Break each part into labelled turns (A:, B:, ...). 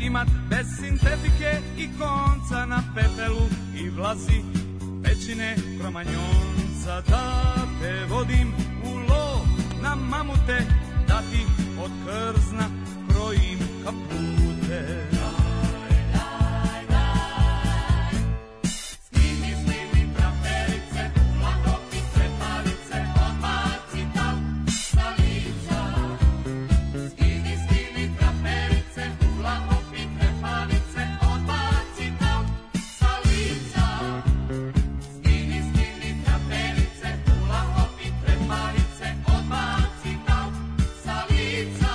A: imat bez sintetike i konca na pepelu i vlazi pećine kromanjonca da te vodim u lov na mamute da ti od krzna krojim kapute Skini, skini praperice, lakopice, palice, odbaci tal sa lica. Skini, skini praperice, lakopice, palice, odbaci tal sa lica. Skini, skini praperice, lakopice, palice, odbaci tal sa lica.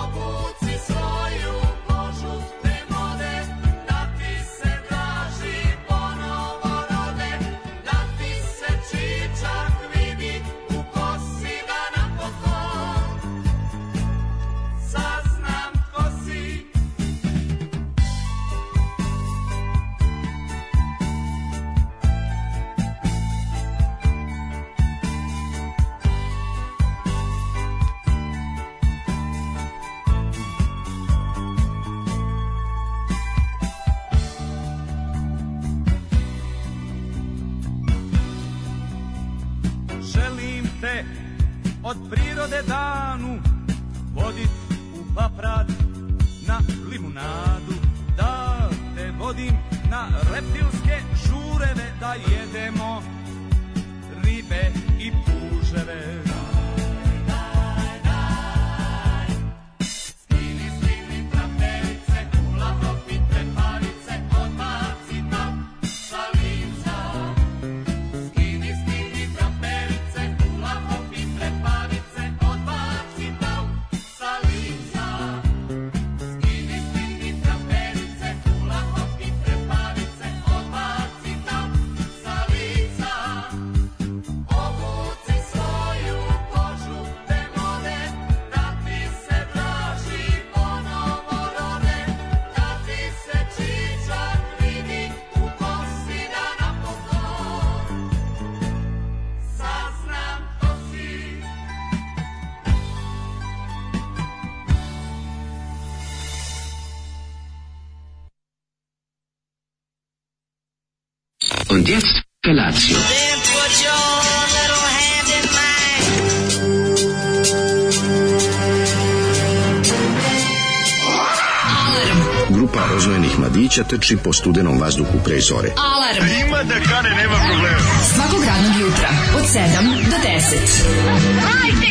A: Obuci svoju kožu te mode, da ti se traži ponovo rode, da ti se čičak vidi u kosi da napokon saznam ko si. Želim te od prirode danu Vodit u paprad na limunadu Da te vodim na reptilske žureve Da jedemo ribe i puževe Skini, skini traperice, kula topite parice, odbaci tam sa lica. Skini, skini traperice, kula topite parice, odbaci tam sa lica. Skini, skini traperice, kula topite parice, odbaci tam sa lica. Obuci svoju kožu te mode, da ti se traži ponovo rode, da ti se čičak vidi u kosi da napokon saznam ko si.
B: Und jetzt Felatio.
C: Then put your little hand in mine.
D: Grupa rozvojenih mladića trči po studenom vazduhu pre zore.
E: Alarm. Ima da kane, nema problema. Svakog radnog jutra, od 7 do 10.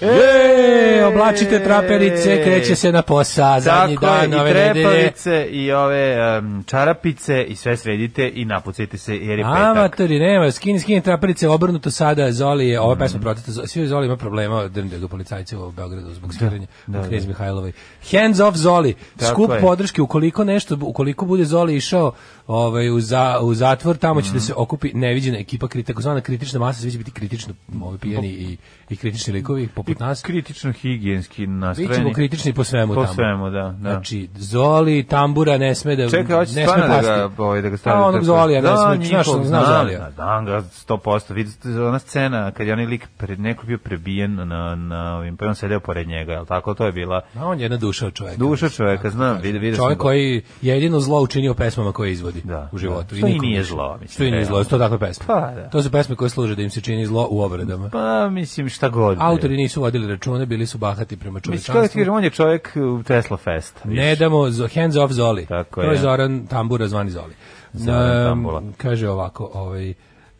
F: E, oblačite traperice, kreće se na posa, zadnji
G: Tako je,
F: dan
G: i
F: ove nedelje.
G: trepavice, i ove em, čarapice, i sve sredite i napucajte se, jer je petak.
F: Amatori, nema, skini, skini traperice, obrnuto sada, Zoli je, ova pesma protesta, svi Zoli ima problema, drnde do policajce u Beogradu zbog sviranja da, da, Knez Mihajlovoj. Hands off Zoli,
G: Tako
F: skup
G: je.
F: podrške, ukoliko nešto, ukoliko bude Zoli išao ovaj, u, za, u zatvor, tamo će da
G: Mhm.
F: se okupi neviđena ekipa, kri- takozvana kritična masa, svi će biti kritično ovaj, pijeni i, i kritični likovi poput nas.
G: Kritično higijenski nastrojeni.
F: Bićemo kritični po svemu
G: Po
F: tamo.
G: svemu, da, da.
F: Znači, Zoli, tambura ne sme da
G: Čekaj, hoće
F: ne sme
G: stvarno da ga,
F: pasti. Pa
G: ovaj, da ga stavljaju.
F: A onog Zolija, ne sme, znaš,
G: njihov, da
F: znaš
G: znam,
F: Zolija.
G: Znam ga 100%. Vidite, ona scena kad je onaj lik, pred, neko bio prebijen na, na ovim, pa je on sedeo pored njega, jel tako? To je bila
F: Ma on je jedna duša od čoveka.
G: duša čoveka, znam, vidi, vidi
F: Čovjek koji je jedino zlo učinio pesmama koje izvodi
G: Da,
F: u životu.
G: da. Što i
F: nikom
G: nije
F: više.
G: zlo, mislim,
F: Što i nije zlo,
G: realno.
F: to takve pesme.
G: Pa, da.
F: To su pesme koje služe da im se čini zlo u obradama.
G: Pa, mislim, šta god.
F: Autori nisu vodili račune, bili su bahati prema
G: Mislim, kada ti kažem,
F: čovječanstvu.
G: Pa on je čovjek u Tesla Fest.
F: Ne da- damo zo- hands off Zoli.
G: Tako
F: to je
G: je.
F: Zoran Tambura zvani Zoli.
G: Zoran
F: Ehm,
G: Tambula.
F: kaže ovako, ovaj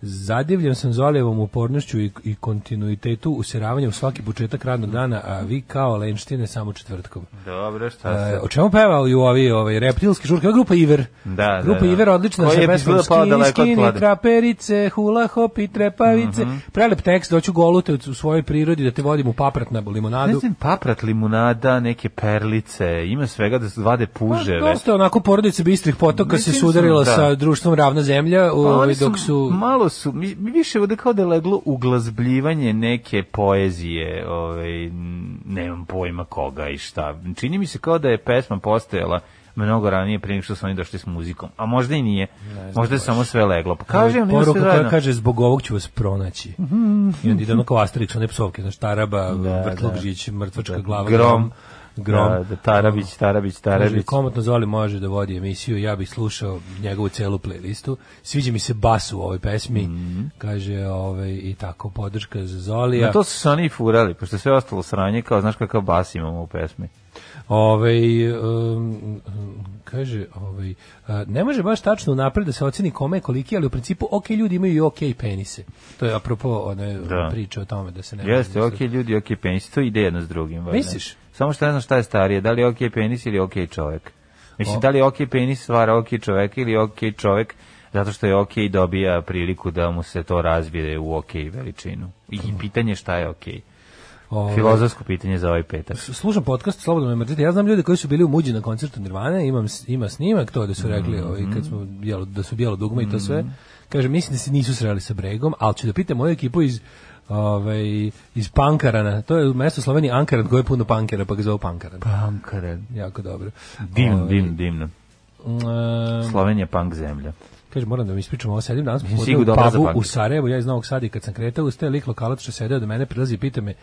F: Zadivljen sam Zolijevom upornošću i, i kontinuitetu usiravanja u svaki početak radnog dana, a vi kao lenštine samo četvrtkom.
G: Dobro, šta se...
F: E, o čemu pevaju ovi ovaj reptilski žurke? Ova grupa Iver.
G: Da,
F: grupa
G: da, da.
F: Iver odlična
G: Koji
F: sa
G: je
F: pesmom
G: izgleda pala
F: Skini,
G: daleko od
F: skini,
G: klade. Mhm.
F: traperice, hula hop i trepavice. Prelep tekst, doću golute u, u svojoj prirodi da te vodim u paprat na
G: Ne
F: limonadu.
G: znam, paprat, limunada, neke perlice, ima svega da vade puževe.
F: Pa, dosta onako porodice bistrih potoka se
G: Mislim
F: sudarila
G: sam, da.
F: sa društvom ravna zemlja
G: Pa
F: ovaj,
G: oni su,
F: dok su...
G: malo su mi, mi više ovde kao da je leglo uglazbljivanje neke poezije, ovaj n- nemam pojma koga i šta. Čini mi se kao da je pesma postojala mnogo ranije pre nego što su oni došli s muzikom. A možda i nije. možda je samo sve leglo. Pa kažem, nije sve
F: poruka koja
G: zajedno.
F: kaže zbog ovog ću vas pronaći. I onda ide ono kao Asterix, one psovke, znaš, Taraba,
G: Da,
F: Vrtlugžić, Mrtvačka
G: Da,
F: glava,
G: Grom.
F: Grom.
G: Da, da, Tarabić, Tarabić,
F: Može li
G: Tarabić.
F: komotno Zoli može da vodi emisiju, ja bih slušao njegovu celu playlistu. Sviđa mi se bas u ovoj pesmi, kaže ovaj, i tako, podrška za Zolija.
G: Mhm. Na to su se oni i furali, pošto je sve ostalo sranje, kao znaš kakav bas imamo u pesmi.
F: Ovaj um, kaže, ovaj a, ne može baš tačno unapred da se oceni kome je koliki, ali u principu ok ljudi imaju i ok penise. To je apropo one
G: Da.
F: priče o tome da se ne
G: Jeste,
F: može
G: ok ljudi, ok penis, to ide jedno s drugim. valjda.
F: Misliš?
G: Samo što ne znam šta je starije, da li je ok penis ili ok čovek. Mislim, da li je ok penis stvara ok čovek ili ok čovek zato što je ok dobija priliku da mu se to razbije u ok veličinu. I pitanje šta je ok.
F: Ovaj,
G: Filozofsko pitanje za ovaj petak.
F: slušam podcast slobodno me mrzite. Ja znam ljude koji su bili u Muđi na koncertu Nirvane, imam s- ima snimak to da su rekli,
G: Mhm.
F: ovaj kad smo bijelo da su bijelo dugme i to sve. Kaže mislim da se nisu sreli sa Bregom, ali ću da pitam moju ekipu iz ovaj iz Pankarana. To je mesto u Sloveniji Ankaran, koje je puno pankera, pa ga zovu Pankaran. Jako dobro.
G: Divno,
F: Ovaj,
G: divno, divno.
F: Mm,
G: Slovenija punk zemlja.
F: kaže, moram da mi ispričam ovo, sedim danas popodne
G: Sigur
F: u
G: dobra za
F: pubu
G: pamet.
F: u Sarajevu, ja iz Novog Sada i kad sam kretao, ustaje lik lokalac što je sedeo do mene, prilazi i pita me,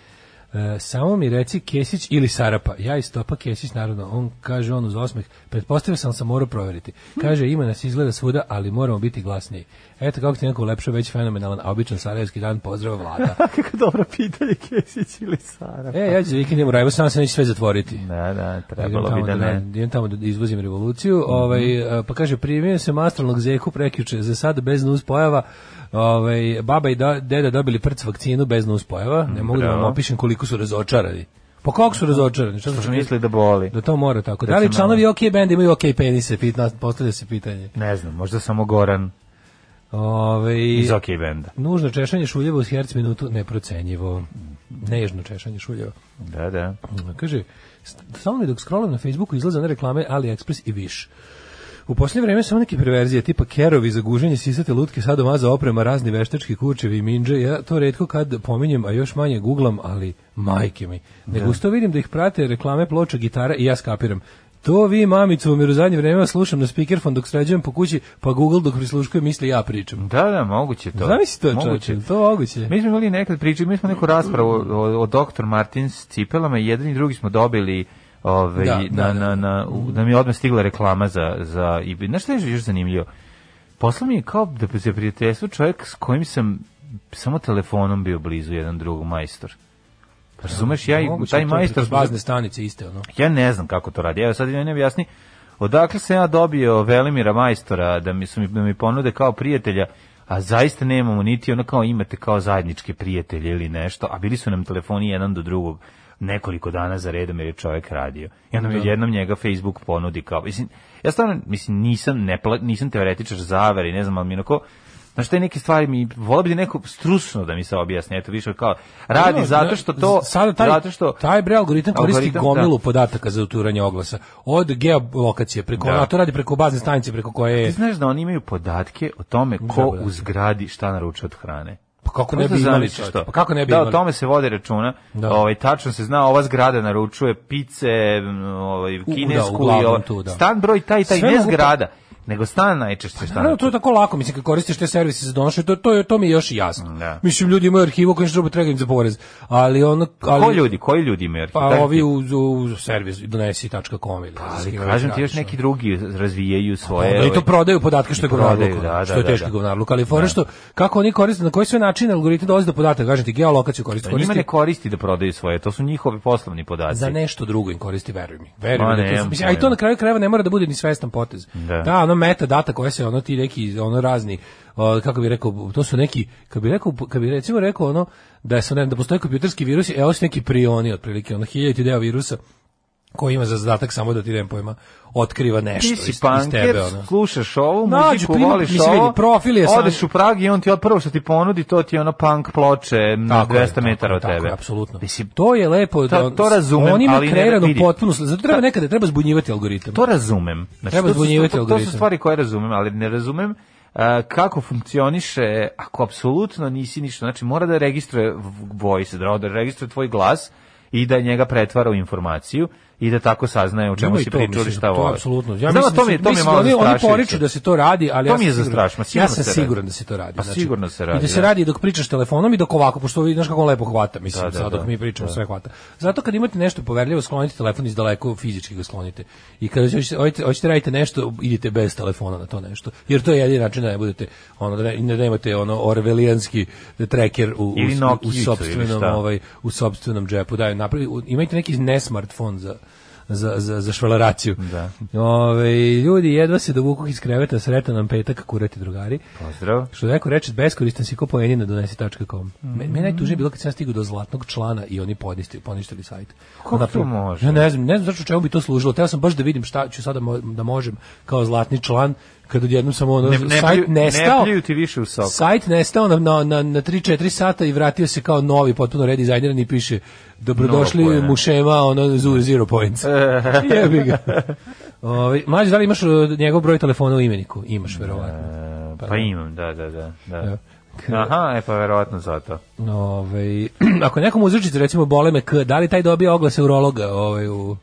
F: e, samo mi reci Kesić ili Sarapa. Ja i stopa Kesić, naravno. On kaže, on uz osmeh, pretpostavio sam sam morao proveriti. Kaže, ima nas izgleda svuda, ali moramo biti glasniji. Eto kako ti neko ulepšao već fenomenalan, a običan sarajevski dan, pozdrav vlada.
G: Kako dobro pitanje, Kesić ili Sara.
F: e, ja ću za vikend idem u Rajvo, samo se neće sve zatvoriti.
G: Da, da,
F: Idem
G: trebalo
F: tamo,
G: bi da
F: da,
G: ne. Mhm.
F: radim, idem tamo da izvozim revoluciju. ovaj, a, pa kaže, primio sam astralnog zeku prekjuče, za sad bez nuspojava. Ovaj, baba i da, deda dobili prc vakcinu bez nuspojava. Ne mogu da vam
G: bravo. Mhm.
F: opišem koliko su razočarani. Pa kako su razočarani? Šta
G: Što
F: su
G: su mislili da boli.
F: Da to mora tako.
G: Da
F: Da li
G: se
F: članovi OK benda imaju OK penise? Pitna, postavlja se pitanje.
G: Ne znam, možda samo Goran
F: Ovaj,
G: iz OK benda.
F: Nužno češanje šuljeva uz herc minutu neprocenjivo. Nežno češanje šuljeva.
G: Da, da.
F: Kaže, st- samo mi dok scrollam na Facebooku izlaze na reklame AliExpress i Wish. U posljednje vreme samo neke perverzije tipa kerovi za guženje sisate lutke, sadomaza oprema, razni veštački kurčevi i minđe. Ja to redko kad pominjem, a još manje googlam, ali majke mi. Nego usto vidim da ih prate reklame ploča gitara i ja skapiram. To vi mamicu u zadnje vreme slušam na speakerfon dok sređujem po kući, pa Google dok prisluškuje misli ja pričam.
G: Da, da, moguće to.
F: Zamisli to,
G: moguće.
F: čoveče, to je moguće.
G: Mi smo imali nekad priču, mi smo neku raspravu o, o doktor Martins cipelama i jedan i drugi smo dobili ove,
F: Da,
G: na,
F: da, da.
G: na, na, u- da mi je odmah stigla reklama za, za i, znaš šta je još zanimljivo? Posla mi je kao da se prijateljstvo čovjek s kojim sam samo telefonom bio blizu jedan drugog majstor. Pa Razumeš, ja i
F: Moguće
G: taj
F: to
G: majstor...
F: preko bazne stanice iste ono.
G: Ja ne znam kako to radi. Evo sad mi meni objasni. Odakle sam ja dobio Velimira Majstora da mi su mi, da mi ponude kao prijatelja, a zaista nemamo niti ono kao imate kao zajedničke prijatelje ili nešto, a bili su nam telefoni jedan do drugog nekoliko dana za redom jer je čovjek radio. I onda mi
F: Da.
G: jednom njega Facebook ponudi kao, mislim, ja stvarno, mislim, nisam, ne, pla- nisam teoretičar zavere, i ne znam, ali mi onako, znaš, te neke stvari mi, volio bi neko strusno da mi se objasni, eto, više kao, radi
F: Ono,
G: zato što to,
F: z- Da, sada taj,
G: zato što,
F: taj bre algoritam koristi
G: Algoritam,
F: gomilu
G: da.
F: podataka za uturanje oglasa. Od geolokacije preko,
G: Da.
F: a to radi preko bazne stanice preko koje
G: Ti
F: je.
G: znaš da oni imaju podatke o tome ko
F: podatke.
G: u zgradi šta naručuje od hrane.
F: Pa kako ne
G: Možda
F: bi imali
G: zamisliš
F: čovječe,
G: to.
F: Pa kako ne bi
G: da, o
F: imali?
G: tome se vode računa.
F: Da.
G: Ovaj, tačno se zna, ova zgrada naručuje pice, m, ovaj,
F: da,
G: kinesku i
F: uglavnom
G: ovaj-
F: tu, da.
G: Stan broj taj, i taj,
F: Sve
G: ne
F: mogu to- Pa
G: zgrada, nego stan najčešće šta
F: Naravno, to je
G: naručuje.
F: tako lako, mislim, kad koristiš te servise za donošenje, to, to, je- to mi je još i jasno.
G: Da.
F: Mislim, ljudi imaju arhivu koji što treba im za porez. Ali ono... Ali,
G: Pa Ko ljudi, koji ljudi imaju
F: Pa
G: arhitekti?
F: ovi u, u servis donesi.com ili...
G: Pa Ali kažem ti još neki drugi razvijaju svoje...
F: da. Pa Onda i to
G: ovaj,
F: prodaju podatke što je
G: I
F: govnarluk.
G: prodaju,
F: ono,
G: da, da,
F: što je
G: da,
F: teški
G: da.
F: govnarluk. Ali fora što, kako oni koriste, na koji sve načine algoritam dolazi do podataka, kažem ti, geolokaciju koristi,
G: Njima
F: koristi
G: ne koristi da prodaju svoje, to su njihovi poslovni podaci.
F: za nešto drugo im koristi, veruj mi. Veruj
G: Ma
F: mi da
G: nemam
F: to su, mislim, a i to
G: pojma.
F: na kraju krajeva ne mora da bude ni svestan potez.
G: Da.
F: da ono metadata koja se ono ti neki ono razni o, kako bi rekao to su neki kako bi rekao kako bi recimo rekao ono da su ne znam, da postoje kompjuterski virusi, evo su neki prioni otprilike ono hiljaditi deo virusa koji ima za zadatak samo da ti nemam pojma otkriva nešto
G: ti si
F: E iz, iz
G: punker,
F: tebe ono.
G: slušaš ovu
F: Nađu
G: muziku,
F: primjer,
G: voliš
F: mislim,
G: ovo,
F: vidi, profil je sam-
G: odeš u Prag i on ti od prvo što ti ponudi, to ti je ono punk ploče na
F: Tako je,
G: 200
F: tako je,
G: metara od
F: tako je,
G: tebe.
F: apsolutno.
G: Mislim, to,
F: to je lepo.
G: Ta-
F: on-
G: to razumem,
F: on ima
G: ali ne-
F: kreiranu
G: vidi.
F: potpuno, sl- zato treba nekada treba zbunjivati algoritam.
G: to razumem. Znači,
F: Treba
G: to, su,
F: zbunjivati
G: to, to su
F: algoritam.
G: stvari koje razumem, ali ne razumem uh, kako funkcioniše ako apsolutno nisi ništa. Znači, mora da registruje v- voice, da, da registruje tvoj glas i da njega pretvara u informaciju i da tako saznaje o čemu
F: Ima i
G: si
F: to,
G: pričali
F: mislim,
G: šta
F: to
G: vole.
F: apsolutno. Ja
G: Znam,
F: mislim,
G: to mi, je-
F: da su-
G: to mi je
F: mislim da
G: malo
F: oni, oni
G: zastrašujuće.
F: poriču da se to radi, ali
G: To
F: ja
G: mi je
F: sam siguran-
G: zastrašno, sigurno
F: Ja
G: se
F: sam
G: radi.
F: siguran da se to radi.
G: Pa sigurno se radi,
F: I da se
G: da.
F: radi i dok pričaš telefonom i dok ovako, pošto vidiš znaš kako on lepo hvata, mislim,
G: Da, da,
F: sad dok
G: da.
F: mi pričamo sve hvata. Zato kad imate nešto poverljivo, sklonite telefon iz daleko, fizički ga sklonite. I kad hoćete, hoćete, hoćete radite nešto, idite bez telefona na to nešto. Jer to je jedini način da ne budete, ono, da, ne, i da nemate ono orvelijanski treker u,
G: Ili
F: u, u, u
G: Nokijicu ili
F: sopstvenom,
G: šta.
F: ovaj, u sopstvenom džepu. Da, napravi, u- imajte neki ne smartfon za za, za, za švaleraciju.
G: Da.
F: Ove, ljudi, jedva se dovuku iz kreveta, sretan nam petak, kurati drugari.
G: Pozdrav.
F: Što neko reče, beskoristan si ko poeni na donesi.com. Mm -hmm. Mene najtužnije je bilo kad sam ja stigao do zlatnog člana i oni poništili, poništili sajt.
G: Kako
F: Napravo-
G: to može?
F: Ja ne znam, ne znam zašto čemu bi to služilo. Teo sam baš da vidim šta ću sada mo- da možem kao zlatni član, kad odjednom sam ono,
G: Ne- ne
F: sajt
G: plju- ne
F: nestao.
G: pljuju ti više u sok.
F: Sajt nestao na, na, na, na 3-4 sata i vratio se kao novi, potpuno redizajniran i piše
G: Nula
F: dobrodošli
G: poena.
F: mušema, ono, zu- zero points. Jebi ga. Ovi, mlađe, da li imaš e, njegov broj telefona u imeniku? Imaš, verovatno.
G: E, Pa imam, da, da, da. da.
F: Da.
G: Aha, e pa verovatno zato.
F: Ove, Ovaj, ako nekom uzrečice recimo boleme K, da li taj dobija oglase urologa ovaj, u...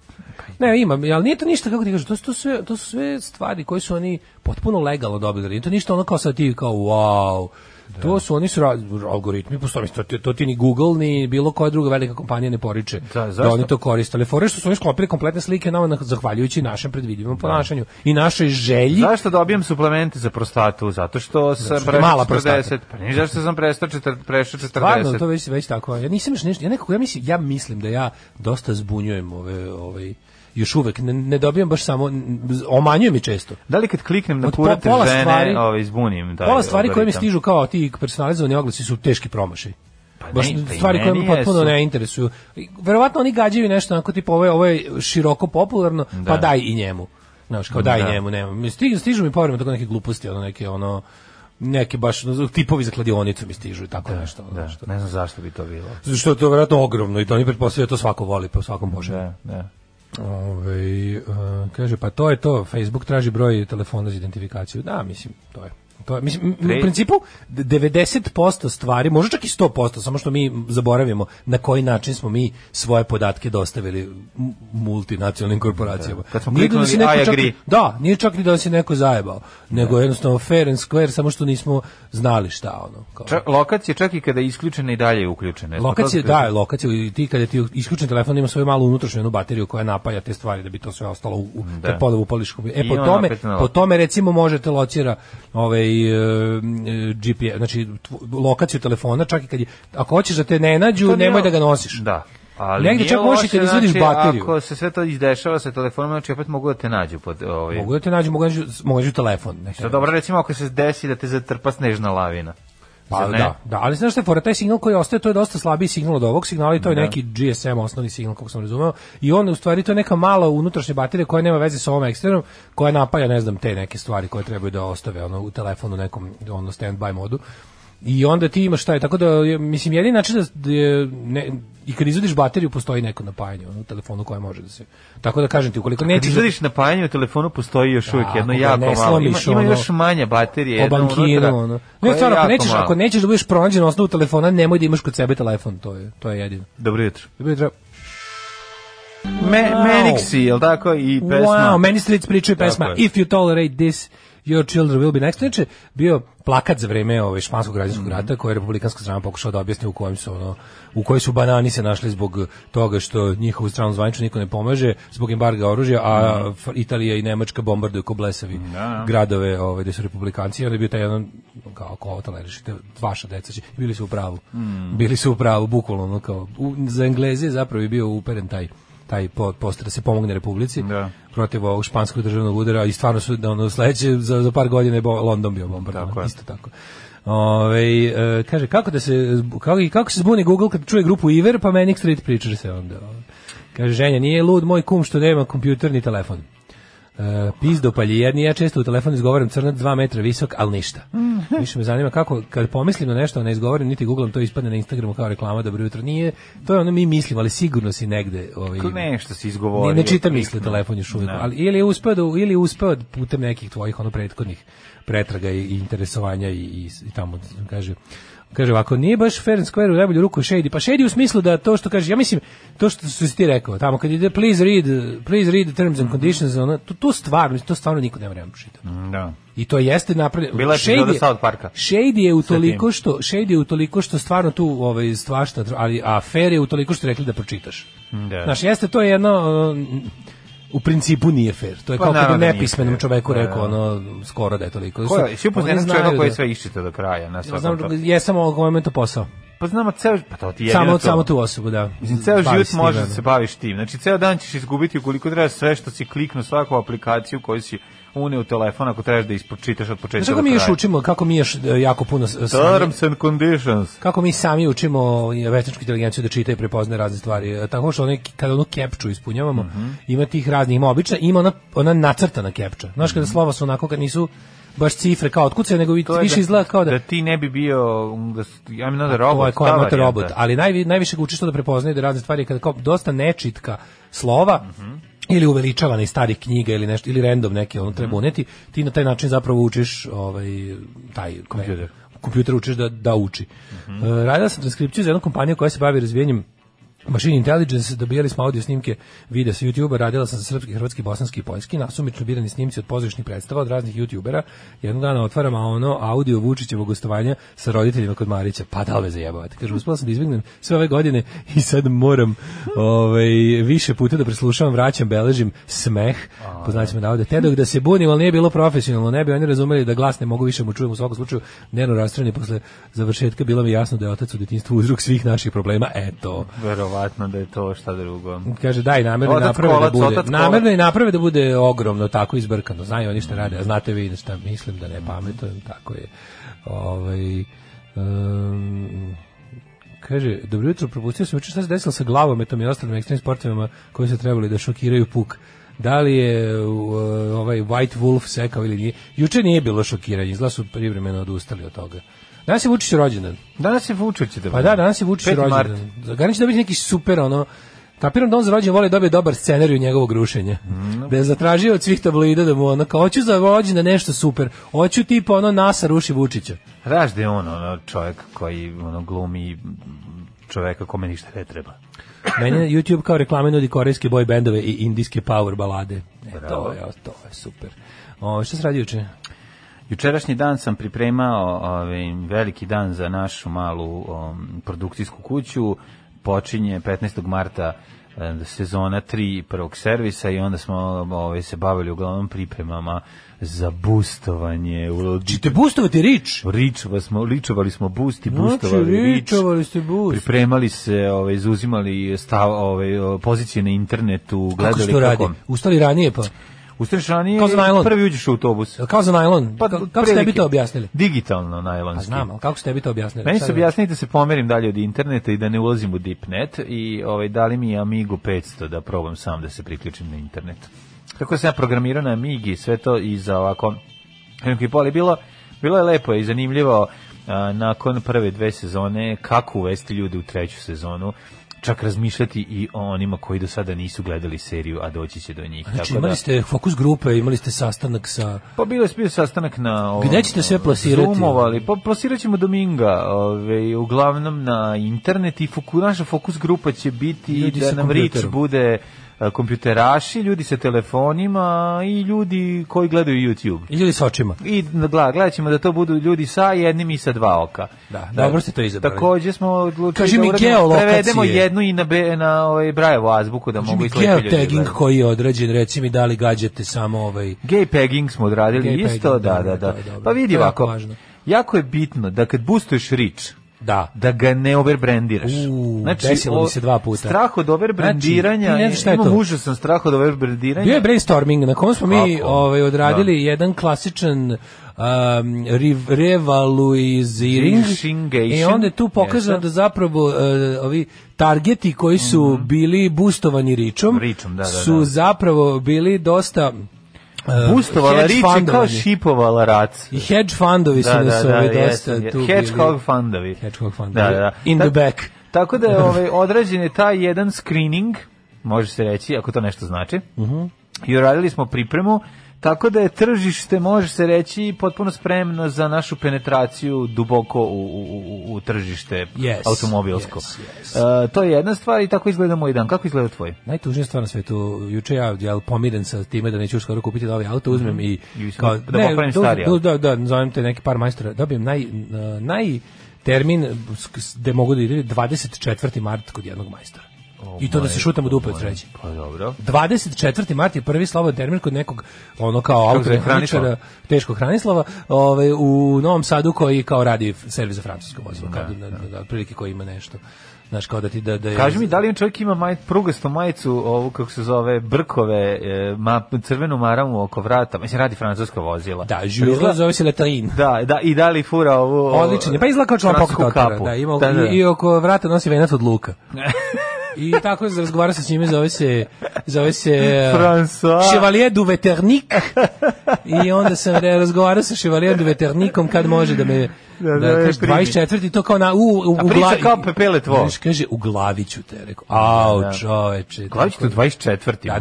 F: Ne, imam, ali nije to ništa, kako ti kažeš, to su, to, sve, to su sve stvari koje su oni potpuno legalno dobili. Nije to ništa ono kao sad ti kao wow.
G: Da.
F: To su oni su ra- algoritmi, postoje, mislim, to, ti- to ti ni Google ni bilo koja druga velika kompanija ne poriče
G: Da,
F: da,
G: zašto?
F: oni to koriste. Ali fore što su oni sklopili kompletne slike nama na- zahvaljujući našem predvidivom ponašanju i našoj želji
G: Zašto dobijem suplemente za prostatu? Zato što sam
F: što je
G: prešao
F: mala
G: 40.
F: prostata.
G: Pa nije zašto sam prestao četir- prešao 40.
F: Stvarno, to već već tako. Ja nisam još ništa, ja nekako ja mislim, ja mislim da ja dosta zbunjujem ove ovaj još uvek ne, ne dobijam baš samo omanjujem i često.
G: Da li kad kliknem na
F: Od po-
G: kurate
F: pola
G: žene,
F: stvari-
G: ovaj, zbunim? Taj
F: Pola stvari koje mi
G: algoritam?
F: stižu kao ti personalizovani oglasi su teški promašaj.
G: Pa ne,
F: Baš
G: pa i
F: stvari koje
G: meni
F: me potpuno
G: jesu.
F: ne interesuju. I Verovatno oni gađaju nešto onako tipa ovo je, ovo je široko popularno,
G: Da.
F: pa daj i njemu. Znaš, kao daj
G: Da.
F: i njemu, nema. Mi Stižu, stižu mi povremeno tako neke gluposti, ono neke ono neke baš ono, tipovi za kladionicu mi stižu i tako nešto. Ono,
G: Da,
F: nešto.
G: ne znam zašto bi to bilo.
F: Zato što je to vjerojatno ogromno i to oni pretpostavljaju da to svako voli, pa svakom može.
G: Da, da.
F: Ovaj, e, kaže, pa to je to, Facebook traži broj telefona za identifikaciju. Da, mislim, to je. To je, mislim, m-
G: Tre-
F: u principu d- 90% stvari, možda čak i 100%, samo što mi zaboravimo na koji način smo mi svoje podatke dostavili m- multinacionalnim korporacijama.
G: Da. Kad smo
F: Nije
G: kliknuli
F: se neko
G: I
F: čak-
G: agree. Da.
F: Da, nije čak ni da se neko zajebao, nego jednostavno fair and square, samo što nismo znali šta ono. Kao.
G: Čak, lokacija čak i kada je isključena i dalje je uključena. Jesmo to
F: Lokacija,
G: skri-
F: da, lokacija, i ti kada ti isključen telefon ima svoju malu unutrašnju jednu bateriju koja napaja te stvari da bi to sve ostalo u, u
G: Da.
F: kad ponovo upališ kombi-
G: I
F: E po
G: onda
F: tome,
G: opet na
F: po
G: lokaciju.
F: tome recimo možete locira ovaj e, e, GPS, znači tvo- lokaciju telefona, čak i kad je, ako hoćeš da te ne nađu,
G: To nije-
F: nemoj da ga nosiš.
G: Da. Ali
F: Negde
G: nije
F: čak možeš i
G: loše,
F: kad izvadiš
G: znači,
F: bateriju.
G: Ako se sve to izdešava sa telefonom, znači opet mogu da te nađu pod ovaj.
F: Mogu da te nađu, mogu da nađu, mogu da nađu telefon. ne
G: Što
F: tebe.
G: dobro recimo ako se desi da te zatrpa snežna lavina.
F: Pa
G: Zar ne?
F: da, da, ali znaš šta je fora, taj signal koji ostaje, to je dosta slabiji signal od ovog signala i to je
G: Da.
F: neki GSM osnovni signal, kako sam razumeo, i on u stvari to je neka mala unutrašnja baterija koja nema veze sa ovom eksternom, koja napaja, ne znam, te neke stvari koje trebaju da ostave ono, u telefonu nekom ono, stand-by modu. I onda ti imaš taj, tako da, je, mislim, jedini način da, da je, ne, i kad izvadiš bateriju, postoji neko napajanje ono, u telefonu koje može da se... Tako da kažem ti, ukoliko
G: Kad
F: nećeš... da-
G: izvadiš na pajanju u telefonu postoji još uvijek
F: Da,
G: jedno
F: ako ga
G: jako
F: ne
G: malo. Ima,
F: slomiš,
G: ima
F: ono,
G: još manje baterije.
F: po
G: jedno
F: bankiru,
G: unutra,
F: ono.
G: koje
F: Ne,
G: da, je
F: stvarno, ako
G: jako
F: nećeš,
G: malo.
F: ako nećeš da budeš pronađen na osnovu telefona, nemoj da imaš kod sebe telefon, to je, to je jedino.
G: Dobro jutro.
F: Dobro jutro.
G: Me, Menixi, jel tako? I pesma.
F: Wow, meni Street pričaju
G: Tako
F: pesma
G: je.
F: If you tolerate this, your children will be next. Znači, bio plakat za vreme ovaj, španskog građanskog
G: Mhm.
F: rata koji je republikanska strana pokušala da objasni u kojem su ono, u kojoj su banani se našli zbog toga što njihovu stranu zvanično niko ne pomaže zbog embarga oružja, a
G: Mhm.
F: Fr- Italija i Nemačka bombarduju ko blesavi
G: Da,
F: gradove ovaj, gde su republikanci. I onda je bio taj jedan, kao ako ovo tolerešite, vaša deca će. Bili su u pravu.
G: Mhm.
F: Bili su u pravu, bukvalno. ono, kao, u, za Engleze zapravo je bio uperen taj taj po- poster da se pomogne Republici
G: Da.
F: protiv ovog španskog državnog udara i stvarno su da ono sledeće za, za par godina je bo, London bio bombardovan
G: Tako je.
F: isto tako. Ove, e, kaže kako da se zbu- kako, i kako se zbuni Google kad čuje grupu Iver pa Manic Street Preacher se onda. ovaj. Kaže ženja nije lud moj kum što nema kompjuter ni telefon. E, pizdo palji jedni, ja često u telefonu izgovaram crnac 2 metra visok, ali ništa. Više me zanima kako, kad pomislim na nešto, a ne izgovorim, niti googlam, to ispadne na Instagramu kao reklama, dobro jutro, nije, to je ono mi mislim, ali sigurno si negde... Ovaj,
G: Kako Nešto si
F: ne,
G: izgovorio.
F: ne čita misle telefon još uvijek,
G: Ne.
F: ali ili je uspeo da, ili je uspeo da putem nekih tvojih ono prethodnih pretraga i, i interesovanja i, i, i tamo kaže Kaže ovako, nije baš fair and square u najbolju ruku Shady. Pa Shady u smislu da to što kaže, ja mislim, to što su si ti rekao, tamo kad ide please read, please read the terms and conditions, ono, to, to stvarno, mislim, to stvarno niko ne vremena pročitati.
G: Da.
F: I to jeste napravljeno.
G: Bila je epizoda South Parka.
F: Shady je utoliko
G: tim.
F: što Shady je utoliko što stvarno tu ovaj stvašta, ali a fair je utoliko što rekli da pročitaš.
G: Da.
F: Znaš, jeste to je jedno um, u principu nije fair. To je
G: Pa
F: kao kad bi
G: naravno da nije
F: nepismenom
G: fair.
F: čoveku
G: Da,
F: rekao
G: da.
F: ono skoro da je toliko.
G: Ko je? Svi
F: Oni
G: upoznali
F: znaju
G: čovjeka koji
F: da-
G: sve iščita do kraja na
F: Ja
G: svakom
F: znam,
G: tom.
F: jesam ovog momenta posao.
G: Pa znamo ceo, pa to ti je
F: Samo,
G: jedino to.
F: samo tu osobu, da.
G: Mislim, ceo
F: Bavi
G: život
F: s time,
G: može da
F: ono.
G: se baviš tim. Znači, ceo dan ćeš izgubiti ukoliko treba sve što si kliknu svaku aplikaciju koju si uneo u telefon ako trebaš da ispočitaš od početka
F: Znaš kako mi još učimo, kako mi još e, jako puno s- sami,
G: Terms and conditions.
F: kako mi sami učimo i veštačku inteligenciju da čita i prepoznaje razne stvari. E, Tako što one, kada onu kepču ispunjavamo,
G: Mhm.
F: ima tih raznih, ima obična, ima ona, ona nacrtana kepča. Znaš kada slova su onako, kad nisu baš cifre kao otkuce, nego
G: Mhm. To je
F: više
G: da-
F: izgleda kao da...
G: Da ti ne bi bio, um, da, s- I'm not a robot. da.
F: Ovo je kao
G: ta
F: amator
G: varijanta.
F: robot, ali najvi, najviše ga uči što da prepoznaje da razne stvari kada kao dosta nečitka slova ili uveličavana iz starih knjiga ili nešto ili random neke ono
G: Mhm.
F: treba uneti, ti na taj način zapravo učiš ovaj taj kompjuter. Kompjuter učiš da da uči.
G: Mhm.
F: E, radila sam transkripciju za jednu kompaniju koja se bavi razvijanjem Machine Intelligence, dobijali smo audio snimke videa sa YouTubea, radila sam sa srpski, hrvatski, bosanski i poljski, nasumično birani snimci od pozorišnih predstava od raznih YouTubera. Jednog dana otvaram a ono audio Vučićevog gostovanja sa roditeljima kod Marića. Pa da li me zajebavate? Kaže, uspela sam da izbjegnem sve ove godine i sad moram ovaj, više puta da preslušavam, vraćam, beležim smeh, poznaćemo navode. Te dok da se bunim, ali nije bilo profesionalno, ne bi oni razumeli da glas ne mogu više mu čujem u svakom slučaju nervno rastrojeni posle završetka bilo mi je jasno da je otac u detinjstvu uzrok svih naših problema. Eto.
G: Verovatno da je to šta drugo.
F: Kaže daj namerno i
G: Otac
F: naprave da
G: kolac,
F: bude.
G: otac kolac.
F: Namerno i naprave da bude ogromno tako izbrkano. Znaju oni šta rade, a znate vi na šta mislim da ne
G: Mm.
F: pametujem, tako je. Ovaj em, kaže, dobro jutro, propustio sam juče šta se desilo sa glavometom i ostalim ekstremnim sportovima koji su trebali da šokiraju puk. Da li je u, e, ovaj White Wolf sekao ili nije? Juče nije bilo šokiranje, izgleda su privremeno odustali od toga. Danas je Vučić rođendan.
G: Danas je Vučić da
F: Pa da, danas je Vučić rođendan. Garan će dobiti neki super ono Kapiram da on za rođendan voli dobije dobar scenarij njegovog rušenja.
G: Mm,
F: Da je zatražio od svih tabloida da mu ono kao, hoću za rođendan nešto super, hoću tipa ono NASA ruši Vučića.
G: Znaš da je on ono, čovjek koji ono, glumi čoveka kome ništa ne treba.
F: Meni na YouTube kao reklame nudi korejske boy bendove i indijske power balade. E, to,
G: Bravo.
F: je, to je super. O, šta se radi juče?
G: Jučerašnji dan sam pripremao ovaj, veliki dan za našu malu um, produkcijsku kuću. Počinje 15. marta em, sezona 3 prvog servisa i onda smo ovaj, se bavili uglavnom pripremama za bustovanje. U-
F: Čite boostovati rič?
G: Ričova smo, ličovali smo boost i
F: Znači,
G: boostovali rič.
F: ričovali ste boost.
G: Pripremali se, ovaj, zauzimali stav, ovaj, o, pozicije na internetu,
F: Kako
G: gledali
F: se to radi? Ustali ranije pa.
G: Ustaneš ranije,
F: Kao za najlon.
G: prvi uđeš u autobus.
F: Kao za najlon? Pa, kako ste
G: prilike.
F: tebi to objasnili?
G: Digitalno najlonski.
F: Pa znam, ali kako ste tebi to objasnili?
G: Meni
F: Šta
G: su
F: da-
G: objasnili da se pomerim dalje od interneta i da ne ulazim u deepnet i ovaj, dali mi je Amigo 500 da probam sam da se priključim na internet. Kako sam ja programirao na Amigi, sve to i za ovako... Kako je poli bilo, bilo je lepo i zanimljivo a, nakon prve dve sezone kako uvesti ljude u treću sezonu čak razmišljati i o onima koji do sada nisu gledali seriju, a doći će do njih.
F: Znači
G: Tako da-
F: imali ste fokus grupe, imali ste sastanak sa...
G: Pa bilo je bio sastanak na... ovom,
F: Gde ćete sve plasirati?
G: Zoomovali. Pa plasirat ćemo Dominga, ovaj, uglavnom na internet i foku, naša fokus grupa će biti
F: Ljudi
G: da
F: sa
G: nam rič
F: kompjuterom.
G: bude a, kompjuteraši, ljudi sa telefonima i ljudi koji gledaju YouTube.
F: I ljudi s očima.
G: I na- gla- gledat ćemo da to budu ljudi sa jednim i sa dva oka.
F: Da, dobro ste to izabrali.
G: Takođe smo odlučili
F: Kaži
G: da
F: mi
G: uradimo,
F: geolokacije.
G: prevedemo jednu i na, be, na ovaj Brajevo azbuku da mogu
F: Mi
G: i slepi ljudi.
F: geotagging
G: gledaju.
F: koji je određen, reci mi da li gađate samo ovaj...
G: Gay pegging smo odradili
F: Gay
G: isto,
F: pegging,
G: da,
F: dobro,
G: da,
F: to
G: da.
F: je dobro.
G: Pa
F: To je
G: vidi
F: jako
G: ovako,
F: važno.
G: jako je bitno da kad boostuješ rič,
F: Da.
G: da ga ne overbrandiraš. Znači,
F: U, desilo mi
G: o-
F: se dva puta.
G: Strah od overbrandiranja,
F: Znači, ti ne znaš šta je
G: imam
F: to.
G: užasan strah od overbrandiranja.
F: Bio je brainstorming na kom smo mi
G: Kako?
F: ovaj, odradili
G: Da.
F: jedan klasičan um, rev- revaluiziring
G: Reshingation.
F: i E, onda je tu pokazano
G: Jeste. Mhm.
F: da zapravo eh, ovi targeti koji su bili boostovani ričom,
G: Ričom, da, da,
F: su
G: da.
F: zapravo bili dosta eh,
G: Boostovala
F: hedge
G: rič je kao
F: fundovani.
G: šipovala rac.
F: I hedge fundovi su
G: Da, da,
F: nas
G: da,
F: ovaj
G: jesam,
F: dosta
G: je-
F: tu
G: Hedgehog
F: bili.
G: fundovi.
F: Hedgehog fundovi.
G: Da, da.
F: In the
G: Tak-
F: back.
G: Tako da je ovaj, odrađen je taj jedan
F: Mhm.
G: screening, može se reći, ako to nešto znači. I uradili smo pripremu Tako da je tržište, može se reći, potpuno spremno za našu penetraciju duboko u, u, u, u tržište
F: Yes,
G: automobilsko.
F: yes,
G: E, to je jedna stvar i tako izgleda moj dan. Kako izgleda tvoj?
F: Najtužnija stvar na svetu, juče ja jel, pomiren sa time da neću skoro kupiti novi auto, uzmem i...
G: Mhm. I da popravim stari
F: da,
G: auto.
F: da, da, zovem te neki par majstora, dobijem naj, eh, naj termin gde mogu da idem 24. mart kod jednog majstora.
G: Oh
F: I to da se šutam u dupe od sreće.
G: Pa dobro.
F: 24. mart je prvi slobodan termin kod nekog ono kao
G: Kako se zove,
F: automehaničara, teškog hranislava, ovaj u Novom Sadu koji kao radi f- servis za francusko
G: Da,
F: vozilo, kad na, na, na, da, otprilike koji ima nešto. Znaš, kao da ti da, da je...
G: Kaži mi, da li on čovjek ima maj, prugastu majicu, ovu kako se zove, brkove, e, ma, crvenu maramu oko vrata, mislim, radi francuska vozila. Pa
F: Da, žurla zove se Letain.
G: Da, da, i da li fura ovu... ovu
F: Odličan je, pa izgleda kao član
G: francusku
F: pokreta otpora,
G: kapu.
F: Da, ima,
G: Da, da.
F: I, I oko vrata nosi venac od luka. I tako se razgovara sa njime, zove se... Zove se... eh,
G: François.
F: Chevalier du Veternik. I onda sam re- razgovarao sa Chevalier du Veternikom kad može da me... Da,
G: da,
F: da,
G: da,
F: kaže,
G: primi.
F: 24. to kao na... U, u, u
G: A priča
F: glavi-
G: kao Pepele Tvo.
F: Znaš, kaže, u glaviću te, rekao. Au,
G: Da, da.
F: čoveče.
G: Glavić tu 24.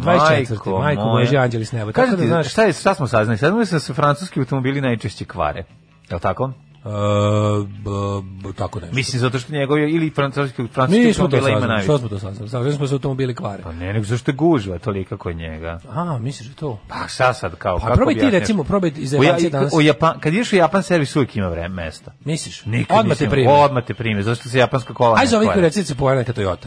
F: Da, 24. Majko
G: moja.
F: Božja, anđeli s neba.
G: Kaži
F: Tako da,
G: ti,
F: znaš-
G: šta, je, šta smo saznali? Saznali smo da se francuski automobili najčešće kvare. Je li tako?
F: Uh, b, b, tako nešto.
G: Mislim, zato što njegov je ili francuski, francuski
F: Mi smo to
G: automobila ima
F: saznali,
G: najviše.
F: što smo to saznali? Saznali smo da se automobili kvare.
G: Pa ne, nego zašto je gužva tolika kod njega?
F: A, misliš da je to?
G: Pa šta sad, kao,
F: Pa
G: kako
F: probaj
G: bi
F: ti
G: ja-
F: recimo, probaj iz
G: U, ja,
F: Evancije danas.
G: u Japan, kad ideš u Japan servis uvijek ima vreme, mesta.
F: Misliš?
G: Nikad
F: Odmah te
G: nisam-
F: primi.
G: Odmah te prime, zato što se japanska kola
F: Aj za ovih
G: kvare.
F: recite se pojavlja neka Toyota.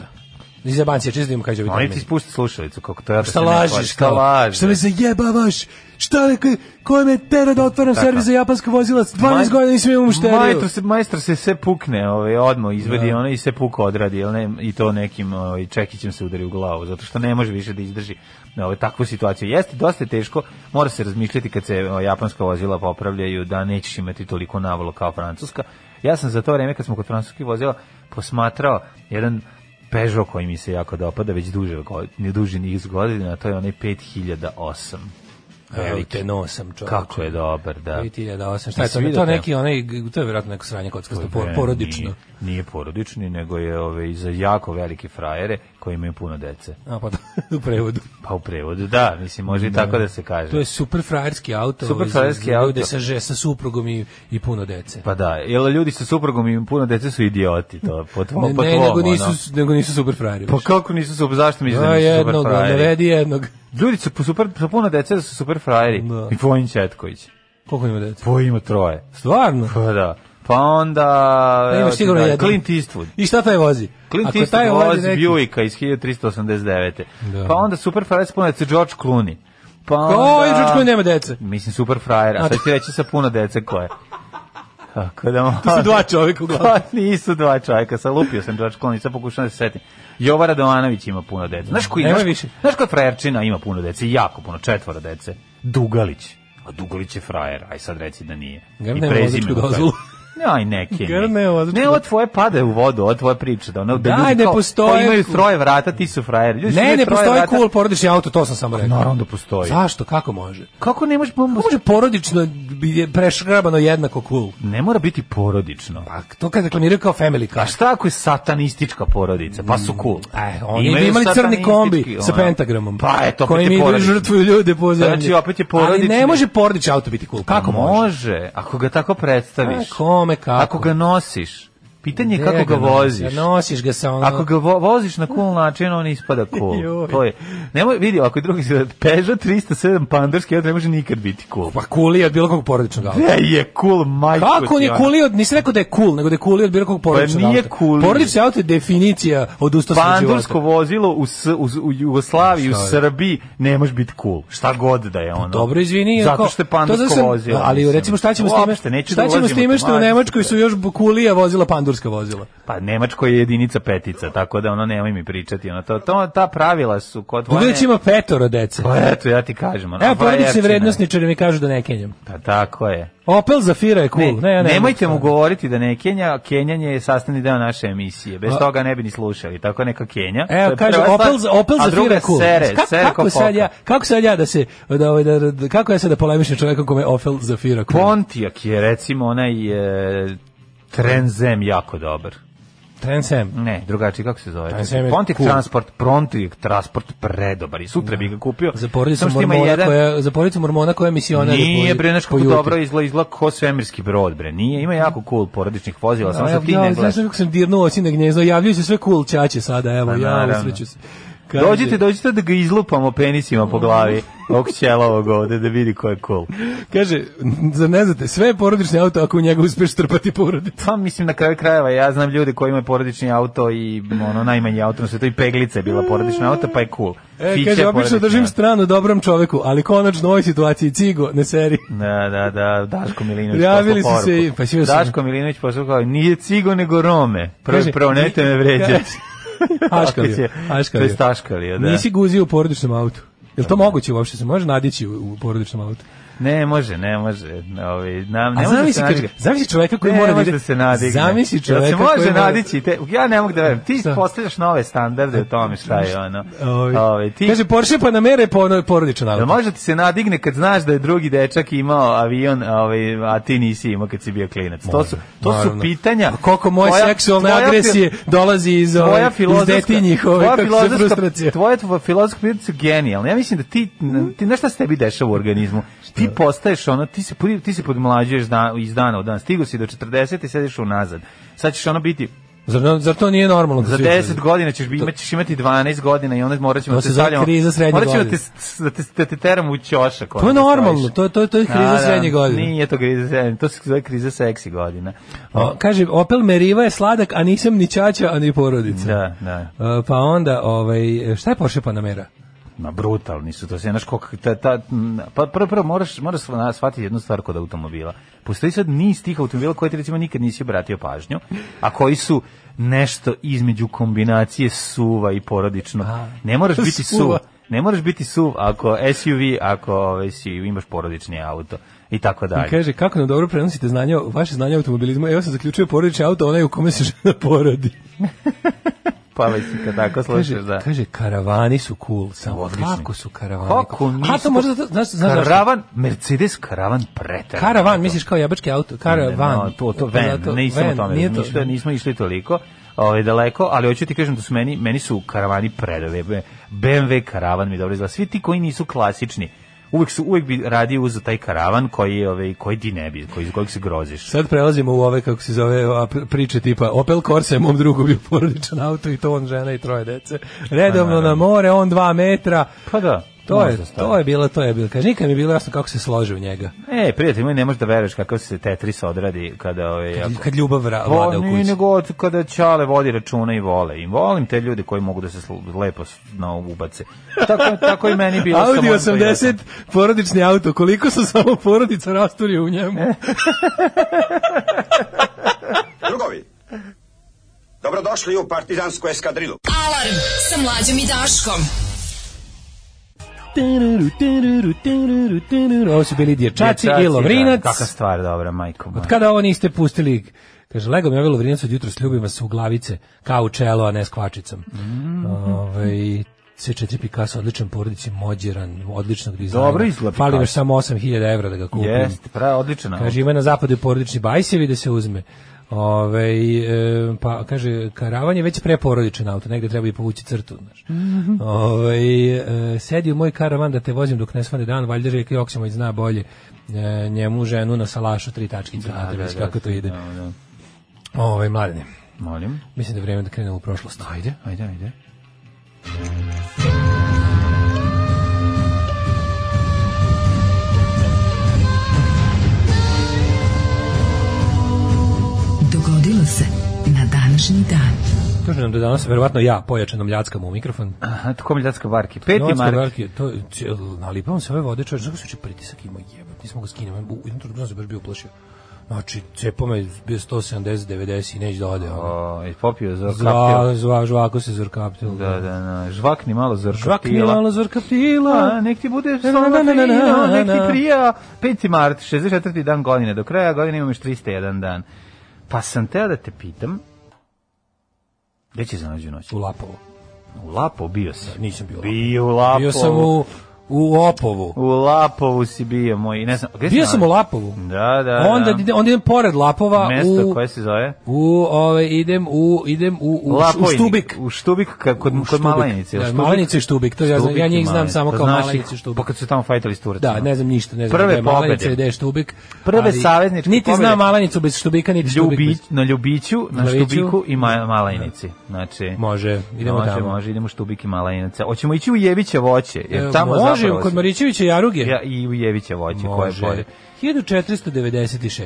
F: Iz Evancije, čisto da im kaže
G: Oni
F: ovih
G: ti spusti slušalicu, da kako to ja
F: Šta lažeš?
G: Šta
F: kao?
G: lažeš?
F: Šta me zajebavaš? Šta reko, ko me tera da otvaram servis za japansko vozila? 12 godina nisam imao mušteriju. Da.
G: Majstor se, majstor se sve pukne, ovaj, odmah izvedi ono i se puko odradi, jel ne, i to nekim ovaj, čekićem se udari u glavu, zato što ne može više da izdrži ovaj, takvu situaciju. Jeste, dosta je teško, mora se razmišljati kad se ovaj, japanska vozila popravljaju da nećeš imati toliko navalo kao francuska. Ja sam za to vreme kad smo kod francuskih vozila posmatrao jedan Peugeot koji mi se jako dopada već duže, go- ne duži niz godina, to je onaj 5008.
F: Evo te nosam, čovječe.
G: Kako je dobar, da.
F: 2008, šta je
G: Jesi
F: to?
G: vidio
F: To
G: te?
F: neki onaj, to je vjerojatno neko sranje kockasto, por-
G: Ne,
F: porodično.
G: Nije, nije porodični, nego je ove, za jako velike frajere koji imaju puno dece.
F: A pa da, u prevodu.
G: Pa u prevodu, da, mislim, može i tako da se kaže.
F: To je super frajerski auto.
G: Super
F: ovaj, za-
G: frajerski
F: za ljude
G: auto.
F: Sa, že, sa suprugom i, i puno dece.
G: Pa da, jel ljudi sa suprugom i puno dece su idioti, Pa, to, po tvom,
F: ne,
G: po
F: ne,
G: tvom,
F: nego nisu,
G: ono.
F: nego nisu super frajeri.
G: Pa kako nisu super, zašto mi
F: Da,
G: izgledaju da nisu
F: jednog,
G: super frajeri?
F: navedi jednog.
G: Ljudi su po super, sa puno dece da su super frajeri.
F: Da.
G: I Vojin Četković.
F: Koliko ima dece?
G: Vojin ima troje.
F: Stvarno?
G: Pa da. Pa onda...
F: Da ima
G: evo ti
F: sigurno
G: da,
F: jedan.
G: Clint Eastwood.
F: I šta taj vozi?
G: Clint
F: Ako
G: Eastwood
F: vozi
G: vozi
F: neki-
G: Buicka iz 1389.
F: Da.
G: Pa onda super frajer spunac George Clooney. Pa onda...
F: O, i Čučko ovaj nema dece.
G: Mislim, super frajer, a sad ti reći sa puno dece koje. Tako da
F: To su dva čovjeka uglavnom.
G: Pa nisu dva čovjeka, sad lupio sam George Clooney, sad pokušavam da se setim. Jovara Radovanović ima puno dece. Znaš koji,
F: Nema
G: znaš,
F: više.
G: znaš koja frajerčina ima puno dece, jako puno, četvora dece. Dugalić. A Dugalić je frajer, aj sad reci da nije.
F: Gar
G: I
F: nema
G: prezime
F: vozačku
G: mu frajer.
F: dozvolu.
G: Ne, aj neke.
F: Gar
G: ne.
F: nema vozačku
G: Ne, ovo tvoje pade u vodu, ovo tvoje priče. Da, ono, da
F: Daj,
G: ljudi
F: ne
G: kao,
F: postoje-
G: kao imaju troje vrata, ti su frajeri. Ljudi su
F: Ne,
G: imaju
F: ne
G: troje
F: postoji
G: da vrata.
F: cool porodični auto, to sam samo rekao.
G: Naravno da postoji.
F: Zašto? Kako može?
G: Kako ne možeš...
F: Kako može porodično je prešgrabano jednako cool?
G: Ne mora biti porodično.
F: Pa to kad reklamiraju kao family
G: A
F: car.
G: Pa, šta ako je satanistička porodica? Pa su cool.
F: E, oni
G: Imaju
F: bi imali crni
G: satanistički,
F: kombi sa
G: ono.
F: pentagramom.
G: Pa eto, opet
F: koji
G: je
F: mi idu i
G: porodično.
F: žrtvuju ljude po zemlji.
G: Znači, opet je
F: Ali
G: porodični.
F: ne može porodični auto biti cool. Kako može?
G: Može, ako ga tako predstaviš.
F: A, kome kako?
G: Ako ga nosiš. Pitanje je
F: Gde
G: kako ga voziš.
F: nosiš? Nosiš ga sa ono...
G: Ako ga vo- voziš na cool način, on ispada cool.
F: Joj.
G: to je. Nemoj, vidi, ako je drugi se Peugeot 307 pandarski, on ne može nikad biti cool.
F: Pa cool je od bilo kakvog porodičnog auta.
G: Ne je cool, majko
F: Kako on
G: ti
F: je
G: ono.
F: cooliji od, nisi rekao da je cool, nego da je cooliji od bilo kakvog porodičnog
G: Pa nije
F: auta.
G: cooliji.
F: Porodični auto je definicija od ustosti
G: Pandursko
F: života.
G: vozilo u, S- u, u Jugoslaviji, u
F: Šta je? Pa
G: Srbiji, ne može biti cool. Šta god da je ono.
F: Dobro, izvini.
G: Zato
F: kao-
G: što je
F: to
G: pandursko
F: zato sam-
G: vozilo.
F: Ali
G: mislim.
F: recimo šta ćemo s
G: Uopšte,
F: time?
G: neću
F: Šta
G: da
F: ćemo s
G: ulazim
F: time što u
G: tematiku.
F: Nemačkoj su još kulija vozila pandurska vozila?
G: Pa Nemačko je jedinica petica, tako da ono nemoj mi pričati. Ono, to, to, ta pravila su kod
F: Dugović ima petoro dece.
G: Pa eto, ja ti kažem. Ono,
F: Evo, porodični
G: frajerčina.
F: vrednostničari mi kažu da ne kenjam.
G: Pa tako je.
F: Opel Zafira je cool. Ne, ja ne,
G: nemojte
F: mogu.
G: mu govoriti da ne Kenja, Kenjanje je sastavni deo naše emisije. Bez
F: A-
G: toga ne bi ni slušali. Tako neka Kenja. To
F: Evo,
G: je
F: kaže,
G: prva
F: Opel,
G: stvar.
F: Opel
G: A druga
F: Zafira je cool.
G: Sere,
F: Ka-
G: sere
F: kako,
G: ko
F: sad
G: poka.
F: ja, kako sad ja da se, da, ovaj, da, da, kako ja sad da polemišem čovekom kome je Opel Zafira cool?
G: Pontiac je recimo onaj e, Trenzem jako dobar.
F: Transam.
G: Ne, drugačije, kako se zove?
F: Transam je
G: Pontiac
F: cool.
G: Transport, Pontiac Transport, predobar. je. Sutra bih ga kupio.
F: Za porodicu
G: Samo što ima
F: mormona
G: jedan-
F: koja za porodicu mormona koja je misionar
G: Nije bre nešto kako dobro izgleda, izgleda kao svemirski brod bre. Nije, ima jako cool porodičnih vozila, samo što ti ne
F: Da, Znaš
G: gledaš.
F: kako sam dirnuo oci na gnjezdo, javljaju se sve cool ćaće sada, evo,
G: Pa,
F: ja
G: naravno.
F: usreću se. Kaže-
G: Dođite, dođite da ga izlupamo penisima po glavi, ovog ćelovog ovde, da vidi ko je cool.
F: Kaže, zar ne znate, sve je porodični auto ako u njega uspeš trpati porodicu.
G: Pa mislim na kraju krajeva, ja znam ljude koji imaju porodični auto i ono najmanji auto na svetu i peglica je bila porodična auto, pa je cool.
F: E,
G: Fića
F: kaže,
G: je
F: obično
G: porodični
F: držim
G: auto.
F: stranu dobrom čoveku, ali konačno u ovoj situaciji cigo, ne seri.
G: Da, da, da, Daško Milinović
F: Javili
G: poslao
F: su se i-
G: poruku.
F: pa svi su-
G: Daško Milinović poslao kao, nije cigo nego Rome. Prvo,
F: Kaže,
G: prvo, nemojte me vređati.
F: Aškalio,
G: To je
F: aškalio.
G: staškalio, da.
F: Nisi guzio u porodičnom autu. Je li to moguće uopšte? Se može nadići u, u porodičnom autu?
G: Ne može, ne može. Ovi, na, ne
F: A
G: može da
F: zamisli,
G: se
F: kaže,
G: nadigne.
F: zamisli čoveka koji
G: Ne
F: mora
G: može
F: ide-
G: da se nadigne.
F: Zamisli čoveka
G: Jel se može
F: koji mora-
G: nadići. Te, ja ne mogu da verujem. Ti
F: Šta?
G: postavljaš nove standarde u tome šta je ono.
F: Ovi.
G: Ovi, Ovaj, ti,
F: Ovaj. Kaže, Porsche pa na mere po, porodičan
G: Jel
F: auto.
G: Da može ti se nadigne kad znaš da je drugi dečak imao avion, ovaj, a ti nisi imao kad si bio klinac. To su, to su
F: Naravno.
G: pitanja.
F: A koliko moje
G: Tvoja-
F: seksualne
G: tvoja-
F: agresije dolazi iz, ove,
G: tvoja
F: iz
G: filozofska,
F: detinjih, ove,
G: tvoja
F: kako se frustracija.
G: filozofska, tvoja tvoja filozofska pitanja su genijalna. Ja mislim da ti, ti znaš šta se tebi dešava u organizmu? Ti postaješ ono, ti se, pod- ti se podmlađuješ da, iz dana u dan. Stigu si do 40 i sediš unazad. Sad ćeš ono biti,
F: Zar, no- zar to nije normalno? da
G: za 10 godina ćeš, bi- imat, ćeš imati 12 godina i onda morat ćemo
F: To
G: da
F: se
G: te
F: zove
G: stavljamo.
F: kriza srednje
G: morat ćemo da
F: godine.
G: te, s- da te, da te teramo u ćošak. da
F: To je normalno, to, to, to je kriza srednje godine.
G: Nije to kriza srednje, to se zove kriza seksi godina.
F: O, kaže, Opel Meriva je sladak, a nisam ni čača, a ni porodica.
G: Da, da.
F: E, pa onda, ovaj, šta je Porsche Panamera?
G: Ma brutalni su to sve, znaš koliko, ta, ta, m, pa prvo, prvo moraš, moraš shva- shvatiti jednu stvar kod automobila. Postoji sad niz tih automobila koje ti recimo nikad nisi obratio pažnju, a koji su nešto između kombinacije suva i porodično. Ne moraš biti
F: Suva.
G: suv, ne moraš biti suv ako SUV, ako ovaj, si, imaš porodični auto i tako
F: I
G: dalje.
F: kaže, kako nam dobro prenosite znanje, o- vaše znanje o automobilizmu? Evo sam zaključio porodični auto, onaj u kome se žena porodi.
G: Pa već si kad tako
F: Kaže,
G: slušaš, da.
F: kaže, karavani su cool, samo
G: Odlični.
F: kako su karavani?
G: Kako
F: A to
G: nisu-
F: možda, to- znaš, znaš, zašto?
G: Karavan, Mercedes karavan pretar.
F: Karavan, misliš kao jabački auto, karavan.
G: No, to, to, van,
F: Zato-
G: nisam
F: van,
G: o tome
F: nije to.
G: razmišljao, nismo išli toliko ovaj, daleko, ali hoću ti kažem da su meni, meni su karavani predove, be- BMW karavan mi dobro izgleda, svi ti koji nisu klasični, uvek su uvek bi radio uz taj karavan koji je ovaj koji ti ne bi koji iz kojeg se groziš.
F: Sad prelazimo u ove, kako se zove, ova pr- priče tipa Opel Corsa je mom drugu bio porodičan auto i to on žena i troje dece. Redovno na more, on dva metra.
G: Pa da,
F: To je,
G: Pa, možda stane.
F: to je bilo, to je bilo. Kaže, nikad mi je bilo jasno kako se slože u njega.
G: E, prijatelj moj, ne možeš da veruješ kako se Tetris odradi kada ovaj ako-
F: Kad ljubav vra-
G: Pa,
F: vlada u
G: nije
F: kući.
G: nego od kada Ćale vodi računa i vole. I volim te ljude koji mogu da se slu- lepo s- na ubace. Tako, tako i meni bilo. samo
F: Audi
G: ono to ja sam-
F: 80, porodični auto, koliko su samo porodica rasturio u njemu.
G: Eh.
H: Drugovi, dobrodošli u partizansku eskadrilu.
E: Alarm sa mlađom i Daškom.
F: Teruru, teruru, teruru, teruru. Ovo su bili dječaci i
G: da,
F: Lovrinac.
G: Taka stvar, dobra, majko moja.
F: Od kada ovo niste pustili? Kaže, lego mi ovaj Lovrinac od jutra ljubim vas u glavice, kao u čelo, a ne s kvačicom.
G: Mhm.
F: Ovaj, C4 Picasso, odličan porodici, mođeran, odličnog dizajna.
G: Dobro izgleda
F: Fali mi još
G: Picasso.
F: samo 8000 evra da ga kupim.
G: Jeste, pra, odlično.
F: Kaže, ima Pa na zapadu i porodični bajsevi da se uzme. Ove, e, pa kaže, karavan je već preporodičan auto, negde treba i povući crtu. Znaš. Ovaj, e, sedi u moj karavan da te vozim dok ne svane dan, valjda je Joksimović zna bolje e, njemu ženu na salašu tri tačkice, da, da, kako to ide.
G: Da, da.
F: Ovaj, mladine,
G: Molim.
F: mislim da je vreme da krenemo u prošlost. Ajde.
G: Ajde, ajde.
E: Dogodilo se na današnji dan.
F: Kaže nam da danas, verovatno ja, pojačanom ljackam u mikrofon.
G: Aha, tako mi ljadska varki. Peti
F: Novac
G: mark.
F: Marki, to je cijel- nalipam se ove vode, čovječ, znaš kako se pritisak imao jebat, nismo ga skinuli, u jednom trenutku sam se baš bio uplašio. Znači, cepo me bio 170, 90 i neće da ode. ono.
G: O, i popio za kaptel.
F: Zva, zva, žvako se zrkaptil.
G: Da, da, da. Žvakni malo zrkaptila.
F: Žvakni malo
G: A,
F: zrkaptila.
G: nek ti bude
F: Na, na, na,
G: slona
F: na, na,
G: fino,
F: na,
G: nek ti
F: na.
G: prija. 5. mart, 64. dan godine. Do kraja godine imam još 301 dan. Pa sam teo da te pitam, gde će za nađu noć?
F: U Lapovo.
G: U Lapo bio sam.
F: Nisam bio. u Lapovu.
G: Bio u Lapo.
F: Bio sam u u Opovu.
G: U Lapovu si bio moj, ne znam, gde si
F: Bio sam u
G: nalazi?
F: Lapovu.
G: Da, da,
F: onda,
G: da.
F: ide- onda idem pored Lapova
G: Mesto
F: u,
G: koje se zove?
F: u, ovaj, idem u, idem u, u, u
G: Lapojnik.
F: Štubik.
G: U Štubik, ka- kod,
F: U
G: kod
F: Štubik.
G: Malenice. jel
F: Da,
G: Štubik?
F: Malenice i Štubik, to ja znam,
G: Štubik
F: ja
G: i
F: njih znam
G: Malenice.
F: samo
G: Pa
F: kao
G: znaš ih,
F: Malenice i Štubik.
G: Pa kad su tamo fajtali s Turacima.
F: Da, ne znam ništa, ne znam
G: Prve
F: gde je Malenica
G: pobede.
F: i gde je Štubik.
G: Prve
F: ali
G: savezničke
F: Niti
G: pobede.
F: znam Malenicu bez Štubika, niti Štubik
G: Ljubi,
F: bez...
G: na Ljubiću, na
F: Ljubiću. Da.
G: Štubiku i Ma- Malenici. Znači,
F: Može, idemo
G: može,
F: tamo.
G: Može, idemo u Štubik i Malenice. Hoćemo ići u Jevića voće, jer tamo
F: E, Može,
G: zapravo...
F: kod
G: se-
F: Marićevića i Aruge.
G: Ja, I u Jevića voće, koje je
F: Može.
G: bolje. Mhm.
F: 1496.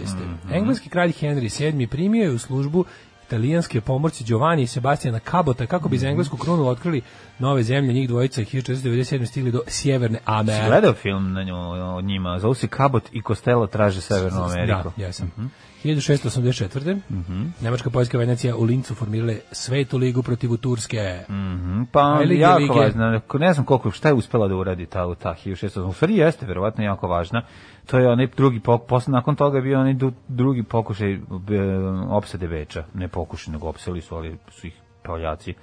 F: Engleski kralj Henry VII primio je u službu italijanske pomorci Giovanni i Sebastijana Cabota kako
G: Mhm.
F: bi za englesku krunu otkrili nove zemlje, njih dvojica je 1497 stigli do Sjeverne
G: Si
F: Amerike.
G: gledao film na nju, o njima? Zovu se Cabot i Costello traže Severnu Ameriku. Mhm.
F: Da, jesam. 1684. Nemačka, Poljska i Venecija u Lincu formirale Svetu ligu protiv Turske.
G: Mhm, Pa on
F: Velike
G: jako
F: lige.
G: važna, ne znam koliko, šta je uspela da uradi ta, ta 1600, u stvari jeste verovatno jako važna, to je onaj drugi pokušaj, posle, nakon toga je bio onaj du- drugi pokušaj e, opsade Beča, ne pokušaj, nego opseli su, ali su ih Poljaci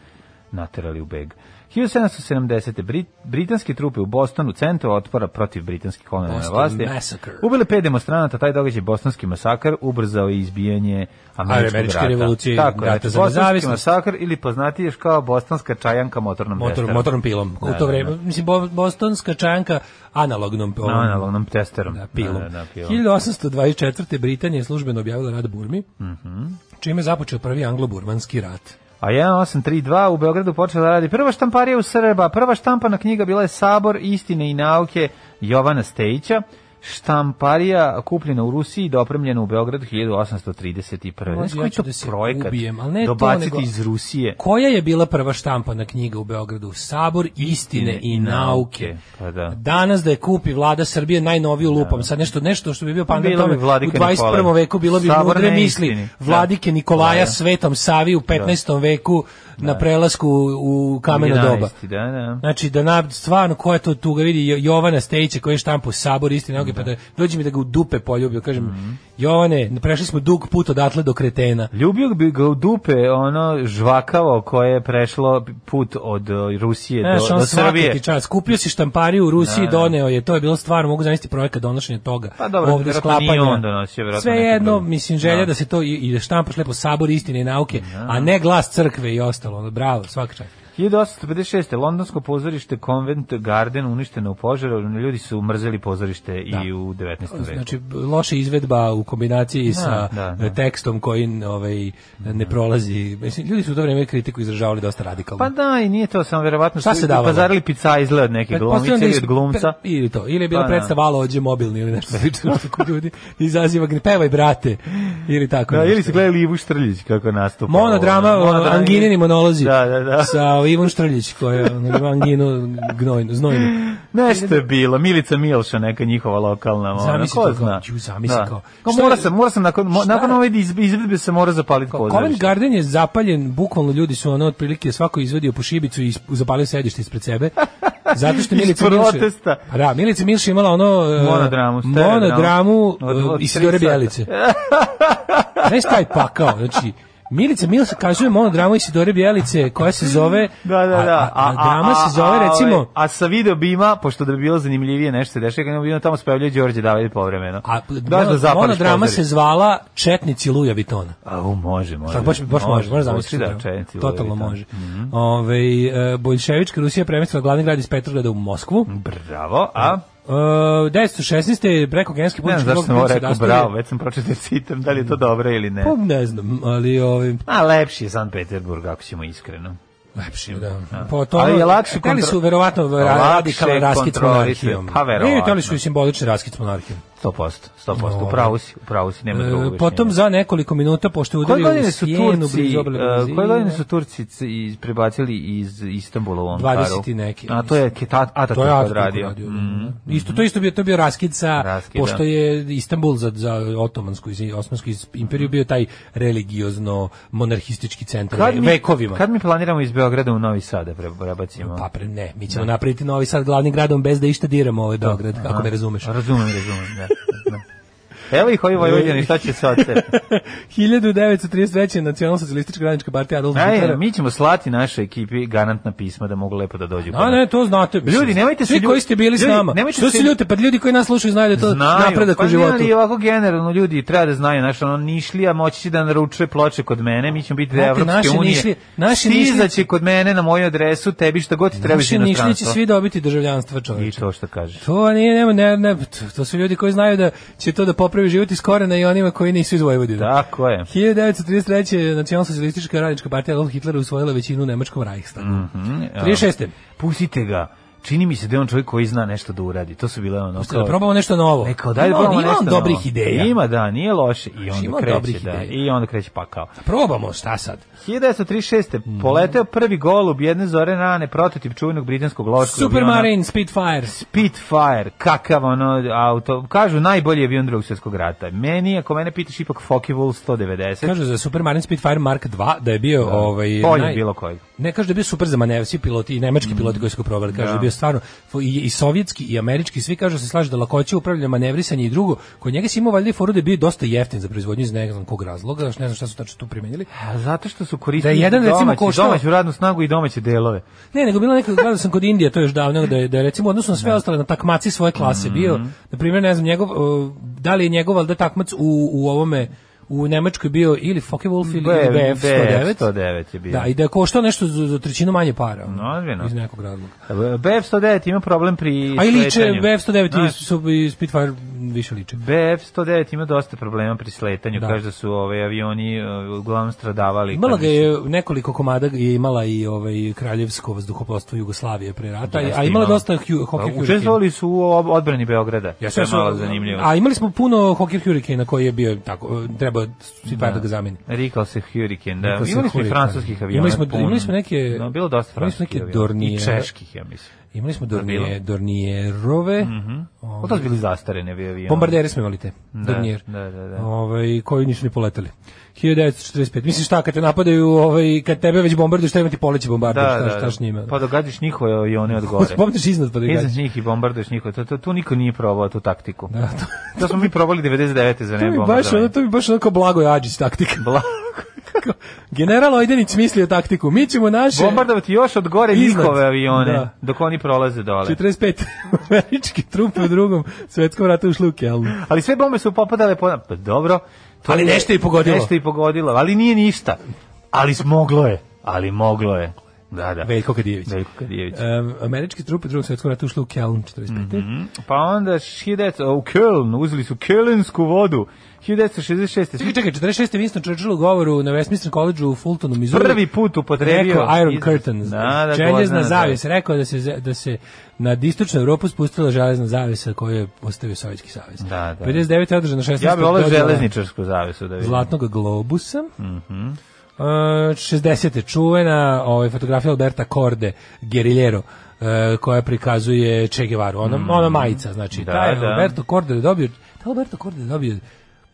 G: naterali u beg. 1770. Brit, britanske trupe u Bostonu, centru otpora protiv britanskih kolonijalne
F: Boston
G: vlasti,
F: Massacre.
G: ubile pet demonstranata, taj događaj bostonski masakar ubrzao je izbijanje američkog
F: Američke
G: rata.
F: revolucije,
G: Tako, je,
F: rata
G: znači,
F: za
G: Bostonski
F: nezavisnost.
G: masakr ili poznati još kao bostonska čajanka motornom
F: Motor,
G: testerom.
F: motornom pilom.
G: Da,
F: u to
G: da,
F: vreme, mislim, bo- bostonska čanka analognom
G: da.
F: pilom.
G: Na analognom testerom.
F: Da, pilom.
G: Da, da, pilom.
F: 1824. Britanija je službeno objavila rad Burmi,
G: Mhm.
F: čime je započeo prvi anglo-burmanski rat.
G: A 1832 u Beogradu počela da radi prva štamparija u Srba, prva štampana knjiga bila je Sabor istine i nauke Jovana Stejića, štamparija kupljena u Rusiji i dopremljena u Beogradu 1831. Znaš
F: Mlađe,
G: koji
F: ja ću
G: to
F: da se
G: projekat
F: ubijem, ali ne to,
G: dobaciti
F: nego-
G: iz Rusije?
F: Koja je bila prva štampana knjiga u Beogradu? Sabor istine i nauke.
G: Pa da.
F: Danas da je kupi vlada Srbije najnoviju lupom, sad nešto nešto što bi bio pandan
G: Bilo bi
F: tome, u
G: Vladika
F: 21.
G: Nikolaj.
F: veku bilo bi
G: Sabor
F: mudre
G: neistini.
F: misli
G: Da.
F: vladike Nikolaja
G: Da.
F: Svetom Savi u 15. veku na prelasku u kameno
G: 11.,
F: doba.
G: Da, da.
F: Znači da na stvarno ko je to tu ga vidi Jo- Jovana Stejića koji je štampu sabor istine noge pa da dođe mi da ga u dupe poljubio kažem
G: Mhm.
F: Jovane prešli smo dug put odatle do kretena
G: Ljubio bi ga u dupe ono žvakavo koje je prešlo put od e, Rusije
F: Znaš,
G: do,
F: on
G: do
F: svaka
G: Srbije. Da.
F: ti čast. Kupio si štampariju u Rusiji, doneo je. To je bilo stvarno, mogu zamisliti projekat donošenja toga.
G: Pa dobro,
F: Ovde
G: vjerojatno nije
F: sklapanja.
G: on donosio, vjerojatno
F: Sve
G: neko
F: jedno,
G: drugi.
F: mislim, želja da.
G: Da.
F: se to i, i da štampaš lepo sabor istine i nauke, a ne glas crkve i ostalo. Ono, bravo, svaka čast.
G: 1856. Londonsko pozorište Convent Garden uništeno u požaru. Ljudi su mrzeli pozorište i u 19. veku.
F: Da. Znači, b- loša izvedba u kombinaciji sa
G: da, da.
F: e, tekstom koji n- ovaj, ne prolazi. Mislim, ljudi su u to vreme kritiku izražavali dosta radikalno.
G: pa da, i nije to samo vjerovatno
F: Šta
G: što
F: se
G: su
F: davalo?
G: pazarili pica izgled od neke
F: Pretpostavljam
G: glumice
F: da
G: ili
F: is-
G: od glumca.
F: pre- Ili to, ili je bila
G: Pa da.
F: predstava Alo, ođe mobilni ili nešto slično što kod ljudi izaziva gne, pevaj brate, ili tako
G: Da,
F: nešto.
G: ili su gledali Ivu Štrljić kako nastupa.
F: Monodrama,
G: Ovo,
F: ono, anginini monolozi.
G: Da, da, da.
F: Sa Ivom Štrljić, koja je ono, ima anginu gnojnu, znojnu.
G: Nešto je bilo, Milica Milša, neka njihova lokalna, ona,
F: Zamisli
G: ko
F: to kao,
G: zna.
F: ću, zamisli
G: Da.
F: kao.
G: Kao
F: Šta
G: mora
F: je-
G: sam, mora sam nakon, mo,
F: šta
G: nakon
F: je-
G: ove iz- izvedbe se mora zapaliti
F: Covent
G: pozorište.
F: Garden je zapaljen, bukvalno ljudi su ono otprilike svako izvedio po šibicu i isp- zapalio sedište ispred sebe. Zato što
G: Iz
F: Milica Milša...
G: protesta.
F: Pa Da, Milica Milša imala ono... e,
G: Monodramu, stereodramu.
F: Monodramu
G: Od- od tri
F: i Sidore
G: sata.
F: Bjelice. Znaš taj pakao, znači... Milica Milša kazuje monodramu Isidore Bjelice koja se zove
G: Da, da, da.
F: a, a, a drama se zove
G: a,
F: recimo
G: ovaj, A sa video bima, pošto da bi bilo zanimljivije nešto se dešava, kad bi tamo spavljaju Đorđe Davide povremeno.
F: A
G: Daš da zapališ
F: monodrama
G: pozorište.
F: se zvala Četnici Luja Vitona.
G: A, u, može, može.
F: Tako Pa baš, baš može, može zamisliti.
G: Da,
F: što treba.
G: četnici,
F: Totalno
G: Ludovitan.
F: može.
G: Mhm.
F: Ovaj, e, Boljševička Rusija premestila glavni grad iz Petrograda u Moskvu.
G: Bravo, a?
F: Uh, 916. je preko genski
G: Ne
F: politički
G: znam zašto
F: blok
G: sam ovo
F: Princa
G: rekao,
F: Dastavlje-
G: bravo, već sam pročitao citam, da li je to dobro ili ne.
F: Pa, ne znam, ali ovaj,
G: A lepši je San Peterburg, ako ćemo iskreno.
F: lepši,
G: Da.
F: da. Po tome,
G: Ali je lakše
F: Hteli su
G: kontro-
F: verovatno ra-
G: Lakše
F: radikalan raskid s
G: kontrolisati.
F: monarhijom.
G: Pa, verovatno.
F: Ne, hteli su i simbolični raskid s monarhijom.
G: 100%, 100%,
F: Dobro.
G: u pravu si, u pravu si, nema drugog
F: E, potom za nekoliko minuta, pošto je
G: Koje
F: udario
G: godine
F: u
G: su
F: sjenu
G: Turci,
F: blizu obale
G: uh, koje
F: Brazila.
G: godine su Turci c- iz- prebacili iz Istanbula u Ankaru?
F: 20 i neki,
G: A to je Keta-
F: To
G: Ataturk
F: je da.
G: odradio.
F: radio.
G: Mhm.
F: Isto to isto bio to je bio raskid sa
G: Raskid,
F: pošto
G: da.
F: je Istanbul za za otomansku i osmansku iz- imperiju bio taj religiozno monarhistički centar
G: mi-
F: vekovima.
G: Kad mi planiramo iz Beograda u Novi Sad da pre- prebacimo?
F: Pa pre ne, mi ćemo napraviti da
G: Da, Pa,
F: Novi Sad glavnim gradom bez da išta diramo ovaj Beograd, kako me pa, razumeš.
G: Razumem, razumem, da. da. Evo ih ovi Vojvodini, šta će se od sebe?
F: 1933. nacionalno-socialistička radnička partija Adolfa
G: Ajde,
F: Hitlera.
G: mi ćemo slati našoj ekipi garantna pisma da mogu lepo da dođu.
F: A ne, to znate. mislim.
G: Ljudi, nemojte se
F: Svi
G: lju-
F: koji ste bili s
G: ljudi,
F: nama.
G: nemojte
F: Što
G: se-
F: se ljute? Pa ljudi koji nas slušaju znaju da je to napredak
G: pa
F: u
G: ne,
F: životu.
G: ali ovako generalno ljudi treba da znaju, znaš, ono nišlija moći će da naručuje ploče kod mene, mi ćemo biti da
F: Znate,
G: Evropske
F: naši
G: unije.
F: nišlije- naši
G: Stizaće
F: nišlije-
G: kod mene na moju adresu, tebi šta god ti treba iz
F: Naši nišliji će
G: inostranstva.
F: svi dobiti državljanstva
G: I
F: čoveče.
G: to što kažeš.
F: To nije, nema, ne, ne, to- to su ljudi koji znaju da će to da popravi život iz korena i onima koji nisu iz Vojvodine.
G: Tako je.
F: 1933. nacionalno-socialistička radnička partija Adolf Hitlera usvojila većinu u Nemačkom Reichstagu.
G: Mhm, ja.
F: 36.
G: Pustite ga. Čini mi se da je on čovjek koji zna nešto da uradi. To su bile ono...
F: Da probamo nešto novo.
G: Ne, kao, daj da
F: Ima on-
G: probamo
F: ima
G: nešto
F: on
G: novo.
F: dobrih ideja.
G: Ima, da, nije loše. I onda
F: ima on
G: kreće,
F: dobrih
G: da.
F: ideja.
G: I onda kreće pakao.
F: Probamo, šta sad?
G: 1936. Poleteo prvi golub jedne zore rane, prototip čuvenog britanskog lovačkog aviona.
F: Supermarine, Spitfire.
G: Spitfire, kakav ono auto, kažu najbolji avion drugog svjetskog rata. Meni, ako mene pitaš, ipak Focke-Wulf 190.
F: Kažu za Supermarine Spitfire Mark II da je bio ovaj
G: Bolje od bilo kojeg.
F: Ne kaže da je bio super za manevar, svi piloti i nemački piloti koji su ga probali, kaže da. je bio stvarno i, i sovjetski i američki, svi kažu da se slaže da lakoće upravljanja manevrisanje i drugo. Kod njega se imao valjda i foru da je bio dosta jeftin za proizvodnju iz ne znam kog razloga, još ne znam šta su tačno tu primenili.
G: A Zato što su koristili
F: Da je jedan,
G: domaći,
F: recimo, koštao-
G: domaću radnu snagu i domaće delove.
F: Ne, nego bilo neko gledao sam kod Indije, to je još davno da je, da je recimo u odnosu na sve ostale na takmaci svoje klase bio. Na primjer, ne znam, njegov uh, da li je njegov valjda takmac u u ovome u Nemačkoj bio ili Focke-Wulf ili BF 109.
G: je bio.
F: Da, i da je koštao nešto za, za trećinu manje para.
G: No, ozbiljno.
F: Iz nekog razloga.
G: BF 109 ima problem pri
F: A i liče
G: sletanju.
F: BF-109 i,
G: Znaš,
F: su, i Spitfire više liče.
G: BF 109 ima dosta problema pri sletanju,
F: Da.
G: kaže da su ovaj avioni uh, uglavnom stradavali.
F: Imala
G: kad
F: ga
G: bi se-
F: je nekoliko komada je imala i ovaj kraljevsko vazduhoplovstvo Jugoslavije pre rata,
G: Jeste,
F: a imala dosta hu,
G: Pa,
F: Hawker Hurricane.
G: Učestvovali su u ob- odbrani Beograda. Ja
F: Sve su-
G: malo zanimljivo.
F: A imali smo puno Hawker Hurricane koji je bio tako, treba Spitfire da ga zameni.
G: Rikao se Hurricane, da.
F: Rikao se
G: imali smo i
F: Hurricane.
G: francuskih aviona.
F: Imali smo-
G: puno.
F: imali smo neke-
G: Da, bilo dosta
F: imali smo
G: francuskih
F: neke
G: aviona.
F: Dornier.
G: I čeških, ja mislim.
F: Imali smo
G: Da, bilo.
F: Dornije, Dornierove,
G: Ovo to su bili zastarene avioni.
F: bombardere smo imali te, Dornier,
G: da, da, da.
F: Ovaj, koji nisu ni poletali. 1945. Mislim šta, kad te napadaju, ovaj, kad tebe već bombarduju, šta imati poleće bombarduju,
G: Da,
F: šta,
G: da,
F: šta s njima?
G: da. Pa događaš njihove avione od gore.
F: Spomniš iznad pa da gađaš.
G: Iznad njih i bombarduješ njihove. To, to, tu niko nije probao tu taktiku. Da, to, smo mi probali 99. za
F: To mi
G: nebo. da
F: baš, ono, to mi baš onako blago Ađić taktika. Kako? General Ojdenić smislio taktiku. Mi ćemo naše...
G: Bombardovati još od gore
F: Znači, Iznad.
G: njihove avione,
F: Da. Znači,
G: dok oni prolaze dole.
F: 45. američke trupe u drugom svetskom ratu ušli u Kelnu.
G: Ali sve bombe su popadale po... Pa dobro. to
F: Ali
G: je-
F: nešto je i pogodilo.
G: Nešto je i pogodilo, ali nije ništa. Ali smoglo je. Ali moglo je. Da, da.
F: Veljko Kadijević.
G: Veljko Kadijević.
F: Um, američke trupe u drugom svetskom ratu ušli u Keln 45.
G: Pa onda 1900 u Köln, uzeli su kelensku vodu. 1966.
F: Čekaj, čekaj, 46. Winston Churchill u govoru na Westminster college u Fultonu, Missouri.
G: Prvi put upotrebio
F: Rekao Iron
G: izraz.
F: Curtain,
G: Da, da,
F: željezna
G: gvozdena
F: zavjesa. Rekao da se, da se na istočnu Europu spustila željezna zavjesa koju je postavio Sovjetski savez.
G: Da, da.
F: 59. je održana 16.
G: Ja bih volao
F: dodjela
G: železničarsku zavesu da vidim.
F: Zlatnog globusa.
G: Mhm.
F: Uh, 60. čuvena ovaj, fotografija Alberta Corde, Guerillero, uh, koja prikazuje Che Guevara. Ona, ona majica, znači.
G: Mhm. Da,
F: taj
G: da.
F: Alberto Corde je dobio, taj Alberto Corde je dobio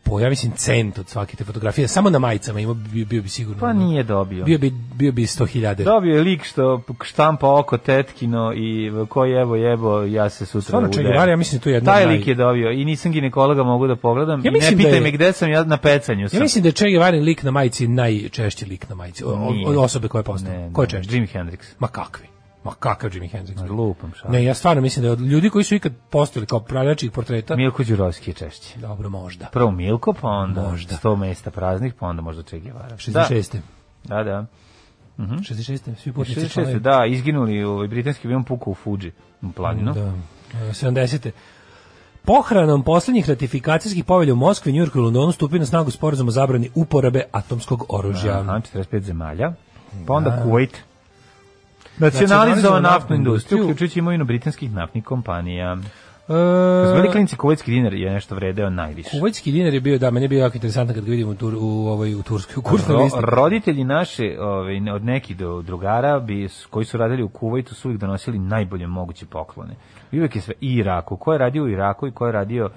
F: po, ja mislim, cent od svake te fotografije. Samo na majicama ima, bio, bio bi sigurno.
G: Pa nije dobio.
F: Bio bi, bio bi 100.000.
G: Dobio je lik što štampa oko tetkino i ko jebo jebo, ja se sutra
F: Stvarno, Che
G: uderam.
F: Guevara, ja mislim, tu je jedna
G: Taj
F: od naj-
G: lik je dobio i nisam ginekologa mogu da pogledam.
F: Ja
G: I ne
F: mislim da
G: pitaj
F: je-
G: me gde sam, ja na pecanju sam.
F: Ja mislim da je Che Guevara lik na majici najčešći lik na majici. o- o-
G: Nije.
F: Od osobe koja je
G: Ne,
F: postala.
G: ne,
F: Ko je češći?
G: Jimi Hendrix.
F: Ma kakvi? Ma kakav Jimi Hendrix?
G: Lupam šta.
F: Ne, ja stvarno mislim da je od ljudi koji su ikad postojali kao pravljačih portreta,
G: Milko Đurovski je češći.
F: dobro možda.
G: Prvo Milko, pa onda
F: Možda.
G: 100 mesta praznih, pa onda možda Che Guevara.
F: 66.
G: Da, da. da.
F: 66. Svi putnici
G: 66.
F: članovi.
G: Da, izginuli ovaj britanski avion pukao u Fuji, u planinu.
F: Da. E, 70. Pohranom posljednjih ratifikacijskih povelja u Moskvi, Njurku i Londonu stupio na snagu sporazum o zabrani uporabe atomskog oružja.
G: Aha, 45 zemalja.
F: Da.
G: Pa onda Kuwait. Nacionalizovao naftnu industriju, uključujući imovinu britanskih naftnih kompanija. Kad su bili
F: E,
G: klinici, kuwaitski dinar je nešto vredeo najviše.
F: Kuvajski dinar je bio, da, meni je bio jako interesantno kad ga vidim u, tur, u, ovoj, u Turskoj, u kursnoj
G: Ro,
F: listi.
G: roditelji naše, ovaj, ne- od nekih do drugara, bi, s- koji su radili u Kuvajtu, su uvijek donosili najbolje moguće poklone. I uvijek je sve, i Iraku, ko je radio u Iraku i ko je radio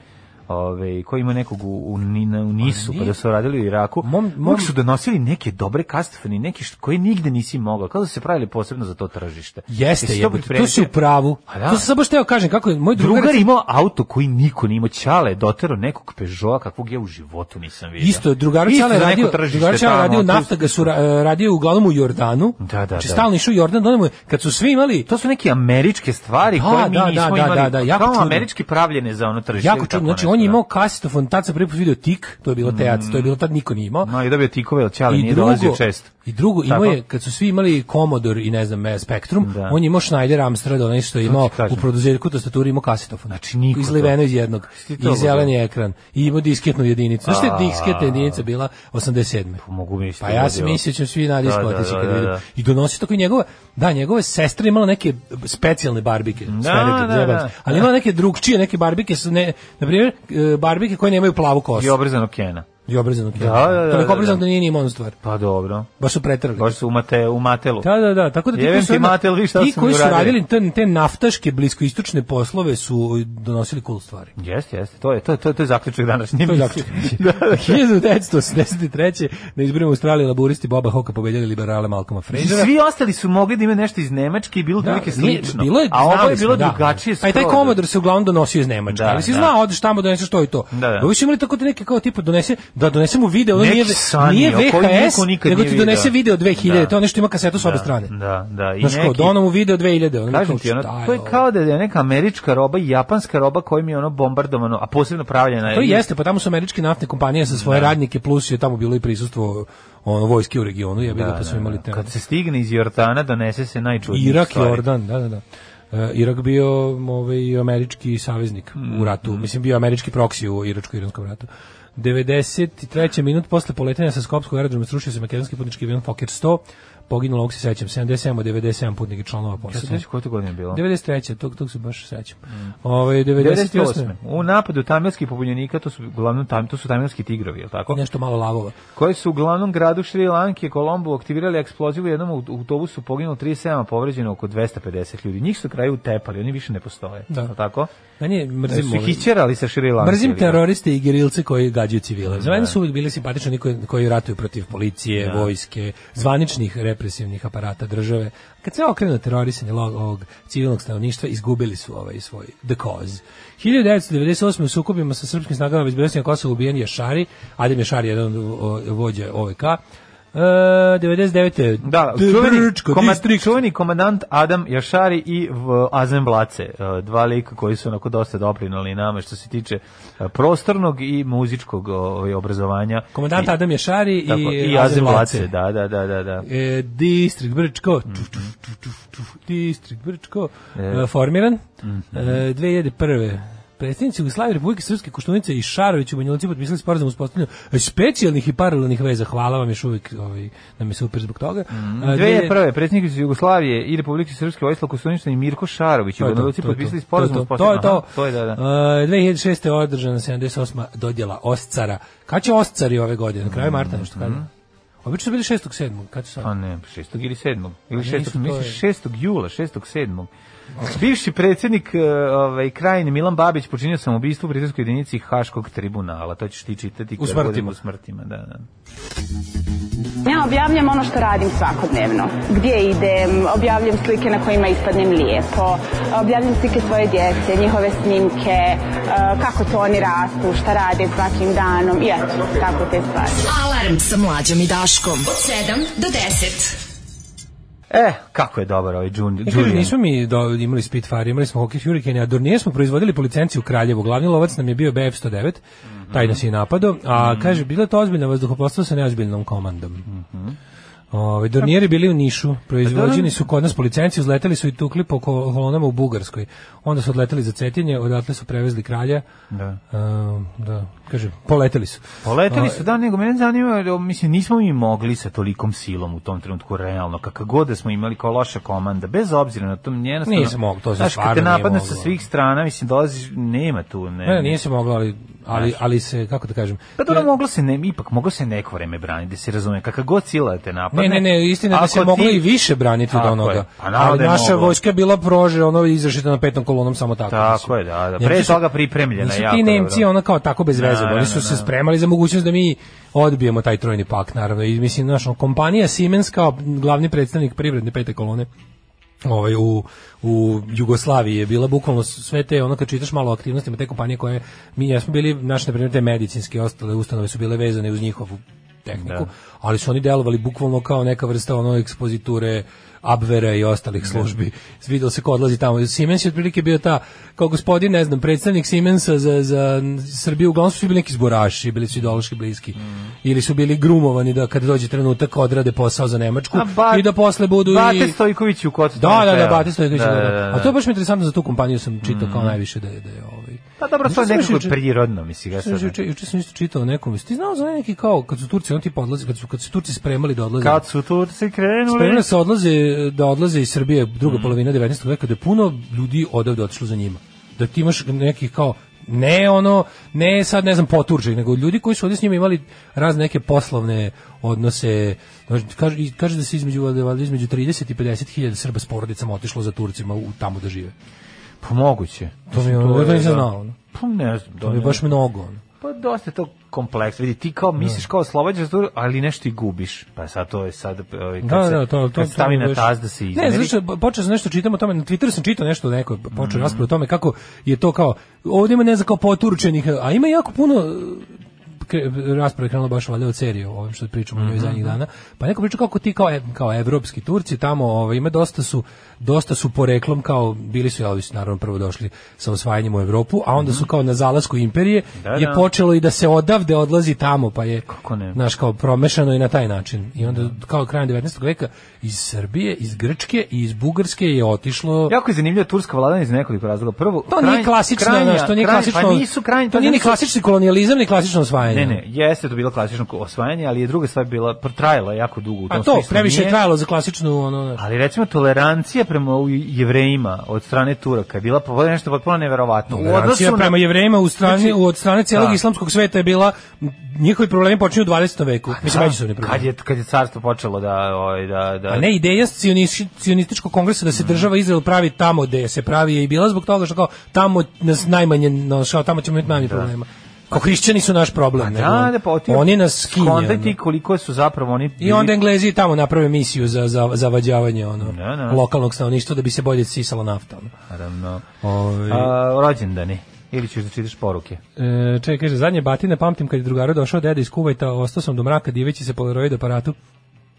G: Ove, koji ima nekog u, u, Ni- na- u Nisu,
F: Pa
G: pa da su radili u Iraku,
F: Mom-
G: mom,
F: mom-
G: su donosili neke dobre kastofeni, neki što, koje nigde nisi mogao, kao da su se pravili posebno za to tržište.
F: Jeste,
G: Jesi to
F: jebote,
G: pripremio?
F: to si u pravu.
G: A da.
F: To sam samo šteo kažem, kako je moj drugar...
G: Drugar je imao auto koji niko nije imao. Ćale je doterao nekog Peugeota kakvog ja u životu nisam vidio.
F: Isto, drugar
G: da. Isto
F: Čale
G: za neko
F: radio,
G: tržište
F: drugar Čale
G: tamo,
F: radio
G: tu-
F: naftaga su ra- radio uglavnom u Jordanu.
G: Da, da,
F: Znači,
G: da.
F: stalno išao u Jordan, donemo, kad su svi imali,
G: To su neke američke stvari
F: Da,
G: koje mi
F: da,
G: nismo
F: da, da,
G: imali.
F: da, da, jako
G: kao
F: čudno.
G: američki pravljene za ono tržište.
F: jako
G: ili
F: čudno,
G: tako
F: znači
G: nešto,
F: on je
G: da.
F: imao kasetofon, tad sam prvi put video tik, to je bilo teac, to je bilo tad niko nije imao.
G: Ma, je dobio tikove, ali Ćale nije dolazio često.
F: I drugo, imao
G: Tako?
F: je, kad su svi imali Commodore i ne znam, eh, Spectrum,
G: Da.
F: on je imao Schneider Amstrad, onaj što je imao
G: ti kažem.
F: u produzirku tastaturi imao kasetofon.
G: Znači, niko to.
F: Izliveno iz jednog.
G: Ti to
F: I zeleni ekran. I imao disketnu jedinicu. Znaš što je disketna jedinica bila 87.
G: Mogu misliti.
F: Pa ja se
G: da je
F: mislim da ćemo svi na
G: Da, da,
F: diskotici
G: da,
F: kad
G: da,
F: vidim.
G: da.
F: I donosi tako i njegova, da, njegove sestre imala neke specijalne barbike, stereotip,
G: da,
F: zajebam
G: da.
F: se. ali imala neke drugčije, neke barbike su ne, na primjer, e, barbike koje nemaju plavu
G: ovo. I
F: kosu.
G: obrzano Kena.
F: I obrezano.
G: Da, da, da,
F: Toliko
G: da,
F: obrezano
G: da.
F: da nije ni imao onu stvar.
G: Pa dobro.
F: Baš su pretrali.
G: Baš su u, mate, u matelu.
F: Da, da, da, tako da ti
G: Jebem
F: koji su,
G: ti
F: onda-
G: mater, vidi šta
F: ti
G: su mi
F: koji su
G: uradili.
F: radili te, te naftaške bliskoistočne poslove su donosili cool stvari.
G: Jeste, jeste. To je, to, to, to je zaključak današnje.
F: da. To je
G: emisije. Da,
F: zaključak. 1983. na izborima u Australiji laboristi Boba Hoka pobedjali liberale Malcolma
G: I
F: Frasera.
G: Svi ostali su mogli da imaju nešto iz Nemačke i bilo da, prilike
F: nije,
G: slično.
F: Bilo je,
G: a ovo
F: znali
G: je
F: smo,
G: bilo
F: da.
G: drugačije
F: Pa i taj
G: skroz.
F: komodor se uglavnom donosio iz Nemačke,
G: Da,
F: ali si
G: da.
F: znao, odeš tamo, doneseš to i to.
G: Da, da.
F: Ovi su imali tako te neke kao tipa, donese, da donesemo video, ono
G: Neki
F: nije,
G: sani,
F: nije
G: o kojem
F: VHS,
G: niko nikad
F: nego
G: nije
F: ti donese
G: video.
F: video 2000,
G: Da.
F: to je nešto ima kasetu s obe strane.
G: Da, da. I
F: Znaš kao,
G: neki,
F: donom u video 2000. Ono
G: Kažem ti, ono, to je kao da je neka američka roba i japanska roba kojim je ono bombardovano, a posebno pravljena.
F: To
G: i-
F: jeste, pa tamo su američke naftne kompanije sa
G: Da.
F: svoje radnike, plus je tamo bilo i prisustvo ono, vojske u regionu, ja bih da, pa su imali te.
G: Kad se stigne iz Jordana, donese se najčudnije
F: Irak,
G: stvari.
F: Jordan, da, da, da. E, Irak bio ovaj, američki saveznik
G: Mm,
F: u ratu, mislim bio američki proksi u iračko-iranskom ratu. 93. minut posle poletanja sa Skopskog aerodroma srušio se makedonski putnički avion Fokker 100, poginulo, ovog se sećam, 77 od 97 putnika i članova
G: Ja sam Mm.
F: posade.
G: sveći koje to godine bilo?
F: 93. tog, tog se baš sećam. Ovaj, 98.
G: 98. U napadu tamilskih pobunjenika, to su uglavnom tam, to su tamilski tigrovi, je li tako?
F: Nešto malo lavova.
G: Koji su u glavnom gradu Šri Lanke, Kolombu, aktivirali eksplozivu u jednom aut- autobusu, poginulo 37, a povređeno oko 250 ljudi. Njih su na kraju utepali, oni više ne postoje.
F: Da.
G: je li tako?
F: Meni je
G: Da
F: mrzim
G: su ih
F: ovaj-
G: hićerali sa Šri Lanke.
F: Mrzim
G: ili kako?
F: teroriste i gerilce koji gađaju civile. Za
G: Da.
F: mene su uvijek bili simpatični oni koji, koji ratuju protiv policije, vojske, zvaničnih represivnih aparata države. Kad se okrenu terorisanje lo- ovog civilnog stanovništva, izgubili su ovaj svoj the cause. 1998. u sukobima sa srpskim snagama bez Bosne i Kosova ubijen je Šari, Adem je Šari, jedan od o- vođa OVK. E, 99.
G: Da, čuveni,
F: Brčko
G: koma,
F: distrikt.
G: čuveni komandant Adam Jašari i v- Azem Blace, e, dva lika koji su onako dosta doprinali nama što se tiče e, prostornog i muzičkog ovaj, obrazovanja.
F: Komandant
G: I-
F: Adam je Šari i,
G: tako, i Azem Blace. Da, da, da, da, da.
F: E, distrikt Brčko, čuf, čuf, čuf, čuf, čuf, distrikt Brčko,
G: E. Mhm.
F: e, formiran e, 2001. Predstavnici Jugoslavije Republike Srpske Koštunice i Šarović u Banjulici potpisali sporazum o uspostavljanju specijalnih i paralelnih veza. Hvala vam još uvijek, ovaj, nam je super zbog toga. E, A,
G: Mhm. Dve je prve, predsjednik Jugoslavije i Republike Srpske Vojislav Kosunica i Mirko Šarović u
F: to je to,
G: Banoluci
F: to je
G: potpisali
F: to, to je
G: sporazum.
F: to,
G: o
F: To je
G: sporazumu.
F: to.
G: Aha, To je, da, da.
F: E, 2006. je održana 78. dodjela Oscara. Kad će Oscari ove godine? Na
G: Mhm.
F: kraju marta nešto kada? Obično su bili 6. 7. Kad su sad?
G: A Pa ne, 6. ili 7. Ili
F: Pa nisu,
G: 6.
F: to je-
G: misliš 6. jula, 6. 7. Bivši predsjednik eh, ovaj, krajine Milan Babić počinio sam ubistvo u britanskoj jedinici Haškog tribunala. To ćeš ti čitati
F: U
G: kad
F: smrtima.
G: budemo u smrtima. Da, da.
I: Ja objavljam ono što radim svakodnevno. Gdje idem, objavljam slike na kojima ispadnem lijepo, objavljam slike svoje djece, njihove snimke, eh, kako to oni rastu, šta rade svakim danom i eto, tako te stvari.
E: Alarm sa mlađom i Daškom. Od 7 do 10.
G: E, kako je dobar ovaj Jun-
F: E, kaže,
G: Julian.
F: nismo mi do, imali Spitfire, imali smo Hockey Hurricane, a Dornije smo proizvodili po licenciji u Kraljevu. Glavni lovac nam je bio BF-109, taj nas je i napadao, a kaže, bilo je to ozbiljno vazduhoplostvo sa neozbiljnom komandom. Ove, Dornijeri bili u Nišu, proizvođeni su kod nas po licenciji, uzleteli su i tukli po ko- kolonama u Bugarskoj. Onda su odleteli za Cetinje, odatle su prevezli kralja.
G: Da.
F: Um, da, kaže, poleteli su.
G: Poleteli
F: A,
G: su, da, nego mene zanima, o, mislim, nismo mi mogli sa tolikom silom u tom trenutku, realno, kakav god da smo imali kao loša komanda, bez obzira na tom njena
F: Nismo mogli, to se
G: znaš,
F: stvarno
G: kad te
F: nije
G: napadne sa
F: moglo. da.
G: svih strana, mislim, dolaziš, nema tu, ne,
F: Ne, nije se moglo, ali ali, ali se, kako da kažem...
G: Pa dobro, moglo se ne, ipak moglo se neko vreme braniti, da se razume. Kakav god sila da te
F: Ne,
G: napadne.
F: ne, ne, istina je da
G: ako
F: se moglo i više braniti od
G: Tako je.
F: onoga.
G: Pa naravno
F: ali
G: da je
F: naša
G: moglo.
F: vojska je bila prože, ono izrašita na petom kolonom samo tako.
G: Tako
F: mislim.
G: je, da, da.
F: Nemci
G: Pre
F: su-
G: toga pripremljena
F: Nisu
G: jako
F: ti Nemci
G: dobro.
F: ono kao tako bez veze,
G: Da,
F: bili.
G: da,
F: oni su
G: da,
F: se
G: da.
F: spremali za mogućnost da mi odbijemo taj trojni pak, naravno. I mislim, znaš, ono, kompanija Siemens kao glavni predstavnik privredne pete kolone ovaj u u Jugoslaviji je bila bukvalno sve te ono kad čitaš malo o aktivnostima te kompanije koje mi jesmo bili naše na primjer te medicinske i ostale ustanove su bile vezane uz njihovu
G: Da.
F: tehniku, ali su oni delovali bukvalno kao neka vrsta ono ekspoziture Abvera i
G: Da.
F: ostalih službi. Videlo se ko odlazi tamo. Siemens je otprilike bio ta, kao gospodin, ne znam, predstavnik Siemensa za, za Srbiju, uglavnom su svi bili neki zboraši, bili su ideološki bliski.
G: Mm.
F: Ili su bili grumovani da kad dođe trenutak odrade posao za Nemačku
G: A Bat-
F: i da posle budu
G: Bate
F: i...
G: Stojković u kotu.
F: Da, da, da,
G: Evo.
F: Bate Stojković.
G: Da,
F: da,
G: da,
F: da.
G: da.
F: A to je baš mi interesantno za tu kompaniju sam čitao kao najviše da je, da je ovaj.
G: Pa da. dobro, to je
F: Znaš,
G: nekako
F: juče-
G: prirodno, mislim. Ja
F: Znaš,
G: sad,
F: Juče, juče sam isto čitao o nekom, jesi ti znao za neki kao, kad su Turci, on tipa odlazi, kad su, kad su Turci spremali da odlaze.
G: kad su Turci krenuli...
F: Spremali se odlaze, da odlaze iz Srbije druga polovina 19. veka, da je puno ljudi odavde otišlo za njima. Da ti imaš nekih kao, ne ono, ne sad ne znam poturđe, nego ljudi koji su ovdje s njima imali razne neke poslovne odnose, Znači, kaže, i kaže da se između, valjda između 30 i 50 hiljada Srba s porodicama otišlo za Turcima u, tamo da žive.
G: Pa moguće.
F: To mi je ono,
G: je,
F: to nisam
G: da.
F: znao. ono.
G: Pa ne znam.
F: To mi je baš Da. mnogo. ono.
G: Pa dosta je to kompleks. Vidi, ti kao misliš kao oslobađaš, tu, ali nešto i gubiš. Pa sad to je sad... ovaj, kad
F: Da,
G: se-
F: da, to, to,
G: kad
F: to
G: stavi
F: mi
G: na
F: baš-
G: taz da se izmeri.
F: Ne, znači počeo sam nešto čitam o tome, na Twitteru sam čitao nešto neko je počeo
G: Mm.
F: raspravu o tome kako je to kao ovdje ima ne znam kao poturčenih, a ima jako puno e, kre- rasprave krenulo baš valjda od serije o ovim što pričamo o
G: Mhm.
F: njoj zadnjih dana. Pa neko priča kako ti kao e- kao evropski Turci tamo, ovaj ima dosta su dosta su poreklom kao bili su Elvis naravno prvo došli sa osvajanjem u Evropu, a onda su kao na zalasku imperije
G: Mhm. Da,
F: je
G: da.
F: počelo i da se odavde odlazi tamo, pa je
G: Kako ne?
F: naš kao promešano i na taj način. I onda
G: Da.
F: kao krajem 19. veka iz Srbije, iz Grčke i iz Bugarske je otišlo
G: Jako je zanimljiva turska vladana iz nekoliko razloga. Prvo,
F: To nije klasično, znaš, to nije klasično.
G: Pa nisu krajnje,
F: to nije ni
G: nisu-
F: klasični kolonijalizam, ni klasično osvajanje.
G: Ne, ne, jeste to bilo klasično osvajanje, ali je druga stvar bila protrajala jako dugo u tom
F: Pa to,
G: smislu,
F: previše je
G: nije-
F: trajalo za klasičnu ono, znaš.
G: Ali recimo tolerancija prema u- jevrejima od strane Turaka je bila po- nešto potpuno neverovatno. U odnosu
F: Tolerancija
G: na-
F: prema jevrejima u strani,
G: Znači-
F: u od strane cijelog
G: Da.
F: islamskog sveta je bila, m, njihovi problemi počinju u 20. veku. Mislim, međusobni problemi.
G: da. Kad je, kad je carstvo počelo da... ovaj, da, da
F: A ne ideja cioniš- cionističkog kongresa
G: Mm.
F: da se država Izrael pravi tamo gde se pravi je i bila zbog toga što kao tamo nas najmanje našao, tamo ćemo imati najmanje problema. Kao hrišćani su naš problem. nego
G: Da, da, pa otim-
F: oni nas skinju.
G: skontaj ti
F: ono.
G: koliko su zapravo oni...
F: I onda Englezi tamo naprave misiju za, za, za vađavanje ono,
G: Da, da.
F: lokalnog stanovništva da bi se bolje sisala nafta. Ono.
G: Naravno.
F: Ovi-
G: A, rođendani. Ili ćeš da čitaš poruke.
F: E, čekaj, kaže, zadnje batine pamtim kad je drugaru došao deda iz Kuvajta, ostao sam do mraka diveći se Polaroid aparatu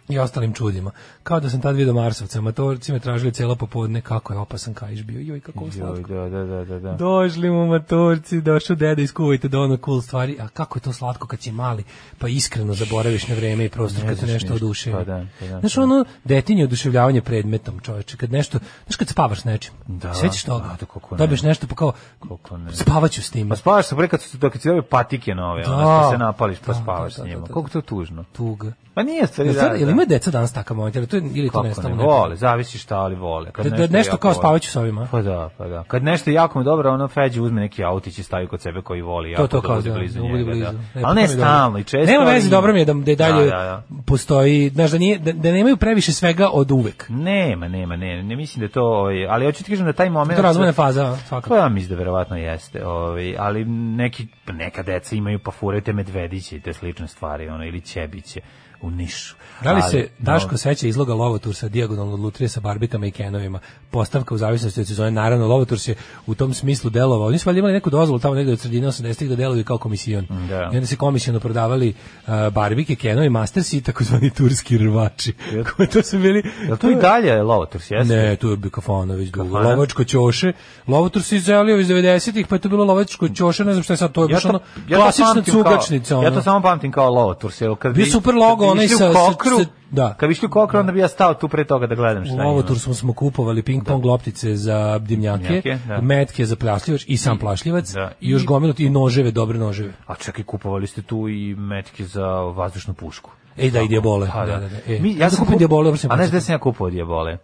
F: i ostalim čudima. Kao da sam tad vidio Marsovca, matorci me tražili cijelo popodne, kako je opasan kajš bio, joj, kako je
G: Joj,
F: slatko.
G: da, da, da, da, da.
F: Došli mu matorci, došao deda iz Kuvajta da ono cool stvari, a kako je to slatko kad si mali, pa iskreno zaboraviš na vreme i prostor
G: Ne
F: kad te
G: znaš
F: nešto
G: ništa,
F: oduševi.
G: pa da, pa da,
F: znaš,
G: pa da.
F: ono detinje oduševljavanje predmetom, čoveče, kad nešto, znaš kad spavaš s nečim,
G: Da,
F: sećaš toga,
G: a da, kako ne.
F: dobiješ nešto pa kao,
G: Kako ne.
F: spavaću s tim.
G: Pa spavaš se pre kad su dok ti daju patike nove,
F: Da.
G: ono što se napališ pa
F: Da,
G: spavaš
F: da, da,
G: s njima.
F: da, da.
G: Koliko je to tužno.
F: tuga.
G: Pa nije stvari
F: Jel
G: da.
F: stvarno- jel
G: da.
F: ima deca danas takav moment? Jel to, ili to
G: Kako
F: nestalo?
G: ne,
F: nekad?
G: vole, zavisi šta, ali vole. Kad
F: Da, da nešto
G: jako
F: kao
G: vole.
F: spavaću s ovima.
G: Pa da, pa da. Kad nešto jako mi dobro, ono Feđi uzme neki autić i stavi kod sebe koji voli. jako
F: to
G: da
F: kao
G: bude
F: da,
G: blizu
F: da bude
G: njega,
F: blizu.
G: da.
F: E, pa
G: Ali
F: to
G: ne
F: mi je dobro.
G: stalno i često.
F: Nema
G: ali
F: veze,
G: ima.
F: dobro mi je da, da i dalje
G: Da, da, da.
F: postoji, znaš, da, nije, da, da nemaju previše svega od uvek.
G: Nema, nema, ne, ne mislim da je to, ovaj, ali hoću ti kažem da taj moment...
F: To je razvojna faza, a,
G: Pa
F: svakako.
G: ja mislim da verovatno jeste, ovaj, ali neki, neka deca imaju pa furaju te medvediće i te slične stvari, ono, ili ćebiće u nišu.
F: Da li se
G: Ali, no,
F: Daško seća izloga Lovotursa dijagonalno od lutrije sa barbikama i kenovima? Postavka u zavisnosti od sezone. Naravno, Lovoturs je u tom smislu delovao. Oni su valjda imali neku dozvolu tamo negde od sredine 80-ih da deluju kao komisijon.
G: Da.
F: I onda se komisijono prodavali uh, barbike, kenovi, mastersi i takozvani turski rvači. to su bili...
G: Jel to i da- dalje je Lovotors, jeste?
F: Ne, tu je bio Kafanović dugo.
G: Kafana?
F: Lovačko ćoše. Lovator se izelio iz 90-ih, pa je to bilo lovačko ćoše, ne znam šta je sad, to je baš ono klasična
G: pamtim kao-
F: cugačnica.
G: Ja
F: ono.
G: to samo pamtim kao Lovotors. Evo, kad
F: Bio
G: bi-
F: super logo,
G: kad bi
F: onaj
G: išli u
F: sa- sa-
G: kokru,
F: sa- da.
G: Kad bi išli u kokru, onda bi ja stao tu pre toga da gledam šta
F: U
G: ima. Da.
F: Lovotursu smo kupovali ping pong loptice za dimnjake,
G: Dimnjake, da.
F: metke za plašljivač i sam plašljivac
G: da.
F: i još
G: I-
F: gomilu i noževe, dobre noževe.
G: A čekaj, kupovali ste tu i metke za vazdušnu pušku.
F: Ej, da, i dijabole.
G: Pa,
F: Da, da, da. E,
G: Mi,
F: ja
G: ja
F: sam
G: sam
F: kupio
G: kup-
F: dijabole, dobro sam
G: A ne
F: počeo.
G: znaš gde sam ja kupovao dijabole?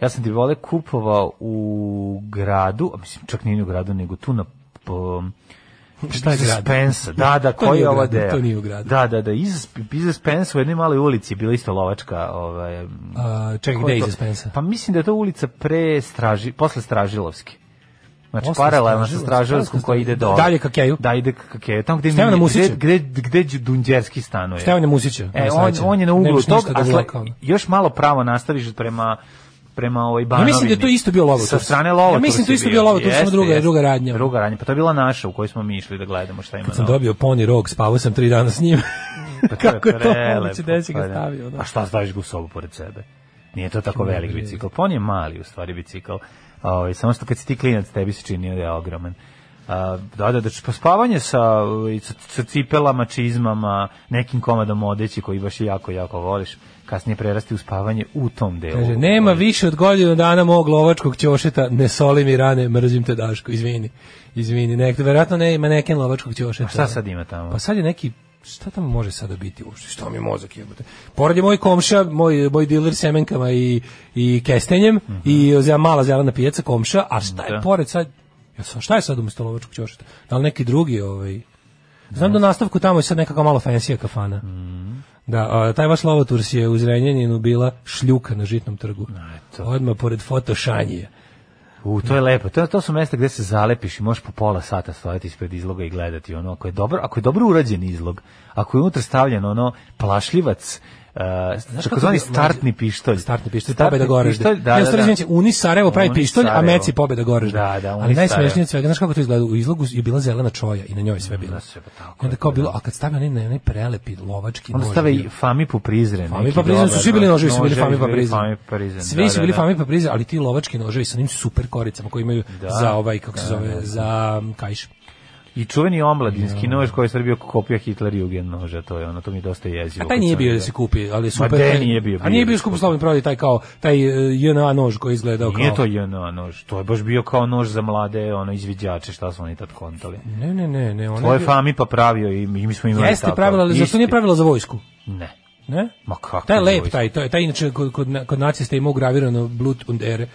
G: Ja sam dijabole kupovao u gradu, a mislim čak nije ni u gradu, nego tu na po,
F: Šta je
G: Iza
F: grad?
G: Spensa, da, da,
F: To
G: koji
F: nije
G: je
F: u
G: ova
F: gradu,
G: deo?
F: to nije u gradu.
G: Da, da, da, iza, Sp- iza Spensa u jednoj maloj ulici je bila isto lovačka, ovaj, m,
F: A, čekaj,
G: ko
F: gde
G: je
F: je
G: to?
F: iza Spensa?
G: Pa mislim da je to ulica pre Straži, posle Stražilovske. Znači,
F: Posle
G: paralelno sa
F: Stražilovske,
G: Stražilovskom
F: posle
G: koja ide dole.
F: Dalje ka Keju?
G: Da, ide ka Keju. Tamo gde,
F: Stevana
G: gde,
F: Musića?
G: gde, gde, gde Dunđerski stanuje.
F: Stevana Musića,
G: E, on,
F: najsrećniji.
G: on je na
F: Ne
G: uglu
F: biš
G: tog,
F: ništa
G: a
F: da
G: sle,
F: lokalno.
G: još malo pravo nastaviš prema prema ovoj
F: Ja
G: banovini.
F: mislim da je to isto bio Lovotur.
G: Sa strane
F: Ja
G: Lovotur.
F: mislim da to
G: si
F: isto
G: bio.
F: bio Lovotur, samo
G: Jeste,
F: druga-
G: jeste.
F: druga radnja.
G: Druga radnja, pa to je bila naša u kojoj smo mi išli da gledamo šta ima.
F: Pa sam
G: novo.
F: dobio Pony Rock, spavao sam tri dana s njim.
G: Pa
F: Kako je to
G: prelepo,
F: moguće da si ga
G: pa da.
F: stavio, da.
G: A šta staviš ga u sobu pored sebe? Nije to tako velik bicikl. Pa on je mali u stvari bicikl. Ovaj samo što kad si ti klinac tebi se čini da je ogroman. A, da, da, da, pa spavanje sa, ovaj, sa, sa cipelama, čizmama, nekim komadom odeći koji baš jako, jako voliš, kasnije prerasti u spavanje u tom delu.
F: Kaže, nema više od godinu dana mog lovačkog ćošeta, ne soli mi rane, mrzim te Daško, izvini. Izvini, nek, verovatno ne ima neken lovačkog ćošeta.
G: A šta sad ima tamo?
F: Pa sad je neki šta tamo može sada biti uopšte? Šta mi je mozak jebote? Pored je moj komša, moj, moj diler semenkama i, i kestenjem i za mala zelena pijaca komša, a šta je
G: Da.
F: pored sad? Ja sam, šta je sad umesto lovačkog ćošeta? Da li neki drugi ovaj... Znam da u nastavku tamo je sad nekako malo fancy kafana. Da, a, taj vaš Lovoturs je u Zrenjaninu bila šljuka na žitnom trgu. Odmah pored fotošanjija.
G: U, to je lepo. To, to su mesta gde se zalepiš i možeš po pola sata stojati ispred izloga i gledati ono. Ako je dobro, ako je dobro urađen izlog, ako je unutra stavljen ono plašljivac, uh,
F: kako
G: takozvani
F: je-
G: startni pištolj.
F: Startni pištolj, pobeda Goražde.
G: pištolj, da,
F: Ne, u
G: da,
F: stvari,
G: da.
F: izvinite, Unis Sarajevo pravi
G: Unis
F: pištolj, a
G: Sarajevo.
F: Meci pobeda Goražde.
G: Da, da,
F: Ali
G: Unis
F: najsmešnije
G: Sarajevo.
F: od svega, znaš kako to izgleda? U izlogu je bila zelena čoja i na njoj je sve bilo.
G: sve, pa tako
F: I onda
G: je,
F: kao
G: da.
F: bilo, a kad stave onaj, onaj prelepi lovački
G: Onda
F: nož
G: stave
F: bio.
G: i Fami po Prizren.
F: Fami
G: neki
F: pa Prizren su
G: dobar, da.
F: svi bili noževi, su bili
G: noževi
F: Fami pa
G: bili Fami
F: Prizren.
G: pa Prizren,
F: Svi
G: da,
F: su
G: da,
F: bili
G: da.
F: Fami pa Prizren, ali ti lovački noževi sa onim super koricama koji imaju
G: Da.
F: za ovaj, kako se zove, za um, kajš.
G: I čuveni omladinski
F: Da.
G: nož koji je Srbija kopija Hitler Jugend noža, to je ono, to mi je dosta jezivo.
F: A taj
G: kad
F: nije
G: sam
F: bio da
G: vidio.
F: se kupi, ali super.
G: Ma de,
F: taj-
G: nije bio,
F: A nije
G: bio
F: bio
G: je
F: skupo
G: skupo.
F: slavni prodaj taj kao taj eh, JNA nož koji je izgledao kao.
G: Nije to JNA nož, to je baš bio kao nož za mlade, ono, izviđače, šta su oni tad kontali.
F: Ne, ne, ne, ne, ona.
G: Tvoje Fami pa pravio i mi mi smo imali
F: Jeste
G: takav.
F: pravila, ali zašto
G: Isti.
F: nije pravila za vojsku?
G: Ne.
F: Ne?
G: Ma kako?
F: Taj je lep,
G: vojska?
F: taj, taj, taj inače kod, kod, na- kod nacista ima ugravirano Blut und Ehre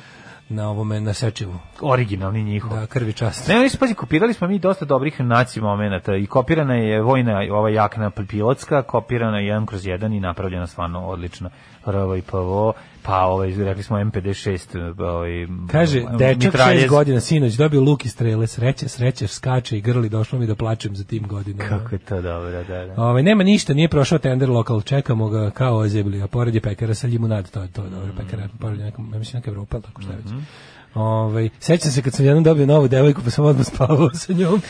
F: na ovome, na sečevu.
G: Originalni njihov.
F: Da, krvi čast.
G: Ne, oni su, pazi, kopirali smo mi dosta dobrih naci momenata i kopirana je vojna ova jakna pilotska, kopirana je 1 kroz 1 i napravljena stvarno odlično. Prvo i PVO, pa ovaj, rekli smo MPD-6. Ovaj,
F: Kaže,
G: m-
F: dečak
G: mitraljez.
F: 6 godina sinoć dobio luk i strele, sreće, sreće, skače i grli, došlo mi da plačem za tim godinama.
G: Kako je to dobro, da, da.
F: Ovaj nema ništa, nije prošao tender lokal, čekamo ga kao ozebli, a pored je pekara sa limunad, to je to, je
G: Mhm.
F: dobro, pekara, pored je neka, ja mislim neka Evropa, ili tako šta je već. Ovaj sećam se kad sam jednom dobio novu devojku, pa sam odmah spavao sa njom.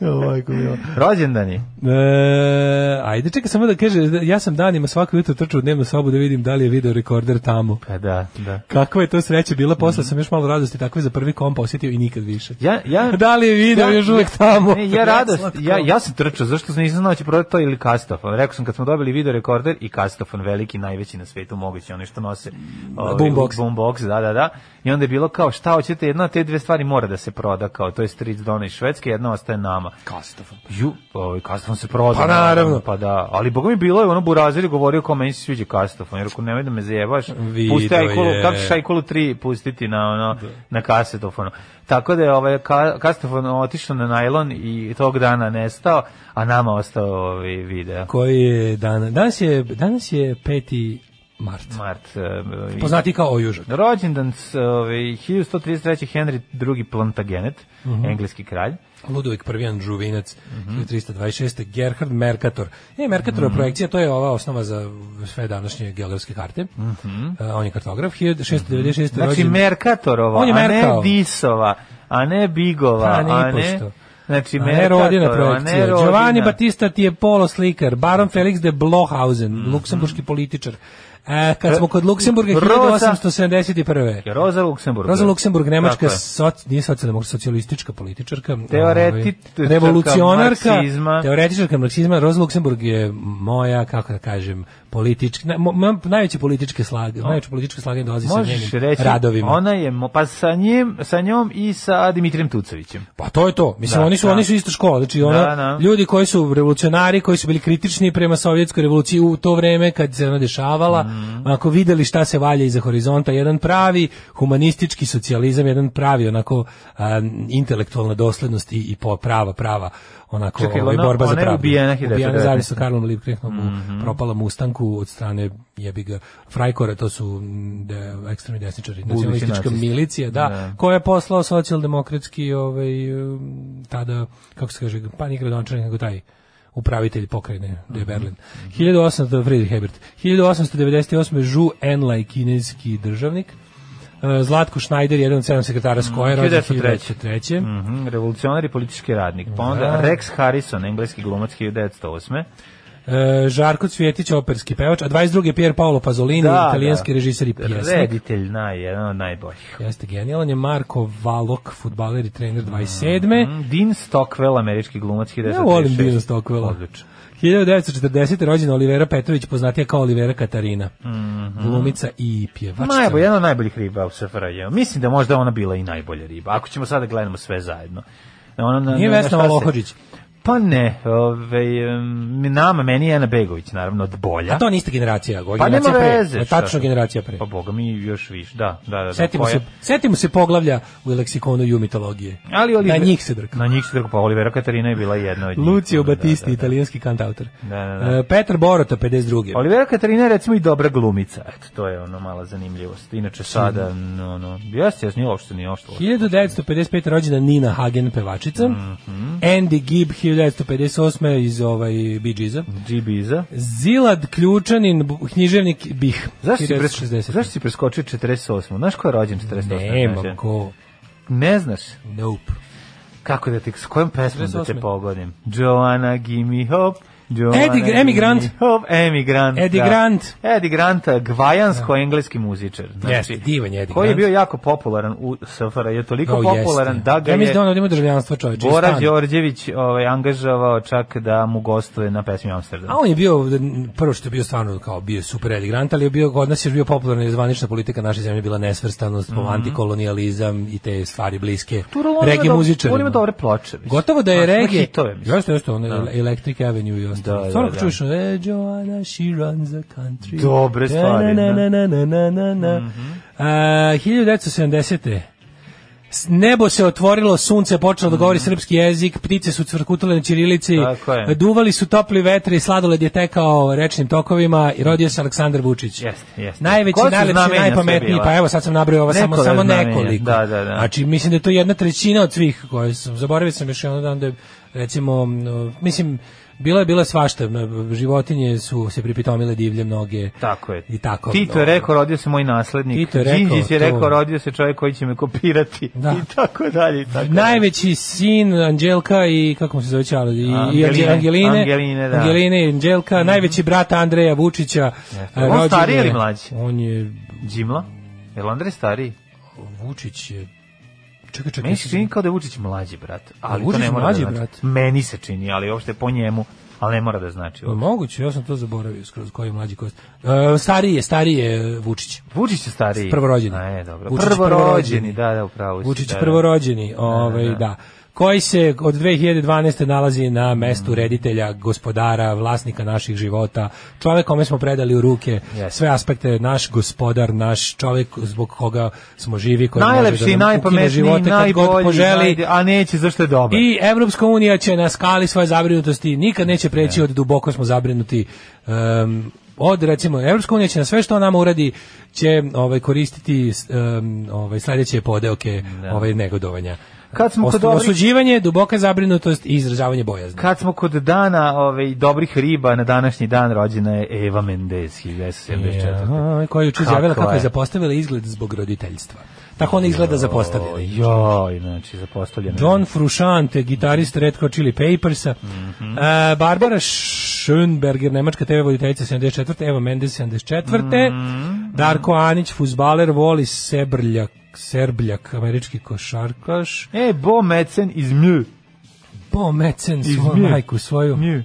F: Ovako, jo.
G: Rođendan je.
F: E, ajde, čekaj samo da kaže, ja sam danima svako jutro trčao u dnevnu sobu da vidim da li je video rekorder tamo.
G: Pa da, da.
F: Kakva je to sreća bila,
G: Mhm.
F: posle sam još malo radosti takve za prvi kompa osjetio i nikad više.
G: Ja, ja,
F: Da li je video još uvek tamo?
G: Ne, ja radost,
F: Slatko.
G: ja, ja sam trčao, zašto sam nisam znao da će prodati to ili kastofon. Rekao sam kad smo dobili video rekorder i kastofon, veliki, najveći na svetu mogući, ono što nose. ovaj,
F: Boombox.
G: Boombox, da, da, da. I onda je bilo kao, šta hoćete, jedna od te dve stvari mora da se proda, kao, to je Street Dona iz Švedske, jedna ostaje nama.
F: Kastofon.
G: Ju, ovaj, kastofon se proda.
F: Pa naravno.
G: Pa da, ali boga mi bilo je ono burazir je govorio kao meni se sviđa kastofon, jer ako nemoj da me zajebaš, pusti
F: Video
G: ajkulu,
F: je.
G: kako ćeš ajkulu 3 pustiti na ono,
F: Da.
G: na kasetofonu. Tako da je ovaj ka, kastofon otišao na najlon i tog dana nestao, a nama ostao ovaj video.
F: koji je dan, danas je danas je 5. mart.
G: Mart. eh, i-
F: Poznati kao Ojužak.
G: Rođendan s, ovaj, 1133. Henry II Plantagenet,
F: Mhm.
G: engleski kralj.
F: Ludovik prvi Andžuvinac 1326. Gerhard Mercator. E, Mercatorova projekcija, to je ova osnova za sve današnje geografske karte. E, on je kartograf. 1696.
G: Znači
F: rođen-
G: Merkatorova,
F: On je
G: a ne
F: Merkao.
G: Disova, a ne Bigova,
F: Pa,
G: a
F: nipošto.
G: ne... Znači,
F: A ne rodina
G: Mercatorova,
F: projekcija.
G: rodina.
F: Giovanni Battista ti je polo slikar, baron Felix de Blohausen, luksemburški političar. E, kad smo kod Luksemburga
G: Roza-
F: 1871.
G: Je Roza Luksemburg. da.
F: Roza Luksemburg, nemačka,
G: Tako je.
F: soc, nije socijalna, socijalistička političarka,
G: Teoretičarka
F: ovaj, revolucionarka,
G: marksizma.
F: teoretičarka marksizma, Roza Luksemburg je moja, kako da kažem, politički, na, mo- mo- najveće političke slage, najveće političke slage dolazi sa
G: Možeš
F: njenim
G: reći,
F: radovima.
G: ona je, mo- pa sa, njem, sa njom i sa Dimitrijem Tucovićem.
F: Pa to je to. Mislim
G: Da,
F: oni su
G: da.
F: oni su isto škola, znači ona
G: Da, da.
F: ljudi koji su revolucionari, koji su bili kritični prema sovjetskoj revoluciji u to vreme kad se ona dešavala,
G: Mhm.
F: ako videli šta se valja iza horizonta, jedan pravi humanistički socijalizam, jedan pravi onako a, intelektualna doslednost i, i po- prava prava onako
G: Čekaj,
F: ovaj,
G: ona-
F: borba za
G: ona je
F: pravdu.
G: ubijena 1919.
F: zajedno sa Karlom Liebknechtom
G: Mhm.
F: u propalom ustanku od strane jebi ga Frajkora, to su mm, de, ekstremni desničari, nacionalistička
G: nacisti.
F: milicija, da,
G: Da.
F: koja je poslao socijaldemokratski ovaj um, tada kako se kaže pa nije gradonačelnik nego taj upravitelj pokrajine
G: Mhm.
F: da je Berlin. 1800 Friedrich Ebert. 1898 Žu Enlaj kineski državnik. E, Zlatko Schneider, jedan od sedam sekretara Skoja,
G: Mhm.
F: rođen
G: 1903.
F: 1903.
G: Mhm, revolucionar i politički radnik. Pa onda
F: Da.
G: Rex Harrison, engleski glumac 1908.
F: E, Žarko Cvjetić, operski pevač, a 22. je Pier Paolo Pasolini,
G: Da,
F: italijanski režiser i pjesnik.
G: Reditelj, naj, jedan od najboljih.
F: Jeste genijalan je Marko Valok, futbaler i trener 27.
G: Mm, Dean Stockwell, američki glumac 1936.
F: Ja volim Dina Stockwella.
G: Odlično.
F: 1940. rođena Olivera Petrović, poznatija kao Olivera Katarina.
G: Mhm.
F: Glumica i pjevačica.
G: Najbolj, jedna od najboljih riba u SFRJ. Mislim da možda ona bila i najbolja riba. Ako ćemo sada da gledamo sve zajedno. Ona, na-
F: Nije
G: na- na
F: Vesna
G: šta se-
F: Valohodžić.
G: Pa ne, ovaj, em, nama, meni je Ana Begović, naravno, od bolja.
F: A to niste generacija, ovo je
G: pa nema
F: generacija pre.
G: veze.
F: Ovo je
G: šta
F: Tačno
G: sam.
F: generacija pre.
G: Pa boga mi još više, da, da, da. da,
F: Setimo
G: koja-
F: se, setimo se poglavlja u leksikonu ju mitologije.
G: Ali Oliver,
F: Na njih se drka.
G: Na njih se drka, pa Olivera Katarina je bila jedna od njih.
F: Lucio
G: Da, da,
F: Batisti,
G: da.
F: italijanski kantautor.
G: Da, da, da. Pa
F: E, Petar Borota, 52.
G: Olivera Katarina je recimo i dobra glumica. Eto, to je ono mala zanimljivost. Inače sada, no, no, jeste, jeste, nije uopšte, nije uopšte.
F: 1955. rođena Nina Hagen, pevačica.
G: Mhm.
F: Andy Gibb, 1958. iz ovaj, Bee Geesa.
G: Džibiza.
F: Zilad Ključanin, bu- književnik Bih.
G: Zašto si, pres,
F: 1960.
G: zašto si preskočio 48? Znaš ko je rođen 48?
F: Nemam
G: Znaš,
F: ko.
G: Ne znaš
F: Nope.
G: kako da ti, s kojom pesmom da
F: 48.
G: te pogodim? Joanna, give me hope. Joanna,
F: Eddie-
G: give me
F: Emigrant.
G: Hope, emigrant.
F: Eddie
G: da.
F: Grant. Da.
G: Eddie Grant, gvajansko-engleski muzičar. Znači,
F: Jeste, divan je Eddie
G: Koji je
F: Grant.
G: bio jako popularan u SFRJ, je toliko
F: Kao
G: popularan
F: jeste.
G: da ga
F: Ja
G: je
F: mislim da on ovdje ima državljanstvo čovječe. i
G: Bora
F: stan.
G: Đorđević ovaj, angažavao čak da mu gostuje na pesmi Amsterdam.
F: A on je bio, prvo što je bio stvarno kao bio super Eddie Grant, ali je bio, kod nas je bio popularna i zvanična politika naše zemlje, bila nesvrstanost,
G: Mhm.
F: antikolonijalizam i te stvari bliske. Regije muzičarima.
G: da- On ima dobre ploče. mislim.
F: Gotovo da je
G: Znaš, ima
F: regije.
G: hitove, mislim.
F: Jeste, jeste, on Electric Avenue i ostalo.
G: Da, da,
F: Stvarno kad
G: da.
F: čuješ, e, Joanna, she runs the country.
G: Dobre stvari,
F: Na, na,
G: da. Mhm.
F: na, na, na, na, na. A, 1970. S- Nebo se otvorilo, sunce je počelo da govori srpski jezik, ptice su cvrkutale na ćirilici,
G: Mhm. Tako je.
F: duvali su topli vetri, sladoled je tekao rečnim tokovima i rodio se Aleksandar Vučić.
G: Jeste, jeste.
F: Najveći,
G: Ko su
F: najlepši,
G: znamenja sve
F: najpametniji,
G: bila?
F: pa evo sad sam nabrojao ovo samo,
G: Nekoliko
F: samo
G: znamenja,
F: nekoliko.
G: da, da, da.
F: Znači, mislim da je to jedna trećina od svih koje sam, zaboravio sam još jedan dan da je, recimo, no, mislim, bilo je bila svašta, no, životinje su se pripitomile divlje mnoge.
G: Tako je.
F: I tako.
G: Tito je rekao, rodio se moj naslednik.
F: Tito je rekao
G: Đinđić je
F: to.
G: rekao, rodio se čovjek koji će me kopirati.
F: Da.
G: I tako dalje. I tako dalje.
F: Najveći sin Anđelka i kako mu se zove Čale, i, i
G: Angeline.
F: Angeline,
G: Angeline, da.
F: Angeline i Anđelka, najveći brat Andreja Vučića. e,
G: On
F: rođen
G: stariji
F: je-
G: ili mlađi?
F: On je,
G: Đimla? Je li Andrej stariji?
F: Vučić je, čekaj, čekaj,
G: Meni se čini kao da je Vučić mlađi brat. Ali
F: Vučić
G: to ne mora
F: mlađi
G: da znači.
F: brat?
G: Meni se čini, ali uopšte po njemu. Ali ne mora da znači. uopšte.
F: Moguće, ja sam to zaboravio skroz koji je mlađi koji. E, stariji je, stariji je Vučić.
G: Vučić je stariji.
F: Prvorođeni.
G: A, je, dobro.
F: Vučić prvorođeni.
G: prvorođeni, da, da, upravo. si,
F: Vučić
G: da, da.
F: prvorođeni, ovaj da. Koji se od 2012. nalazi na
G: Mm.
F: mestu reditelja, gospodara, vlasnika naših života, čovjek kome smo predali u ruke
G: Jeste.
F: sve aspekte, naš gospodar, naš čovjek zbog koga smo živi, koji može da
G: Najlepši,
F: nam ukine
G: najpametniji,
F: živote kad god
G: najbolji,
F: poželi.
G: najde- a neće zašto je dobar.
F: I Evropska unija će na skali svoje zabrinutosti nikad neće preći od duboko smo zabrinuti em, od recimo Evropska unija će na sve što ona nama uradi će ovaj koristiti s- em, ovaj sledeće podeoke ovaj negodovanja.
G: Da. Kad smo kod
F: Osu-
G: dobrih-
F: osuđivanje, duboka zabrinutost i izražavanje bojazni.
G: Kad smo kod dana ovaj, dobrih riba, na današnji dan rođena je Eva Mendez, 1974.
F: Ja, koja je juče
G: Kako
F: izjavila kako je
G: je?
F: zapostavila izgled zbog roditeljstva. Tako ona izgleda zapostavljena.
G: Joj, znači, zapostavljena.
F: John Frusciante, gitarist Red Hot Chili Papersa, E, Barbara Schönberger, nemačka TV voditeljica 74. Eva Mendes 74. Darko Anić, fuzbaler, Voli Sebrljak, Serbljak, američki košarkaš.
G: E, Bo Mecen iz Mju.
F: Bo Mecen,
G: Iz
F: svoju
G: Mje.
F: majku, svoju.
G: Mju.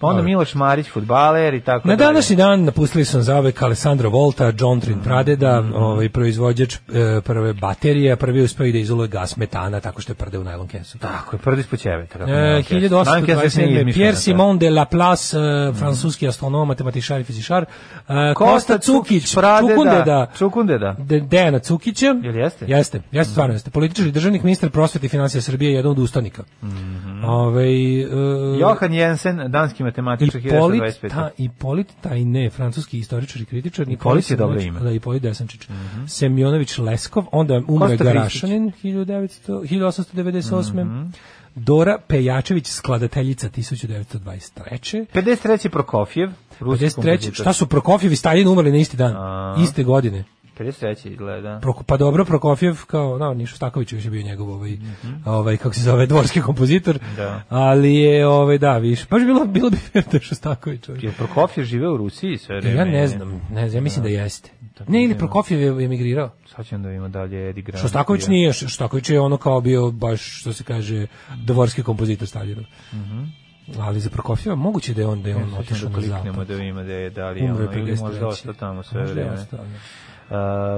G: Pa onda
F: Dobro.
G: Miloš Marić, futbaler i tako
F: Na
G: dalje.
F: današnji dan napustili su nas zauvek Alessandro Volta, John Trin Pradeda, ovaj proizvođač e, prve baterije, a prvi uspeo i da izoluje gas metana tako što je prde u najlon kesu.
G: Tako je, prvi spočeve. Tako,
F: E,
G: ne, ok. Najlon kesa se nije
F: 1827.
G: izmišljena,
F: Pierre
G: to je.
F: Simon de Laplace, e, francuski astronom, matematičar i fizičar. E, Kosta Cukić,
G: Pradeda,
F: Čukundeda,
G: Čukundeda.
F: De- Dejana Cukića.
G: da. Jel jeste? Mm.
F: Jeste, jeste stvarno jeste. Političar i državnik, ministar prosvete i financija Srbije, jedan od ustanika. Ovaj, e,
G: Mhm. Johan Jensen, danski matematičar
F: Ipolit,
G: 1925.
F: ta, Ipolit Tajne, francuski istoričar i kritičar.
G: Ipolit da. je dobro
F: Semjonović-
G: ime. Mhm.
F: Da, Ipolit Desančić. Semjonović Leskov, onda umre
G: Kosta
F: Garašanin 1900 1898.
G: Mhm.
F: Dora Pejačević, skladateljica 1923.
G: 53. Prokofjev, ruski
F: 53.
G: kompozitor.
F: Šta su Prokofjev i Stalin umrli na isti dan?
G: A.
F: Iste godine.
G: 53. izgleda.
F: Proko, pa dobro, Prokofjev kao, no, Nišo Staković je više bio njegov ovaj, ovaj, kako se zove, dvorski kompozitor,
G: Mhm. Da.
F: ali je, ovaj, da, više, baš bilo, bilo bi Nišo Staković. ovaj.
G: Jel Prokofjev žive u Rusiji sve vreme?
F: Ja ne znam, ne znam, ja mislim da jeste.
G: Tako
F: Ne, ili
G: da-
F: Prokofjev je emigrirao.
G: Sad ćemo da vidimo dalje Edi Grant.
F: Šostaković nije, Šostaković je ono kao bio baš, što se kaže, dvorski kompozitor Staljinov.
G: Mhm.
F: Ali za Prokofjeva moguće da je on, da je on
G: Sad
F: otišao
G: ćemo
F: na
G: da kliknemo
F: zapad.
G: da vidimo da je da li je
F: Umro je
G: ono, ili
F: 53.
G: možda ostao tamo sve
F: Možda je
G: vreme.
F: ostao, da.
G: Uh,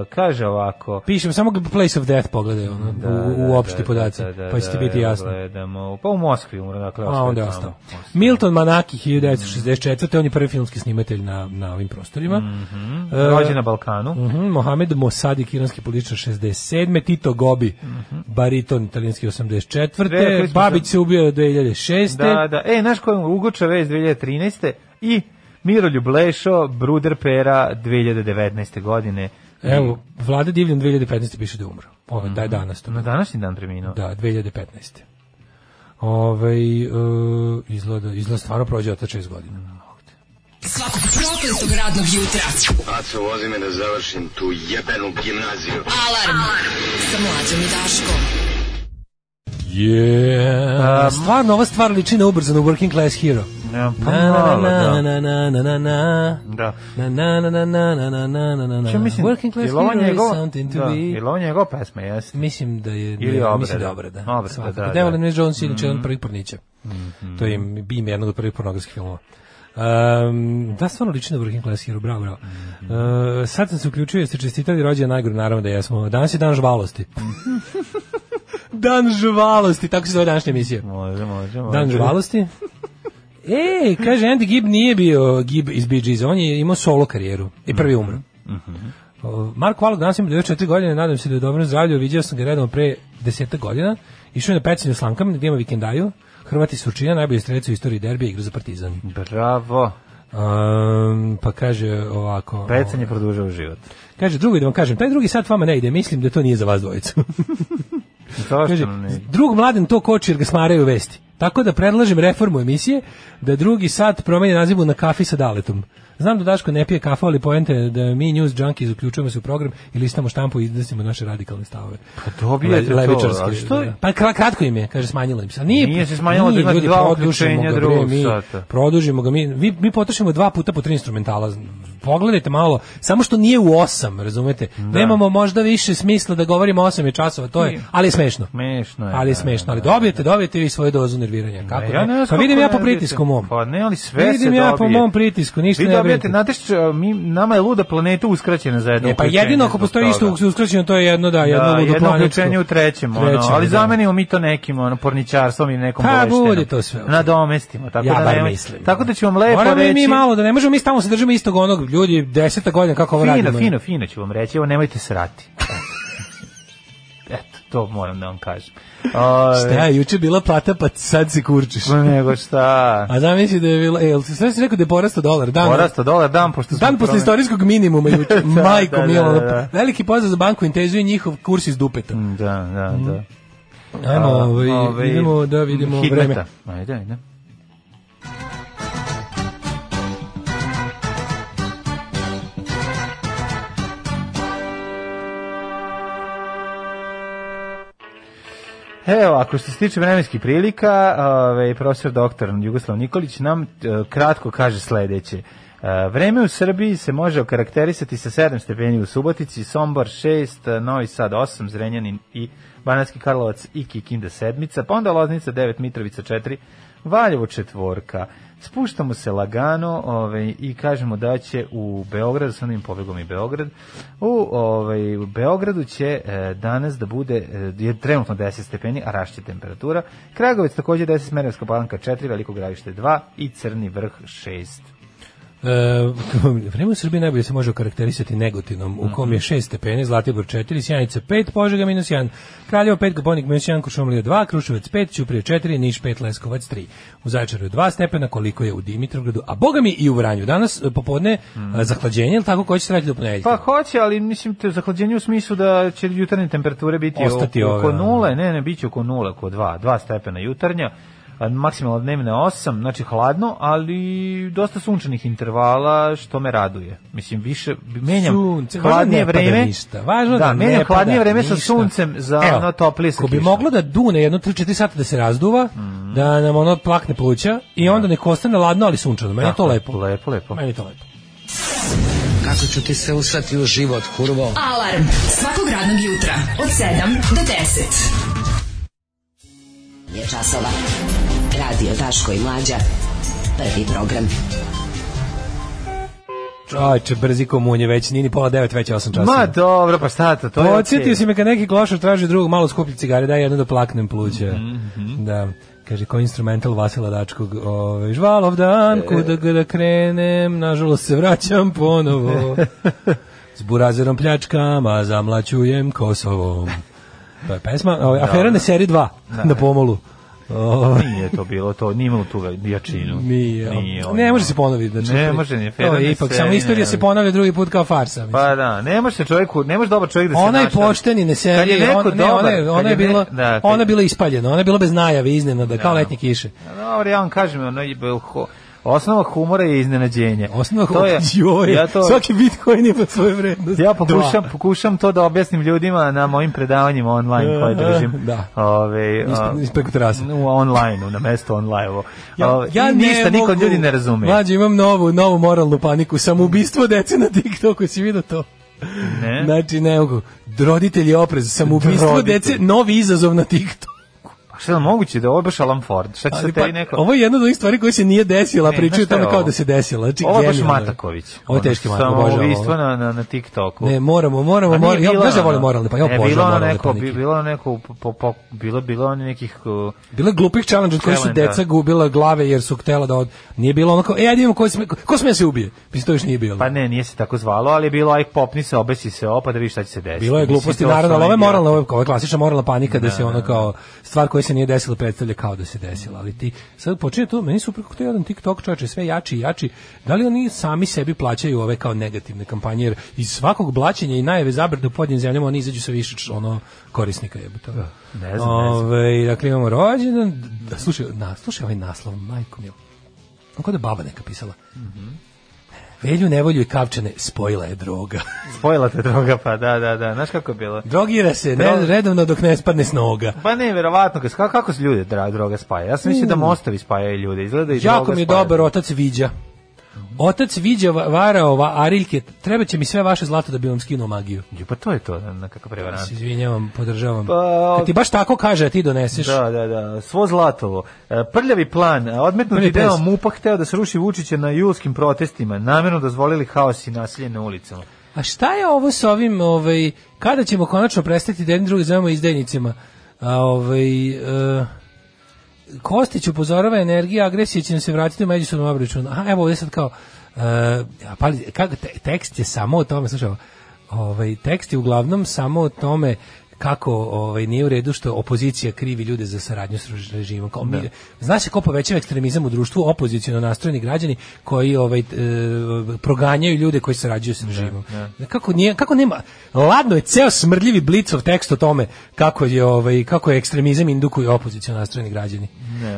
G: kaže ovako,
F: Pišem samo place of death pogledaj ono,
G: Da,
F: u, u opšti podaci, pa će ti biti
G: evo
F: jasno.
G: Gledamo, pa u Moskvi umro, dakle,
F: A onda je
G: tamo.
F: ostao. Milton Manaki 1964. On je prvi filmski snimatelj na, na ovim prostorima. Mm
G: Ostao. Mhm. Rođen na Balkanu.
F: Mhm, Mohamed Mosadik, iranski političar 67. Tito Gobi,
G: Mhm.
F: bariton italijanski
G: Rekli
F: 84.
G: smo
F: Babić
G: da-
F: se ubio 2006.
G: Da, da. E, znaš ko je Ugo Čavez 2013. i Miroljub Lešo, Bruder Pera 2019. godine.
F: Evo, Vlada Divljan 2015. piše da je umro. Ove,
G: Mhm.
F: da je danas to.
G: Na današnji dan preminuo.
F: Da, 2015. Ove, Ovaj, e, izgleda, izgleda stvarno prođe od 6 godina.
E: Svakog prokletog radnog jutra.
D: Aco, vozi me da završim tu jebenu gimnaziju.
E: Alarm. Sa mlađom i Daškom.
F: Yeah. stvarno, ova stvar liči na ubrzanu Working Class Hero.
G: Ja, pa
F: Na, na,
G: malo,
F: na,
G: da.
F: na, na, na, na, na.
G: Da.
F: Na na na na na na na na na na na.
G: Čak mislim,
F: Da. Working class
G: jel ovo
F: hero is
G: njegova-
F: something to
G: da,
F: be.
G: Jel ovo njegova pesma, jeste?
F: Mislim da je
G: Ili
F: ne,
G: obrada.
F: mislim da je obrada.
G: Obrada,
F: Svakako.
G: da, Mhm. da.
F: Devil May Jones je inače jedan od prvih pornića. To je im ime jednog od prvih pornografskih filmova. Um, da, stvarno liči na Working Class Hero, bravo, bravo.
G: Mhm.
F: Uh, sad sam se uključio, jeste čestitali rođendan najgoru, naravno da jesmo. Danas je dan žvalosti.
G: Mhm.
F: dan žvalosti, tako se zove današnja emisija.
G: Može, može, može.
F: Dan žvalosti. Ej, kaže, Andy Gibb nije bio Gibb iz Bee Gees, on je imao solo karijeru i prvi je umro. O, Marko Alok danas ima 94 godine, nadam se da je dobro zdravlju, vidio sam ga redom pre 10 godina, išao je na pecanje s Lankama, gdje ima vikendaju, Hrvati su učinja, najbolji strelac u istoriji derbija igra za partizan.
G: Bravo.
F: Um, pa kaže ovako...
G: Pecanje produžava život.
F: Kaže, drugo da vam kažem, taj drugi sat vama ne ide, mislim da to nije za vas dvojicu.
G: Zašto
F: Kaže,
G: nam ne?
F: drug mladen to koči jer ga smaraju vesti. Tako da predlažem reformu emisije da drugi sat promeni nazivu na kafi sa daletom. Znam da Daško ne pije kafu, ali poente je da mi news junkies uključujemo se u program i listamo štampu i iznosimo naše radikalne stavove.
G: Pa dobijete to,
F: levičarske,
G: ali što je-
F: da. Pa kra- kratko im je, kaže, smanjilo im se. A Nije,
G: Nije se smanjilo, da ima
F: ljudi,
G: dva
F: produžimo
G: uključenja
F: ga, bre,
G: drugog
F: mi,
G: sata.
F: Produžimo ga, mi, mi, mi potrošimo dva puta po tri instrumentala. Pogledajte malo, samo što nije u osam, razumete?
G: Da.
F: Nemamo možda više smisla da govorimo osam je časova, to je, ali je smešno.
G: Smešno je,
F: Ali je
G: da,
F: smešno,
G: da,
F: ali dobijete, dobijete vi svoju dozu nerviranja. Kako?
G: Ja ne
F: ne?
G: znam
F: Pa
G: kako
F: vidim ja po
G: ne vidite.
F: pritisku mom.
G: Pa ne, ali sve se
F: Vidim ja po
G: dobije.
F: mom pritisku, ništa
G: Vi
F: ne
G: dobijate,
F: brinite.
G: znate što, mi, nama je luda planeta uskraćena za jedno
F: E, pa
G: uključenje
F: jedino ako
G: zbog
F: postoji isto
G: toga.
F: uks- uskraćeno, to je jedno da, jedno
G: Da,
F: ludoplanetsko.
G: jedno uključenje u trećem, ono,
F: Trećem,
G: ali
F: da.
G: zamenimo mi to nekim ono, porničarstvom ili nekom
F: Pa,
G: boleštenom.
F: bude to sve, okej.
G: Nadomestimo, tako
F: Ja
G: da
F: bar
G: nema-
F: mislim.
G: Tako da ću vam lepo
F: Moramo i
G: reći.
F: mi malo da ne možemo mi stalno se držimo istog onog ljudi deseta godina kako ovo radimo.
G: Fino, fino, fino ću vam reći, evo nemojte srati. Eto. Eto, to moram da vam kažem. Ove,
F: Šta, juče je bila plata pa sad se kurčiš.
G: Ma Nego šta?
F: A zamisli da je bila, e, jel si sve si rekao da je porastao dolar? Dan,
G: Porasto dolar dan, pošto smo
F: Dan posle
G: promen-
F: istorijskog minimuma juče,
G: Da,
F: majko
G: da,
F: mila,
G: da,
F: ono,
G: da.
F: veliki pozdrav za banku Intezu i njihov kurs iz dupeta.
G: Da, da, da.
F: Ajmo,
G: A,
F: ovaj,
G: ovaj,
F: idemo da vidimo
G: Hidmeta.
F: vreme.
G: Ajde, ajde. Evo, ako što se tiče vremenskih prilika, ovaj, profesor doktor Jugoslav Nikolić nam e, kratko kaže eh, sledeće. E, E, Vreme u Srbiji se može okarakterisati sa 7 stepeni u Subotici, Sombor 6, Novi Sad 8, Zrenjanin i Banatski Karlovac i Kikinda sedmica, pa onda Loznica 9, Mitrovica 4, Valjevo četvorka. Spuštamo se lagano ovaj, i kažemo da će u Beograd, sa onim pobegom i Beograd, u, ovaj, u Beogradu će e, danas da bude e, je trenutno 10 stepeni, a rašće temperatura. Kragovic takođe 10, Smerovska palanka 4, Veliko gravište 2 i Crni vrh 6.
F: E, vreme u Srbiji najbolje se može okarakterisati negatinom, u kom je 6 stepeni, Zlatibor 4, Sjanica 5, Požega minus 1, Kraljevo 5, Gabonik minus 1, Košumlija 2, Kruševac 5, Ćuprije 4, Niš 5, Leskovac 3. U Zaječaru je 2 stepena, koliko je u Dimitrovgradu, a boga mi i u Vranju. Danas e, popodne mm. zahlađenje, ili tako, koji će se raditi do ponedeljka?
G: Pa hoće, ali mislim te zahlađenje u smislu da će jutarnje temperature biti
F: Ostati
G: oko, oko
F: ove, da. ono.
G: nule, ne, ne, bit će oko nule, oko dva, dva stepena jutarnja, a maksimalno dnevne 8, znači hladno, ali dosta sunčanih intervala, što me raduje. Mislim, više, menjam
F: Sunce, važno
G: hladnije
F: da ne pada
G: vreme.
F: ništa, važno
G: da,
F: da ne
G: menjam
F: pada
G: hladnije vreme sa
F: ništa.
G: suncem za
F: Evo,
G: ono toplije sa
F: Ko bi
G: kišom.
F: moglo da dune jedno 3-4 sata da se razduva,
G: Mhm.
F: da nam ono plakne pluća i onda nek ostane ladno, ali sunčano. Meni je to
G: Da. Tako,
F: lepo.
G: Lepo, lepo.
F: Meni je to lepo.
B: Kako ću ti se usrati u život, kurvo?
E: Alarm svakog radnog jutra od 7 do 10. Je časova. Radio Daško i Mlađa. Prvi program.
F: Čovječe, brzi komunje, već nije ni pola devet, već je osam časova.
G: Ma dobro, pa šta to, to je
F: Podsjetio
G: okej.
F: si me kad neki klošar traži drugog malo skuplje cigare, daj jedno da plaknem pluće.
G: Mhm.
F: Da. Kaže, ko instrumental Vasila Dačkog, ove, žvalov dan,
G: E.
F: kuda ga da krenem, nažalost se vraćam ponovo. S burazerom pljačkam, a zamlaćujem Kosovom. To je pesma, ove,
G: Da.
F: afera na seri 2, na pomolu. Ove,
G: Nije to bilo to, nije imalo tu ve- jačinu.
F: Nije,
G: ono.
F: ne može se ponoviti. Znači,
G: Ne može, ni
F: To je
G: Ferdinand
F: ipak,
G: se-
F: samo istorija se ponavlja drugi put kao farsa. mislim.
G: Pa da, ne može se čovjeku, ne može dobar čovjek da se
F: Ona je
G: našali.
F: pošteni, ne
G: Kad
F: seri,
G: je neko
F: on, ne,
G: dobar,
F: ona je,
G: kad
F: ona je
G: ne-
F: bila,
G: da, kad- Da.
F: ona je bila ispaljena, ona je bila bez najave, iznenada, kao letnje kiše.
G: Dobro, ja vam kažem, ono je bil- ho- Osnova humora je iznenađenje.
F: Osnova
G: to je,
F: joj,
G: ja to,
F: svaki Da. Bitcoin ima svoju vrednost.
G: ja pokušam,
F: Dva.
G: pokušam to da objasnim ljudima na mojim predavanjima online koje držim.
F: Da.
G: Ove,
F: Ispre-
G: a,
F: ispreko terase.
G: U online, na mesto online. Ovo. Ove,
F: ja
G: ovaj, i
F: ne
G: ništa, niko od
F: mogu.
G: ljudi ne razume.
F: Mlađe, imam novu, novu moralnu paniku, samoubistvo dece na TikToku, si vidio to?
G: Ne?
F: Znači, ne mogu. Roditelji oprez, samoubistvo
G: Roditelji.
F: dece, novi izazov na TikToku.
G: Pa šta je moguće da je ovo baš Alan Ford? Šta će
F: Ali
G: sad
F: pa,
G: tebi neko...
F: ovo je jedna od onih stvari koja se nije desila, a
G: Ne,
F: pričaju
G: znaš šta je
F: tome kao
G: ovo?
F: da se desila. Znači,
G: Ovo je baš
F: genijalno je.
G: Mataković.
F: Ovo je teški Matak,
G: Samo
F: obožavam
G: ubistvo
F: ovo.
G: na, na, na TikToku.
F: Ne, moramo, moramo,
G: A nije
F: moramo. Ja,
G: bilo
F: znaš da
G: ono-
F: volim moralne, pa ja
G: ne,
F: obožavam
G: bilo ono
F: moralne
G: neko,
F: panike.
G: bi- bilo ono neko, po, po, po, bilo, bilo ono nekih... uh,
F: Bilo je glupih challenge od kojih su
G: Challenge,
F: deca
G: da.
F: gubila glave jer su htela da od... Nije bilo ono kao, e, ajde imamo ko sme, ko sme da se ubije. Mislim, to još nije bilo.
G: Pa ne, nije se tako zvalo, ali je bilo aj popni se, obesi se opa da vidiš šta će se desiti.
F: Bilo je
G: Mislim,
F: gluposti,
G: to su
F: naravno, ali
G: one
F: ovo je moralna,
G: idiote.
F: ovo je, ovo je klasična moralna panika da se ono kao stvar koja se nije desila predstavlja kao da se desila, ali ti sad počinje to, meni su preko to jedan TikTok čovječe sve jači i jači, da li oni sami sebi plaćaju ove kao negativne kampanje, jer iz svakog blaćenja i najave zabrde u podnim zemljama oni izađu sa više č- ono korisnika jebota.
G: ne znam, ne znam.
F: Ove, dakle imamo rođendan, da, slušaj, na, slušaj ovaj naslov, majko mi Kako da je baba neka pisala?
G: Mhm.
F: Velju, nevolju i kavčane spojila je droga.
G: Spojila te droga, pa da, da, da. Znaš kako je bilo?
F: Drogira se ne,
G: Dro-
F: redovno dok ne spadne s noga.
G: Pa ne, verovatno, ka- kako, kako se ljude dra, droga spaja? Ja sam mislio da mostovi spajaju ljude, izgleda da i
F: Mm. Jako
G: droga
F: mi je
G: spaja.
F: dobar otac Viđa. Otac Viđa va- varao ova Ariljke, treba će mi sve vaše zlato da bi vam skinuo magiju.
G: Ju, Pa to je to, na, na kakav prevarant.
F: Se izvinjavam, podržavam.
G: Da. Pa-
F: Kad ti baš tako kaže, a ti doneseš.
G: Da, da, da, svo zlatovo. E, Prljavi plan, E, odmetnuti
F: Prljavi
G: deo
F: pes.
G: MUPA hteo da sruši Vučića na julskim protestima, namjerno dozvolili haos i nasilje na ulicama.
F: A šta je ovo s ovim, ovaj, kada ćemo konačno prestati da jedni drugi zovemo izdajnicima? A, ovaj, e, Kostić upozorava energija, agresija će nam se vratiti u međusobnom obračunu. A evo ovdje sad kao, e, a, pa, kako, te- tekst je samo o tome, slušaj, ovo, ovaj, tekst je uglavnom samo o tome kako ovaj nije u redu što opozicija krivi ljude za saradnju s režimom. Kao mi, zna se ko povećava ekstremizam u društvu, opoziciono nastrojeni građani koji ovaj e, proganjaju ljude koji sarađuju s režimom. Kako nije kako nema ladno je ceo smrdljivi blicov tekst o tome kako je ovaj kako je ekstremizam indukuju opoziciono nastrojeni građani.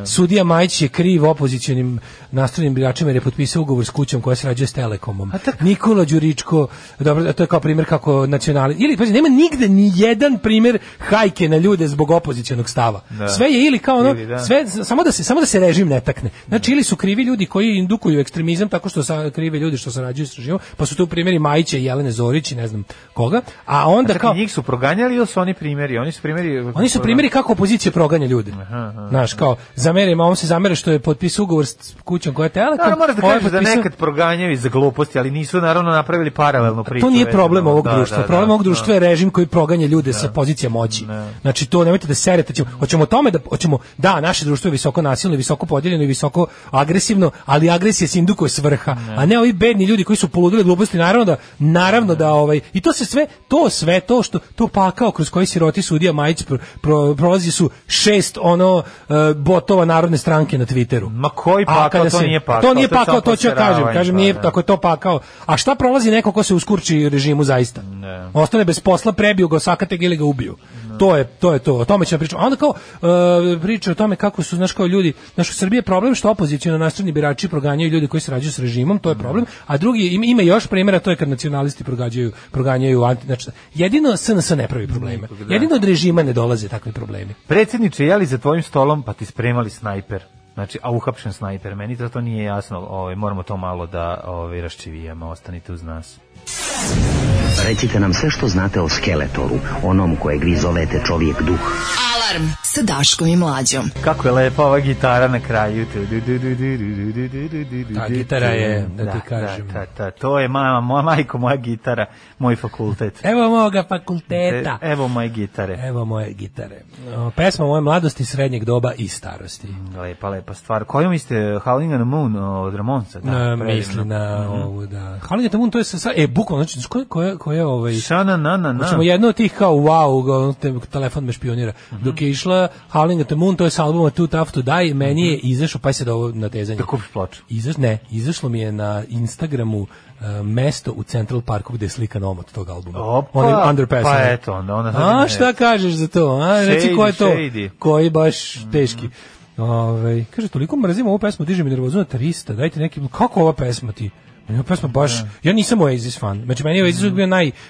F: Sudija Majić je kriv opozicionim nastrojenim biračima jer je potpisao ugovor s kućom koja sarađuje s Telekomom. Nikola Đuričko, dobro, to je kao primjer kako nacionali ili pazi, nema nigde ni jedan primjer primjer hajke na ljude zbog opozicionog stava.
G: Da.
F: Sve je ili kao ono,
G: Ili da.
F: sve samo da se samo da se režim ne takne. Znači ili su krivi ljudi koji indukuju ekstremizam tako što sa krivi ljudi što sarađuju sa režimom, pa su tu primjeri Majića i Jelene Zorić i ne znam koga, a onda
G: Čekaj,
F: Da, kao
G: njih su proganjali ili su oni primjeri? Oni su primjeri...
F: oni su primjeri kako opozicija proganja ljude. Znaš, kao, zamerima, on se zamere što je potpisao ugovor s kućom koja je Telekom.
G: Da, moraš da
F: ovaj
G: kažeš da
F: potpisao-
G: nekad proganjaju za gluposti, ali nisu naravno napravili paralelnu priču.
F: To nije
G: vezano.
F: problem ovog
G: Da,
F: društva.
G: da, da,
F: problem ovog
G: da.
F: društva je režim koji proganja ljude sa pozicija moći. Znači to nemojte da serete, ćemo, hoćemo o tome da hoćemo da naše društvo je visoko nasilno, i visoko podijeljeno i visoko agresivno, ali agresija se indukuje s vrha, a ne ovi bedni ljudi koji su poludili od gluposti, naravno da naravno da ovaj i to se sve to sve to što to pakao kroz koji siroti sudija Majić pro, pro- prolazi su šest ono e, botova narodne stranke na Twitteru.
G: Ma koji
F: A
G: pakao,
F: kada
G: to nije pakao,
F: To nije
G: to je
F: pakao,
G: samo
F: to ću ja kažem.
G: poseravanje,
F: Kažem,
G: pa
F: nije,
G: da.
F: tako je to pakao. A šta prolazi neko ko se uskurči režimu zaista? Ostane bez posla, prebiju ga, sakate ga ili ga ubiju. To je to je to. O tome ćemo pričati. A onda kao e, priča o tome kako su znaš kao ljudi, znaš u Srbiji je problem što opoziciono nastrojeni birači proganjaju ljudi koji sarađuju s režimom, to je problem. A drugi ima, ima još primjera, to je kad nacionalisti progađaju proganjaju anti, znači jedino SNS ne pravi probleme.
G: da.
F: Jedino od režima ne dolaze takvi problemi.
G: Predsjedniče, jeli za tvojim stolom, pa ti spremali snajper. Znači, a uhapšen snajper. Meni to, to nije jasno. Ovaj, moramo to malo da ovaj, raščivijemo. Ostanite uz nas.
D: Recite nam sve što znate o Skeletoru, onom kojeg vi zovete čovjek duh.
E: Alarm sa Daškom i Mlađom.
G: Kako je lepa ova gitara na kraju.
F: Ta gitara je, da ti
G: Da,
F: kažem.
G: Da, ta, ta, to je mama, moja majko, moja gitara, moj fakultet.
F: Evo moga fakulteta.
G: E, Evo moje gitare.
F: Evo moje gitare. O, Pesma moje mladosti, srednjeg doba i starosti.
G: Lepa, pa lepa stvar. Koju mislite, Howling on the Moon od Ramonca? Da,
F: Na,
G: predivno.
F: misli na ovu, da. Hvala te mun, to je sa, sa- e, bukvalno, znači, koja, koja, koja ovaj...
G: Šana, na, na, na.
F: Hoćemo jedno od tih kao wow, ga, ono, te- telefon me špionira. Dok je išla Howling at the Moon, to je sa albuma Too Tough to Die, meni je izašao, pa se da ovo natezanje.
G: Da kupiš ploču.
F: Izaš, ne, izašlo mi je na Instagramu e, mesto u Central Parku gde je slikan omot tog albuma.
G: Opa,
F: Onim underpassom.
G: pa eto, onda ona sad
F: A,
G: ne-
F: šta kažeš za to? A, reci
G: Shady,
F: ko je to?
G: shady. Mhm.
F: Koji baš teški. Ovaj, kaže, toliko mrzim ovu pesmu, diže mi nervozu na 300, dajte neki, kako ova pesma ti? Meni ova pesma baš, ja nisam Oasis fan, znači meni je Oasis
G: Mhm.
F: uvijek bio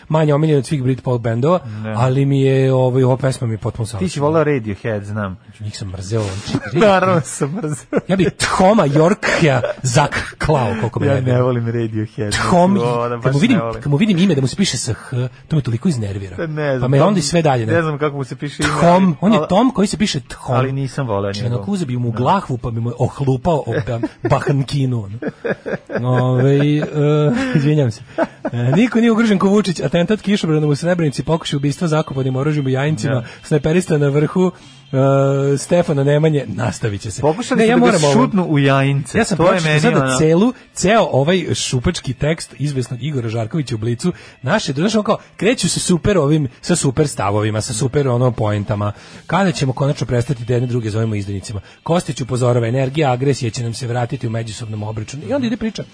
F: najmanje omiljen od svih Britpop bendova, ali mi je, ovaj, ova pesma mi je potpuno
G: Ti
F: savršena.
G: si volao Radiohead, znam.
F: Njih sam mrzeo, znači,
G: Naravno da sam mrzeo.
F: ja bi Toma Yorkja zaklao, koliko me
G: Ja
F: nervira.
G: ne volim Radiohead.
F: Tom,
G: O, da,
F: kad
G: baš
F: mu, vidim,
G: ne volim.
F: kad mu vidim ime da mu se piše sa H, to me toliko iznervira.
G: Da, Ne znam,
F: pa me
G: Tom-
F: onda i sve dalje.
G: Ne znam kako mu se piše ime. ali-
F: Tom, on je
G: ali-
F: Tom koji se piše Tom.
G: Ali nisam voleo
F: Znači,
G: njegov. da.
F: onako uzeo bi mu glahvu, pa bi mu ohlupao o ba- bahankinu. Ove, izvinjam se. E, niko nije ugrožen ko Vučić, atentat kišobranom u Srebrenici, pokušaj ubistva zakopanim oružjem u Jajincima,
G: Da.
F: sniperista na vrhu, e, Stefana Nemanje, nastavit će se.
G: Pokušali
F: Ne,
G: su da ga
F: ovo.
G: šutnu u jajince.
F: Ja sam
G: to je
F: pročitao
G: meni
F: sada
G: ono-
F: celu, ceo ovaj šupački tekst izvesnog Igora Žarkovića u Blicu. Naše društvo kao kreću se super ovim sa super stavovima, sa super ono poentama. Kada ćemo konačno prestati da jedne druge zovemo izdajnicima? Kostić upozorava energija, agresija će nam se vratiti u međusobnom obračunu. I onda ide priča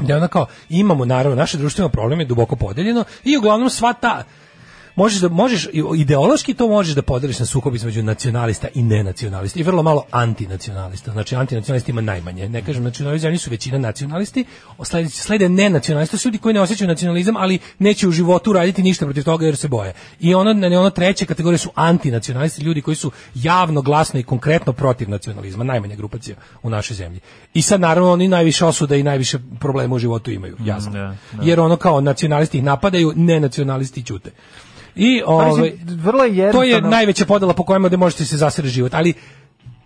F: da ona kao imamo naravno naše društveno problem je duboko podeljeno i uglavnom sva ta možeš da možeš i- ideološki to možeš da podeliš na sukob između nacionalista i nenacionalista i vrlo malo antinacionalista. Znači antinacionalisti ima najmanje. Ne kažem nacionalisti, oni su većina nacionalisti. O, Slede, slede nenacionalisti, to su ljudi koji ne osjećaju nacionalizam, ali neće u životu raditi ništa protiv toga jer se boje. I ono ne ono treće kategorije su antinacionalisti, ljudi koji su javno, glasno i konkretno protiv nacionalizma, najmanja grupacija u našoj zemlji. I sad naravno oni najviše osuda i najviše problema u životu imaju, jasno.
G: da,
F: Jer ono kao nacionalisti ih napadaju, nenacionalisti ćute. I
G: Pa,
F: ovaj
G: mislim, vrlo je
F: to je
G: jednostavno-
F: najveća podela po kojima da možete se zasere život, ali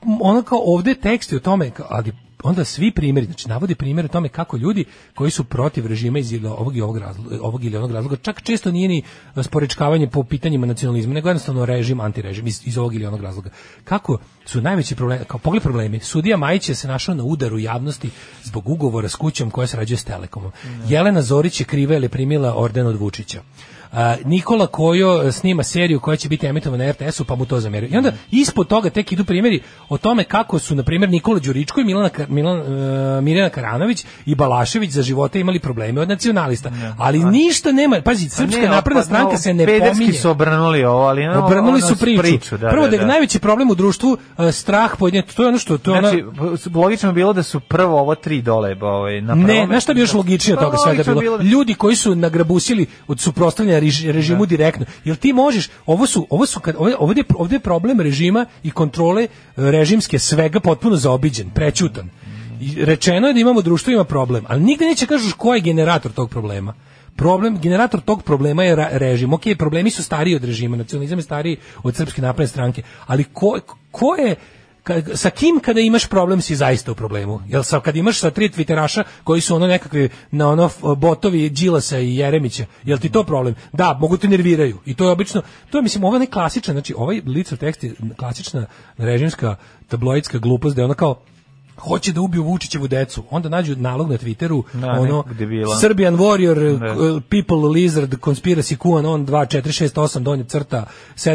F: m, ono kao ovde tekst je o tome, ka- ali onda svi primjeri, znači navodi primjer o tome kako ljudi koji su protiv režima iz ili ovog, i ovog, razloga, ovog ili onog razloga, čak često nije ni sporečkavanje po pitanjima nacionalizma, nego jednostavno režim, antirežim iz, iz ovog ili onog razloga. Kako su najveći problemi, kao pogled problemi, sudija Majić je se našao na udaru javnosti zbog ugovora s kućom koja sarađuje s Telekomom. Jelena Zorić je kriva jer je primila orden od Vučića. A, Nikola Kojo e, snima seriju koja će biti emitovana na RTS-u, pa mu to zameraju. I onda ispod toga tek idu primjeri o tome kako su, na primjer, Nikola Đuričko i Milana, Ka- Milan, e, Mirjana Karanović i Balašević za živote imali probleme od nacionalista. Ali ništa nema, pazi,
G: Pa ne,
F: Srpska napredna
G: pa,
F: stranka
G: no,
F: se ne
G: pederski
F: pominje.
G: su obrnuli ovo, ali ono,
F: Obrnuli
G: ono,
F: su priču.
G: da,
F: Prvo
G: da,
F: da, je
G: da.
F: najveći problem u društvu e, strah pojedinac, to je ono što to je
G: Znači,
F: ono,
G: logično je bilo da su prvo ovo tri dole, ovaj, na
F: Ne,
G: prvome-
F: znaš šta bi još logičnije od
G: Pa
F: toga svega
G: logično je
F: bilo?
G: da-
F: Ljudi koji su nagrabusili od suprotstavljanja na reži- režimu direktno. Jel ti možeš, ovo su, ovo su kad, ovdje, ovdje, ovdje je problem režima i kontrole e, režimske svega potpuno zaobiđen, prećutan. I rečeno je da imamo društvo ima problem, ali nigde neće da kažeš ko je generator tog problema problem generator tog problema je ra- režim. Okej, problemi su stariji od režima, nacionalizam je stariji od srpske napredne stranke, ali ko, ko je ka- sa kim kada imaš problem si zaista u problemu. Jel sa kad imaš sa tri twitteraša koji su ono nekakvi na ono f- botovi Đilasa i Jeremića, jel ti to problem? Da, mogu te nerviraju. I to je obično to je mislim ovo ne klasičan, znači ovaj lice tekst je klasična režimska tabloidska glupost da je ona kao hoće da ubiju Vučićevu decu. Onda nađu nalog na Twitteru,
G: Da,
F: ono,
G: nekog debila.
F: Serbian Warrior,
G: Da.
F: k- People Lizard, Conspiracy QAnon 2468, donje crta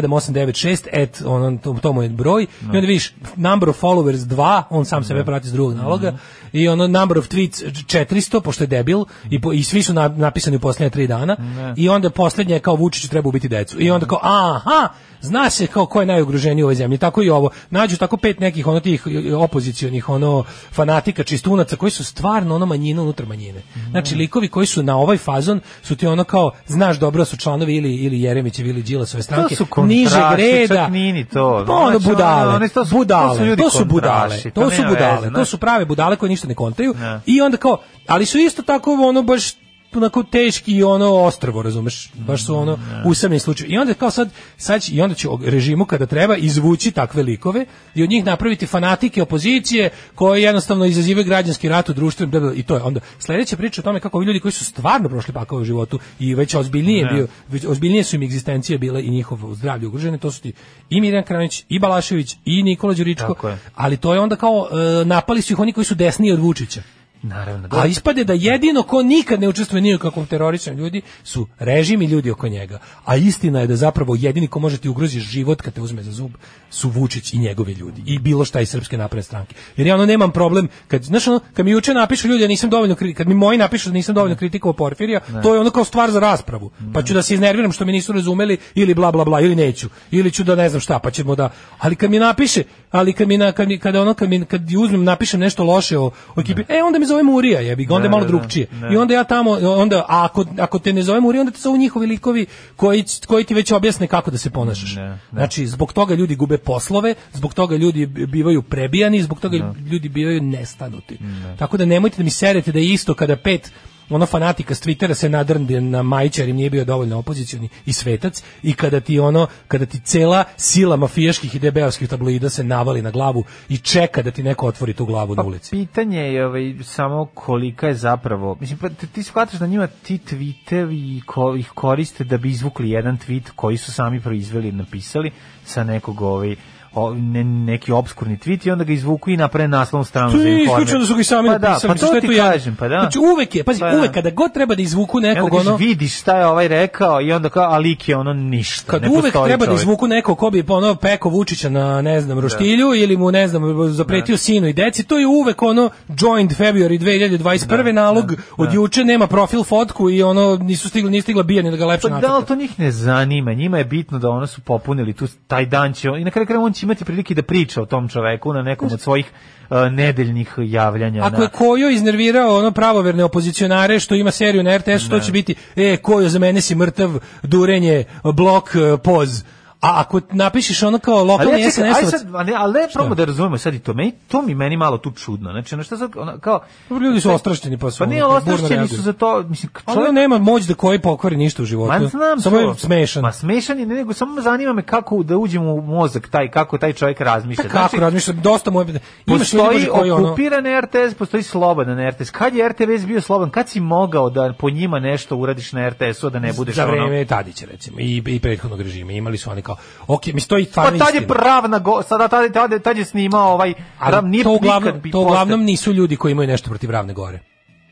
F: 7896, et, on, to, to mu je broj.
G: Da.
F: I onda vidiš, number of followers 2, on sam sebe prati s
G: Da.
F: drugog naloga, i ono number of tweets 400, pošto je debil, i, po, i svi su na- napisani u posljednje tri dana,
G: Da.
F: i onda posljednje je kao Vučiću treba ubiti decu. I onda kao, aha, zna se kao ko je najugroženiji u ovoj zemlji. Tako i ovo. Nađu tako pet nekih ono tih e, opozicionih ono fanatika čistunaca koji su stvarno ono manjina unutar manjine.
G: Mhm.
F: Znači likovi koji su na ovaj fazon su ti ono kao znaš dobro su članovi ili ili Jeremićevi ili Đilasove stranke
G: su kontraši,
F: nižeg reda.
G: čak nije ni to.
F: Pa ono
G: Znači,
F: budale.
G: ono, oni- to su- to su
F: budale.
G: ljudi
F: To su budale.
G: kontraši, to
F: To su
G: nema veze,
F: budale. To
G: znaš.
F: su prave budale koje ništa ne kontaju.
G: Ne.
F: I onda kao ali su isto tako ono baš onako teški ono ostrvo, razumeš? Baš su ono usamljeni slučaj. I onda kao sad, sad će- i onda će o- režimu kada treba izvući takve likove i od njih napraviti fanatike opozicije koji jednostavno izazivaju građanski rat u društvu bla, bla, bla. i to je onda sledeća priča o tome kako ovi ljudi koji su stvarno prošli pakao u životu i već ozbiljnije je bio već ozbiljnije su im egzistencije bile i njihovo zdravlje ugrožene, to su ti i Mirjan Kranić, i Balašević, i Nikola Đuričko,
G: Tako je.
F: ali to je onda kao e, napali su ih oni koji su desniji od Vučića.
G: Naravno, da.
F: A ispade da jedino ko nikad ne učestvuje ni u kakvom teroričnom ljudi su režim i ljudi oko njega. A istina je da zapravo jedini ko može ti ugrozi život kad te uzme za zub su Vučić i njegovi ljudi. I bilo šta iz Srpske napredne stranke. Jer ja ono nemam problem, kad, znaš ono, kad mi juče napišu ljudi da nisam dovoljno kriti- kad mi moji napišu da nisam dovoljno kritikovao Porfirija,
G: Da.
F: to je ono kao stvar za raspravu.
G: Mhm.
F: Pa ću da se iznerviram što me nisu razumeli ili bla bla bla ili neću. Ili ću da ne znam šta, pa ćemo da... Ali kad mi napiše, ali kad mi, na, kad mi kada ono, kad, mi, kad uzmem, napišem nešto loše o, o ekipi, e, onda mi zove Murija, jebi ga, onda je malo
G: da,
F: drugčije.
G: da.
F: I onda ja tamo, onda, a ako, ako te ne zove Murija, onda te zovu njihovi likovi koji, koji ti već objasne kako da se ponašaš.
G: Da, da.
F: Znači, zbog toga ljudi gube poslove, zbog toga ljudi bi- bivaju prebijani, zbog toga ljudi bivaju nestanuti. Tako da nemojte da mi serete da je isto kada pet ono fanatika s Twittera se nadrndi na Majića jer im nije bio dovoljno opozicioni i svetac i kada ti ono, kada ti cela sila mafijaških i debeovskih tabloida se navali na glavu i čeka da ti neko otvori tu glavu na
G: Pa,
F: ulici.
G: Pitanje je ovaj, samo kolika je zapravo... Mislim, pa ti, ti shvataš da njima ti tweetevi ko, ih koriste da bi izvukli jedan tweet koji su sami proizveli i napisali sa nekog ovaj, o, ne, neki obskurni tweet i onda ga izvuku i naprave naslovnu stranu
F: To
G: za
F: nije
G: informer.
F: isključeno da su ga i sami
G: pa da,
F: napisali,
G: pa
F: mislim,
G: to
F: šta je
G: ti
F: tu ja-
G: kažem, pa da.
F: Znači uvek je, pazi,
G: Pa da.
F: uvek kada god treba da izvuku
G: I onda
F: nekog
G: kažeš,
F: ono
G: vidiš šta je ovaj rekao i onda kao, a lik je ono ništa.
F: kad
G: ne
F: uvek
G: postoji
F: treba da
G: čovjek.
F: izvuku neko ko bi ono peko Vučića na ne znam roštilju
G: Da.
F: ili mu ne znam zapretio sinu i deci, to je uvek ono joined February 2021.
G: Da,
F: nalog od juče nema profil fotku i ono nisu stigli nije stigla bija ni da ga lepše
G: Pa da, ali
F: natrpa.
G: to njih ne zanima, njima je bitno da ono su popunili tu, taj dan će, i na kraju krajeva on će imati prilike da priča o tom čoveku na nekom od svojih e, nedeljnih javljanja.
F: Ako
G: na-
F: je Kojo iznervirao ono pravoverne opozicionare što ima seriju na RTS,
G: Da.
F: to će biti e Kojo za mene si mrtav, durenje, blok, e, poz. A ako napišeš ono kao
G: ali
F: lokalni
G: ja čekaj, aj
F: SNS-ovac,
G: sad, ali, ali ne, probamo da razumemo sad i to, meni, to mi meni malo tu čudno, znači ono što sad, ono, kao,
F: Dobro, ljudi su ostrašćeni pa su.
G: pa ne,
F: ono,
G: ali
F: burno
G: ostrašćeni
F: reaguju.
G: su za to, mislim,
F: Ali
G: čovjek-
F: on nema moć da koji pokvari ništa u životu.
G: Ma znam
F: Samo je
G: to.
F: smešan. Pa
G: Ma smešan je, ne, nego samo zanima me kako da uđemo u mozak taj, kako taj čovjek razmišlja.
F: Pa Kako razmišljam, dosta mu je... Imaš ljudi
G: znači, postoji
F: može koji ono...
G: okupiran RTS, postoji slobodan RTS. Kad je RTV bio slobodan? Kad si mogao da po njima nešto uradiš na RTS-u, a da ne budeš
F: za
G: ono...
F: vreme Tadića recimo i i prethodnog režima imali su oni kao ok mi stoji
G: Pa
F: stvarno
G: tad je
F: istina.
G: pravna go, sada tad, tad, tad je snimao ovaj... rav-
F: ali
G: nije
F: to
G: nikad
F: uglavnom,
G: bi
F: to
G: postao-
F: uglavnom nisu ljudi koji imaju nešto protiv Ravne Gore.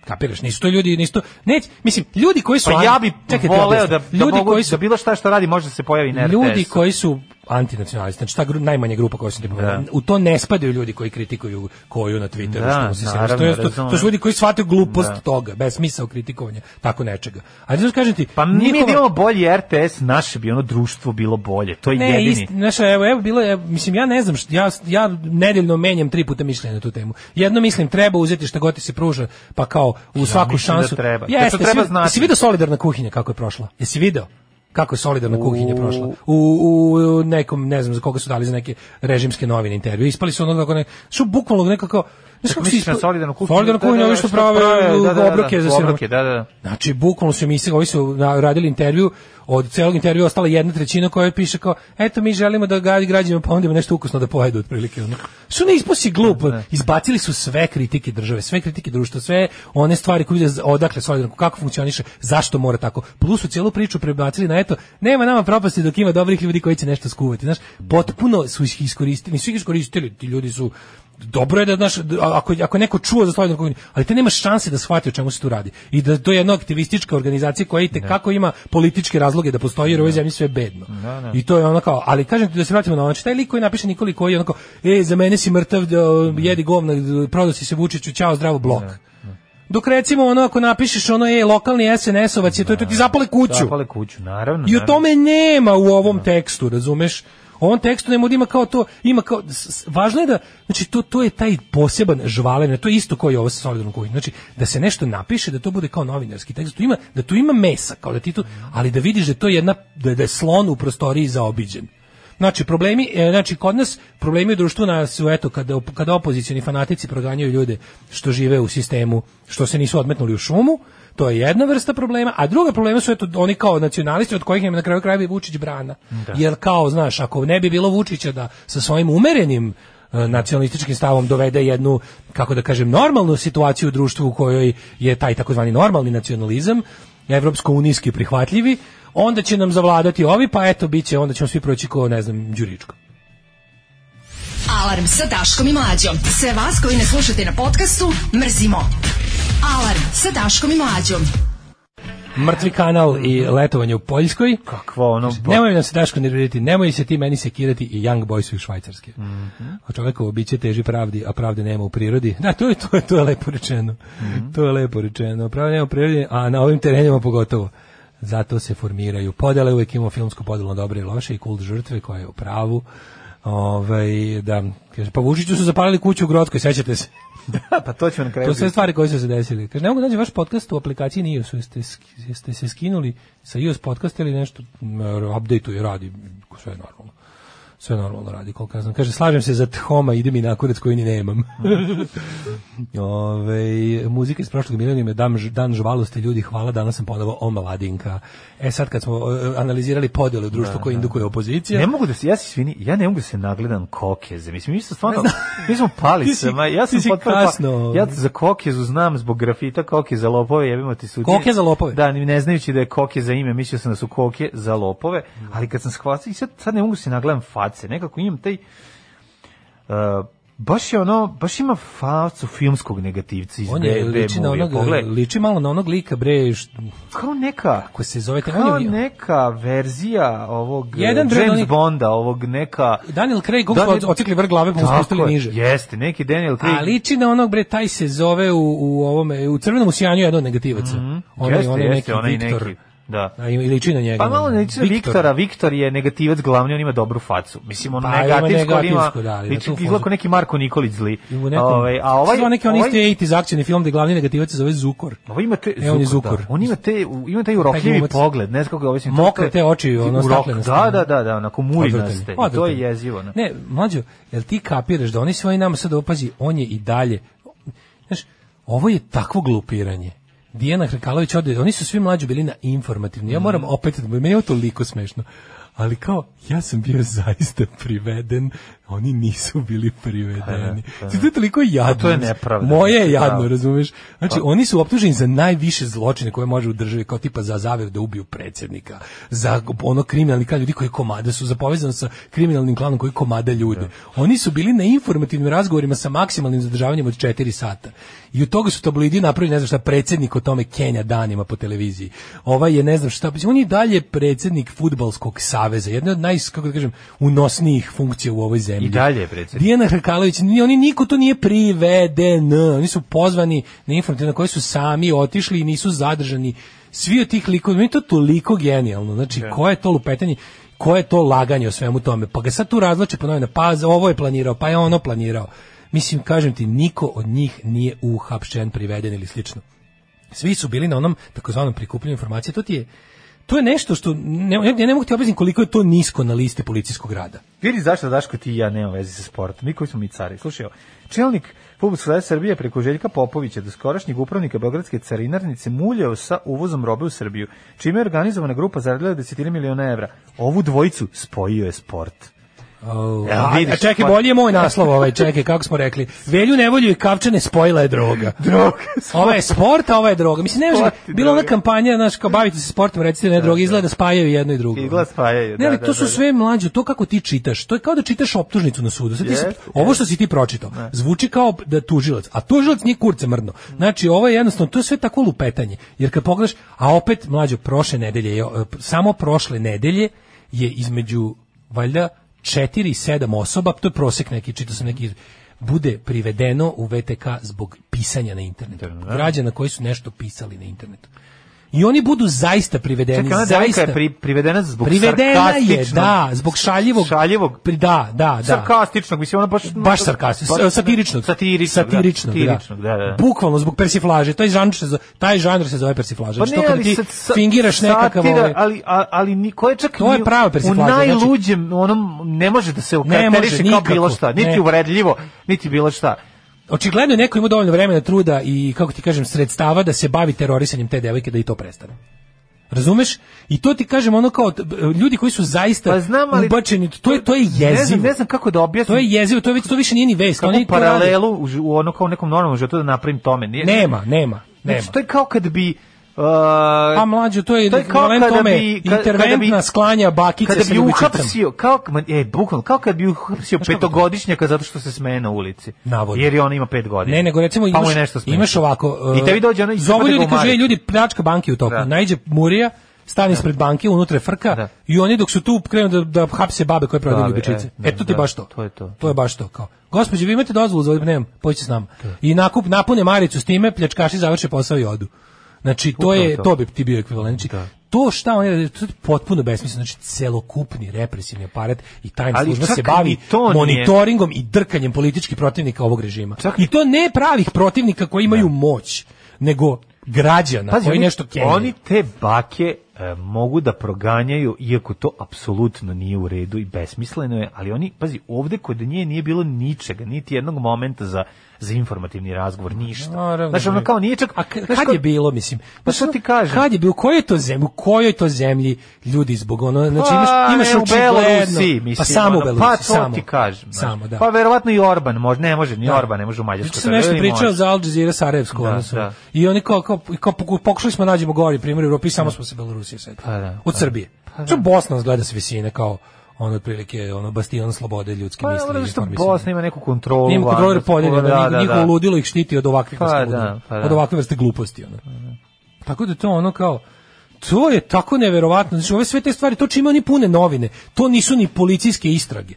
F: Kapiraš, nisu to ljudi, nisu to, neć, mislim, ljudi koji su...
G: Pa ja bi
F: Čekaj, ti
G: voleo da,
F: objasnim.
G: da, mogu,
F: koji
G: da bilo šta što radi može da se pojavi na RTS-u.
F: ljudi koji su antinacionalisti, znači ta gru, najmanja grupa koja se ti pomenuo. U to ne spadaju ljudi koji kritikuju koju na Twitteru,
G: Da,
F: što mu se
G: naravno,
F: sjeti. to, je, to, to
G: razumem.
F: su ljudi koji shvataju glupost
G: Da.
F: toga, bez smisao kritikovanja, tako nečega. A znači kažem ti,
G: Pa mi
F: njihova-
G: da imamo bolji RTS, naše bi ono društvo bilo bolje. To je
F: ne,
G: jedini.
F: isti, znaš, evo, evo bilo je, mislim, ja ne znam, što, ja, ja nedeljno menjam tri puta mišljenje na tu temu. Jedno mislim, treba uzeti šta god ti se pruža, pa kao u svaku
G: mislim da
F: šansu.
G: treba. Da
F: Jeste,
G: to treba
F: jesi-
G: znati.
F: Jesi vidio solidarna kuhinja kako je prošla? Jesi video? Kako je solidarna kuhinja prošla? U, u nekom, ne znam za koga su dali za neke režimske novine intervju. Ispali su ono kako ne... Su bukvalno nekako... Znaš kako si
G: Misliš na
F: ispa-
G: solidarnu kuhinju?
F: Solidarnu
G: Da, da,
F: kuhinju,
G: da,
F: ovi što
G: što
F: prave
G: da, da, da,
F: obroke za
G: obroke, da, da.
F: Znači, bukvalno su emisije, ovi su na- radili intervju, od celog intervjua ostala jedna trećina koja piše kao, eto mi želimo da ga- građanima ponudimo nešto ukusno da pojedu otprilike. Ono. Su ne ispusi glupo, izbacili su sve kritike države, sve kritike društva, sve one stvari koje vide odakle solidarno, kako funkcioniše, zašto mora tako. Plus su cijelu priču prebacili na eto, nema nama propasti dok ima dobrih ljudi koji će nešto skuvati. Znaš, potpuno su ih iskoristili, nisu ih iskoristili, ti ljudi su dobro je da znaš, d- a- ako, ako je neko čuo za solidarnu komuniju, ali ti nemaš šanse da shvati o čemu se tu radi. I da to je jedna aktivistička organizacija koja i kako ima političke razloge da postoji, jer u ovoj zemlji sve je bedno. I to je ono kao, ali kažem ti da se vratimo na ono, znači taj lik koji napiše Nikoli koji je ono kao, e, za mene si mrtav, da, jedi govna, d- prodao si se Vučiću, čao, zdravo, blok. Dok recimo ono ako napišeš ono je lokalni SNS-ovac je to, to ti zapale kuću.
G: Zapale kuću, naravno.
F: I o
G: naravno. Da.
F: tome nema u ovom tekstu, razumeš? U ovom tekstu nema ima kao to, ima kao s- s- važno je da znači to to je taj poseban žvalen, to je isto kao i ovo sa solidarnom kuhinjom. Znači da se nešto napiše da to bude kao novinarski tekst, tu ima da tu ima mesa, kao da ti tu, ali da vidiš da je to jedna da, je- da je slon u prostoriji zaobiđen. Znači problemi, e, znači kod nas problemi u društvu na su eto kada op- kada opozicioni fanatici proganjaju ljude što žive u sistemu, što se nisu odmetnuli u šumu, to je jedna vrsta problema, a druga problema su eto oni kao nacionalisti od kojih im je na kraju krajeva i Vučić brana. Jer kao, znaš, ako ne bi bilo Vučića da sa svojim umerenim e, nacionalističkim stavom dovede jednu, kako da kažem, normalnu situaciju u društvu u kojoj je taj takozvani normalni nacionalizam, evropsko-unijski prihvatljivi, onda će nam zavladati ovi, pa eto, bit će, onda ćemo svi proći ko, ne znam, Đuričko.
E: Alarm sa Daškom i Mlađom. Sve vas koji ne slušate na podcastu, mrzimo. Alarm sa Daškom i Mlađom.
F: Mrtvi kanal i letovanje u Poljskoj.
G: Kakva ono... bo-
F: Znači, Nemoj nam se Daško nervirati, nemoj se ti meni sekirati i Young Boys u Švajcarske.
G: Mhm.
F: A čovekovo biće teži pravdi, a pravde nema u prirodi. Da, to je, to je, to je lepo rečeno.
G: Mhm.
F: To je lepo rečeno. Pravde nema u prirodi, a na ovim terenima pogotovo. Zato se formiraju podele, uvijek imamo filmsku podelu na dobre i loše i kult žrtve koja je u pravu. Ovaj, da, kaže, pa Vučiću su zapalili kuću u Grodskoj, sećate se.
G: pa to ćemo na kraju...
F: To su sve
G: biti.
F: stvari koje su se desili. Kaže, ne mogu naći vaš podcast u aplikaciji na iOS-u. Jeste, sk- jeste se skinuli sa iOS podcast ili nešto m, update-uje, radi, sve je normalno. Sve normalno radi, koliko ja znam. Kaže, slažem se za Thoma, ide mi na kurac koji ni nemam. Ove, muzika iz prošlog milenijuma je dan, dan žvalosti ljudi, hvala, danas sam ponovo omladinka. E sad kad smo e, analizirali podelu društva koje indukuje opozicija,
G: Ne mogu da se, ja se svini, ja ne mogu da se nagledam kokeze. Mislim, mi smo stvarno, mi smo pali
F: Ti si-
G: se, ma, ja
F: ti
G: sam
F: si
G: potpuno,
F: kasno.
G: Pa, ja za kokezu znam zbog grafita, kokeza lopove, jebimo ti sudi.
F: Koke za lopove?
G: Da, ni- ne znajući da je koke za ime, mislio sam da su koke za lopove, ali kad sam shvatio, i sad, sad ne mogu da se nagledam face, nekako imam taj, uh, baš je ono, baš ima facu filmskog negativca iz
F: on je
G: B- B
F: liči, na
G: movie-a,
F: onog, uh,
G: pogledaj.
F: liči malo na onog lika, bre, št-
G: kao neka,
F: ko se zove, taj-
G: kao
F: on je,
G: neka verzija ovog
F: Jedan
G: Jedan
F: bre,
G: James
F: oni-
G: Bonda, ovog neka...
F: Daniel Craig, koga
G: Daniel-
F: smo ocikli vrh glave, pa mu
G: Tako
F: spustili
G: je,
F: niže.
G: Jeste, neki Daniel Craig.
F: A liči na onog bre taj se zove u u ovome u crvenom sjanju jedan od negativaca. Onaj
G: Mhm. jeste,
F: onaj
G: jeste,
F: neki
G: onaj
F: Viktor.
G: neki, da.
F: A ima liči na njega.
G: Pa malo ne liči na
F: Viktor.
G: Viktora, Viktor je negativac glavni, on ima dobru facu. Mislim, on
F: Pa,
G: pa,
F: ima
G: negativsko, ali ima,
F: negativsku, da, ali na
G: liči,
F: tu
G: izgleda
F: fozu.
G: kao neki Marko Nikolić zli.
F: I u nekom,
G: Ovaj, a ovaj,
F: Sad neki on
G: ovaj,
F: isti 80s akcioni film gde glavni negativac se zove Zukor.
G: Ovo ima te
F: E, on je Zukor.
G: Da. On ima te u- ima taj urokljivi
F: glumac.
G: pogled, ne znam kako ga ovisim.
F: Mokre te oči, ono, staklene
G: Da,
F: strane.
G: da, da, da, onako murinaste.
F: Odvratan je,
G: I To je
F: odvratan.
G: jezivo. Ne.
F: Ne, mlađo, jel ti kapiraš da oni svoji nama sad opazi, on je i dalje. Znaš, ovo je takvo glupiranje. Dijana Hrkalović ode, oni su svi mlađi bili na informativni. Ja
G: Mhm.
F: moram opet, meni je ovo toliko smešno. Ali kao, ja sam bio zaista priveden oni nisu bili
G: Pa da,
F: privedeni. Znači, to je toliko jadno.
G: to je nepravda.
F: Moje je jadno,
G: Pravo.
F: razumeš? Znači,
G: Pa-
F: oni su optuženi za najviše zločine koje može u državi, kao tipa za zavev da ubiju predsjednika, za ono kriminalni klan ljudi koji komada su, za povezano sa kriminalnim klanom koji komada ljude.
G: Da.
F: Oni su bili na informativnim razgovorima sa maksimalnim zadržavanjem od 4 sata. I od toga su tabloidi napravili, ne znam šta, predsjednik o tome Kenja danima po televiziji. Ovaj je, ne znam šta, mislim, on je i dalje predsjednik futbalskog saveza, jedna od naj, kako da kažem, unosnijih funkcija u ovoj zemlji.
G: I dalje je predsjednik.
F: Dijana Hrkalović, ni oni niko to nije priveden, oni su pozvani na informativno na koje su sami otišli i nisu zadržani. Svi od tih likova, meni je to toliko genijalno, znači koje je to lupetanje, koje je to laganje o svemu tome, pa ga sad tu razlače po novina, pa za ovo je planirao, pa je ono planirao. Mislim, kažem ti, niko od njih nije uhapšen, priveden ili slično svi su bili na onom takozvanom prikupljanju informacija. To ti je to je nešto što ne, ja- ja ne mogu ti objasniti koliko je to nisko na listi policijskog rada.
G: Vidi zašto Daško ti i ja nemam veze sa sportom. Mi koji smo mi cari. Slušaj, ovo. čelnik Public Srbije preko Željka Popovića, doskorašnjeg upravnika Beogradske carinarnice, muljao sa uvozom robe u Srbiju, čime je organizovana grupa zaradila desetine miliona evra. Ovu dvojicu spojio je sport. Evo,
F: a,
G: vidiš,
F: a čekaj,
G: pa-
F: bolje je moj naslov ovaj, čekaj, kako smo rekli. Velju nevolju i kavčane spojila je droga.
G: Drog.
F: Ova je sport, a ova je droga. Mislim, ne može,
G: Sport i
F: bila ona
G: droga.
F: kampanja, znaš, kao bavite se sportom, recite ne droga, izgleda da spajaju jedno i drugo.
G: Izgleda spajaju,
F: Ne,
G: da,
F: ali
G: da,
F: to su
G: da, da.
F: sve mlađe, to kako ti čitaš, to je kao da čitaš optužnicu na sudu. Sad ti si-
G: Jest,
F: ovo što si ti pročitao, zvuči kao da je tužilac, a tužilac nije kurce mrdno. Znači, ovo je jednostavno, to je sve tako lupetanje, jer kad pogledaš, a opet, mlađo, prošle nedelje, je, e, samo prošle nedelje je između, valjda, 4 i 7 osoba, to je prosek neki, čitao sam neki iz- bude privedeno u VTK zbog pisanja na internetu.
G: da.
F: Građana koji su nešto pisali na internetu. I oni budu zaista privedeni,
G: Čekaj, ona devojka
F: zaista
G: je pri, privedena zbog
F: privedena je,
G: sarkastičnog-
F: da, zbog šaljivog,
G: Šaljivog?
F: pri, da, da, da.
G: Sarkastičnog, mislim, ona baš...
F: baš sarkastičnog,
G: baš-
F: satiričnog,
G: Satiričnog,
F: satiričnog,
G: da. Satiričnog, da, da. da.
F: Bukvalno zbog persiflaže, taj žanr se zove, taj žanr se zove persiflaža.
G: Pa
F: Znači,
G: ne,
F: to kad
G: ali
F: ti
G: sad sa-
F: fingiraš nekakav
G: satira,
F: ovaj,
G: ali a- ali ni ko je čak
F: To je
G: ni-
F: prava
G: u
F: persiflaža, znači-
G: najluđem onom ne može da se
F: Ne može,
G: okarakteriše kao bilo
F: nikako,
G: šta,
F: ne.
G: niti uvredljivo, niti bilo šta.
F: očigledno je neko ima dovoljno vremena, truda i kako ti kažem sredstava da se bavi terorisanjem te devojke da i to prestane. Razumeš? I to ti kažem ono kao t- ljudi koji su zaista
G: Pa znam, ali-
F: ubačeni, to je to je jezivo.
G: Ne znam, ne znam kako da objasnim.
F: To je jezivo, to je već to više nije ni vest,
G: kako
F: oni to rade.
G: paralelu u, ži- u ono kao nekom normalnom životu da napravim tome. Nije,
F: Nema, nema, nema.
G: Znači, to je kao kad bi uh,
F: Pa mlađo, to je,
G: To je kao
F: ekvivalent
G: kada
F: tome
G: bi- ka- kada
F: interventna
G: bi-
F: sklanja bakice
G: kada
F: sa
G: bi
F: ljubičicom.
G: uhapsio, kao, ma, e, bukvalno, kao kad bi uhapsio petogodišnjaka zato što se smeje na ulici.
F: Navodno.
G: Jer je on ima pet godina.
F: Ne, nego recimo
G: pa mu
F: imaš,
G: je nešto smešno.
F: imaš ovako... e, uh,
G: I tebi dođe ono i
F: Zovu
G: zapade
F: ljudi,
G: ga u
F: kaže,
G: maricu.
F: "E, ljudi, pljačka banke u toku.
G: Da.
F: Najđe Murija, stani ispred banke, unutra je frka
G: Da.
F: i oni dok su tu krenu da, da hapse babe koje prodaju
G: Babe,
F: ljubičice.
G: e,
F: E,
G: da,
F: to ti je
G: da,
F: baš to.
G: to je to.
F: To je baš to. Kao. Gospođe, vi imate dozvolu za ovdje, nemam, pođite s nama.
G: Da.
F: I nakup, napune maricu s time, pljačkaši završe posao i odu. Znači, to
G: Upravo
F: je,
G: to. Da.
F: to bi ti bio ekvivalent. Znači, to šta oni rade, to je potpuno besmisleno. Znači, celokupni represivni aparat i tajna
G: Ali
F: služba
G: čak
F: se bavi
G: ni to nije.
F: monitoringom i drkanjem političkih protivnika ovog režima.
G: Čak Da.
F: I to ne pravih protivnika koji imaju moć, nego građana
G: Pazi,
F: koji
G: oni-
F: nešto kenjaju.
G: Oni te bake e, mogu da proganjaju, iako to apsolutno nije u redu i besmisleno je, ali oni, pazi, ovde kod nje nije bilo ničega, niti jednog momenta za, za informativni razgovor, ništa.
F: Naravno,
G: znači, ono
F: bre.
G: kao nije čak...
F: A k-
G: znaš
F: kad
G: kao-
F: je bilo, mislim?
G: Pa
F: Znaš,
G: što ti
F: ono,
G: kažem?
F: Kad je bilo, u kojoj to zemlji, u kojoj to zemlji ljudi zbog ono, znači imaš,
G: Pa,
F: imaš
G: ne, u
F: očigledno-
G: Belorusiji, mislim,
F: pa samo u
G: ono,
F: Belorusiji,
G: pa to
F: samo,
G: ti kažem. znaš.
F: Samo, da.
G: Pa verovatno i Orban, može, ne može, ni
F: Da.
G: Orban, ne može u Mađarsku.
F: Juče sam nešto
G: Ili
F: pričao
G: može.
F: za Al Jazeera Sarajevsko.
G: Da,
F: ono su.
G: da.
F: I oni kao, kao, kao poku- pokušali smo da nađemo gori primjer u Europi i samo smo se Belorusije setili.
G: Da. Pa da,
F: Od
G: pa
F: Srbije. Što Bosna nas gleda s visine kao ono otprilike ono bastion slobode ljudske
G: Pa,
F: misli.
G: dobro,
F: i
G: što
F: informisanja.
G: Bosna ima neku kontrolu.
F: Njima kod Roger
G: vanjsku,
F: podeljeno,
G: da, da,
F: njihovo
G: da.
F: ludilo ih štiti od ovakvih
G: Pa
F: vrsta
G: da,
F: ludila,
G: pa da.
F: od ovakve vrste gluposti. Ono. Tako da to ono kao, to je tako neverovatno, znači ove sve te stvari, to čime oni pune novine, to nisu ni policijske istrage.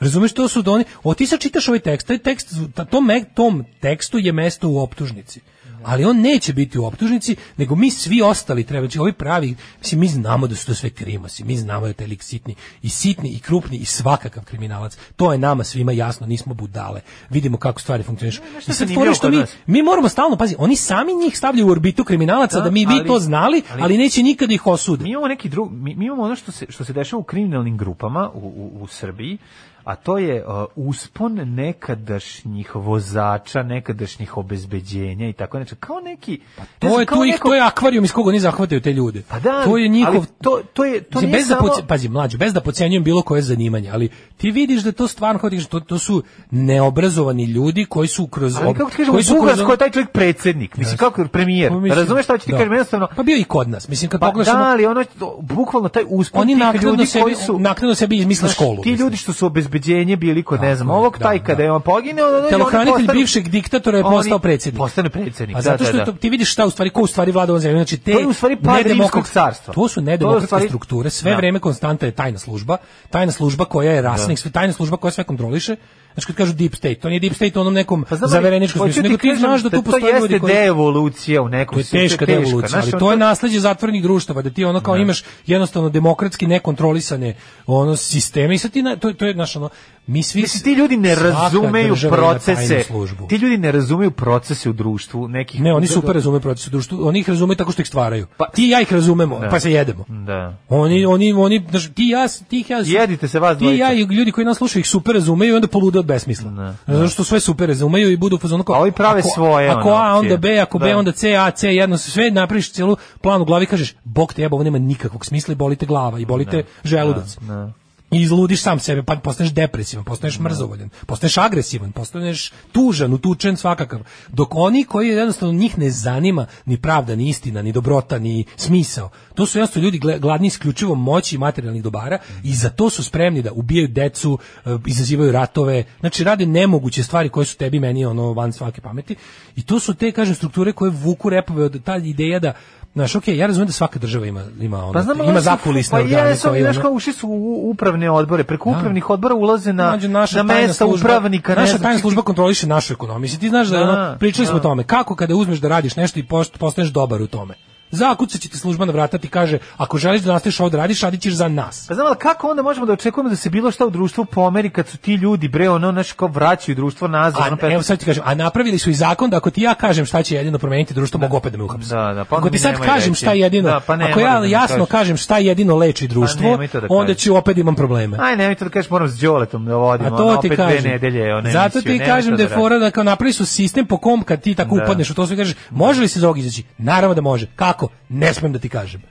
F: Razumeš, to su da oni, o ti sad čitaš ovaj tekst, taj tekst, ta- tom, me- tom tekstu je mesto u optužnici. Ali on neće biti u optužnici, nego mi svi ostali treba, znači ovi pravi, mislim, mi znamo da su to sve krimasi, mi znamo da je taj lik sitni, i sitni, i krupni, i svakakav kriminalac. To je nama svima jasno, nismo budale. Vidimo kako stvari funkcionišu. I sad
G: zanimljivo
F: fora što
G: kod
F: mi,
G: nas?
F: mi moramo stalno, pazi, oni sami njih stavljaju u orbitu kriminalaca da,
G: Da,
F: mi, mi
G: ali-
F: to znali, ali,
G: ali-
F: neće nikada ih osude.
G: Mi imamo neki drug, mi, mi imamo ono što se što se dešava u kriminalnim grupama u, u, u Srbiji, a to je uh, uspon nekadašnjih vozača, nekadašnjih obezbeđenja i tako nešto. Kao neki... ne
F: Pa To
G: znam,
F: je,
G: kao
F: to, ih,
G: neko-
F: to je akvarijum iz koga oni zahvataju te ljude.
G: Pa da,
F: to je njihov...
G: ali to- to je- to
F: Mislim,
G: nije
F: bez
G: samo-
F: Da poce- pazi, mlađo, bez da pocenjujem bilo koje zanimanje, ali ti vidiš da to stvarno, kako ti kažem, to, to su neobrazovani ljudi koji su kroz...
G: Ali
F: ob-
G: kako ti kažemo,
F: koji su
G: u
F: kroz
G: Bugarskoj
F: ono-
G: je taj čovjek predsednik, mislim, kako je premijer,
F: Pa mislim,
G: razumeš šta ću ti
F: da.
G: kažem, jednostavno,
F: Pa bio i kod nas. Mislim, kad
G: pa
F: pogledaš...
G: da,
F: ono-
G: ali ono, to- bukvalno taj uspon
F: oni
G: tih
F: naknadno
G: ljudi
F: sebi,
G: koji su...
F: naknadno sebi izmisle
G: znaš,
F: školu.
G: Ti
F: mislim.
G: ljudi što su obezbeđenje bili kod, ne znam,
F: Tako je,
G: ovog,
F: da,
G: taj
F: da.
G: kada je on poginuo... ono- ono-
F: Telohranitelj
G: postane-
F: bivšeg diktatora je
G: Oni
F: postao predsjednik.
G: Postane predsjednik,
F: A
G: da,
F: zato
G: da,
F: što je
G: da.
F: to, ti vidiš šta u stvari ko u stvari vlada ovom zemljom. Znači te
G: To je u stvari pad
F: nedemokrat-
G: Rimskog carstva.
F: To su
G: To je u
F: nedemokratske
G: stvari-
F: strukture. Sve
G: Da.
F: vreme konstanta je tajna služba, tajna služba koja je rasnik, sve tajna služba koja sve kontroliše. Znači kad kažu deep state, to nije deep state u onom nekom
G: Pa znam, ali
F: zavereničkom
G: hoću
F: smislu,
G: ti
F: nego ti
G: kažem
F: znaš da tu postoje ljudi
G: To jeste
F: koji
G: deevolucija u nekom
F: To je
G: smislu,
F: teška devolucija,
G: znaš,
F: ali
G: ono-
F: to je nasleđe zatvorenih društava, da ti ono kao imaš jednostavno demokratski nekontrolisane ono sisteme i sad ti na, to, je- to je naš ono, mi svi
G: Mislim, ti ljudi ne
F: svaka
G: razumeju
F: država ima tajnu
G: procese.
F: službu.
G: Ti ljudi ne razumeju procese u društvu nekih.
F: Ne, oni super razumeju proces u društvu, oni ih razumeju tako što ih stvaraju.
G: Pa-
F: ti i ja ih razumemo,
G: Da.
F: pa se jedemo.
G: Da.
F: Oni, oni, oni, znaš, ti i ja, ti ih ja...
G: Jedite se vas
F: Ti i ja i
G: dvojica.
F: ljudi koji nas slušaju ih super razumeju i onda polude od besmisla. Zato što sve super razumeju i budu u fazonu kao...
G: A ovi prave
F: ako,
G: svoje,
F: Ako
G: ono,
F: A, onda
G: opcije.
F: B, ako B,
G: Da.
F: onda C, A, C, jedno sve napraviš celu plan u glavi i kažeš, bog te jeba, ovo nema nikakvog smisla i bolite glava i bolite želudac.
G: Da.
F: I izludiš sam sebe, pa postaneš depresivan, postaneš mrzovoljan, postaneš agresivan, postaneš tužan, utučen svakakav. Dok oni koji jednostavno njih ne zanima ni pravda, ni istina, ni dobrota, ni smisao. To su jednostavno ljudi gle- gladni isključivo moći i materijalnih dobara i za to su spremni da ubijaju decu, e, izazivaju ratove, znači rade nemoguće stvari koje su tebi i meni ono van svake pameti. I to su te kažem strukture koje vuku repove od ta ideja da Znaš, okej, ja razumijem da svaka država ima ima ono,
G: Pa znam, ali
F: ima
G: oni su-
F: zakulisne
G: pa
F: organe
G: jesu,
F: koji,
G: oni, znaš
F: ono-
G: kao ušli su u upravne odbore, preko
F: Da.
G: upravnih odbora ulaze na
F: Mlađe, naša
G: na
F: tajna
G: mesta
F: služba-
G: upravnika, ne
F: Naša
G: znam,
F: tajna
G: ti-
F: služba kontroliše našu ekonomiju. Mislim, ti znaš da, je
G: Da,
F: ono, pričali smo o
G: da.
F: tome, kako kada uzmeš da radiš nešto i post- postaneš dobar u tome. Zakucat će ti služba na vrata ti kaže, ako želiš da nastaviš ovo da radiš, radit ćeš za nas.
G: Pa znam, ali kako onda možemo da očekujemo da se bilo šta u društvu pomeri kad su ti ljudi, bre, ono, znaš, kao vraćaju društvo nazad.
F: A,
G: ono, pa-
F: evo sad ti kažem, a napravili su i zakon da ako ti ja kažem šta će jedino promeniti društvo, mogu opet da me uhapse.
G: Da, da, pa onda
F: ako ti
G: mi
F: sad
G: nemoj
F: kažem
G: reći.
F: šta jedino,
G: Da, pa ne,
F: ako ja
G: moram da mi
F: jasno
G: kažeš.
F: kažem šta jedino leči društvo,
G: nemoj to da
F: onda
G: kažeš.
F: ću opet imam probleme.
G: Aj, nemoj to da kažeš, moram s Đoletom da vodim,
F: A
G: ono,
F: Pa to ti
G: opet
F: kažem.
G: dve nedelje, one
F: Zato
G: emisiju,
F: ti
G: nemoj
F: kažem
G: to
F: da je
G: radiš.
F: fora da kao napravi su sistem po kom kad ti tako
G: Da.
F: upadneš u to sve kažeš, može li se iz ovog izaći? Naravno da može. Kako? Ne smem da ti kažem.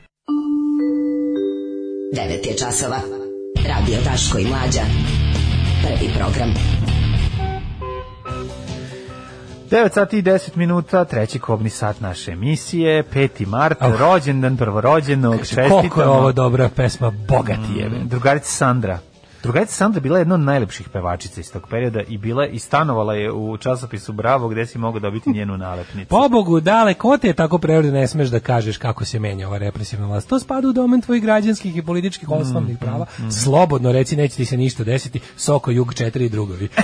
E: 9 je časova. Radio Daško i Mlađa. Prvi program.
G: 9 sati i 10 minuta, treći kobni sat naše emisije, 5. mart,
F: Au.
G: rođendan, prvorođenog, čestitamo.
F: Koliko je ovo dobra pesma, bogati je.
G: Mm, Drugarica Sandra. Drugarica Sandra bila je jedna od najlepših pevačica iz tog perioda i bila i stanovala je u časopisu Bravo gde si mogao dobiti njenu nalepnicu.
F: Pobogu, dale, ko te je tako prevode, ne smeš da kažeš kako se menja ova represivna vlast. To spada u domen tvojih građanskih i političkih osnovnih prava. Slobodno reci, neće ti se ništa desiti. Soko, Jug, četiri i drugovi.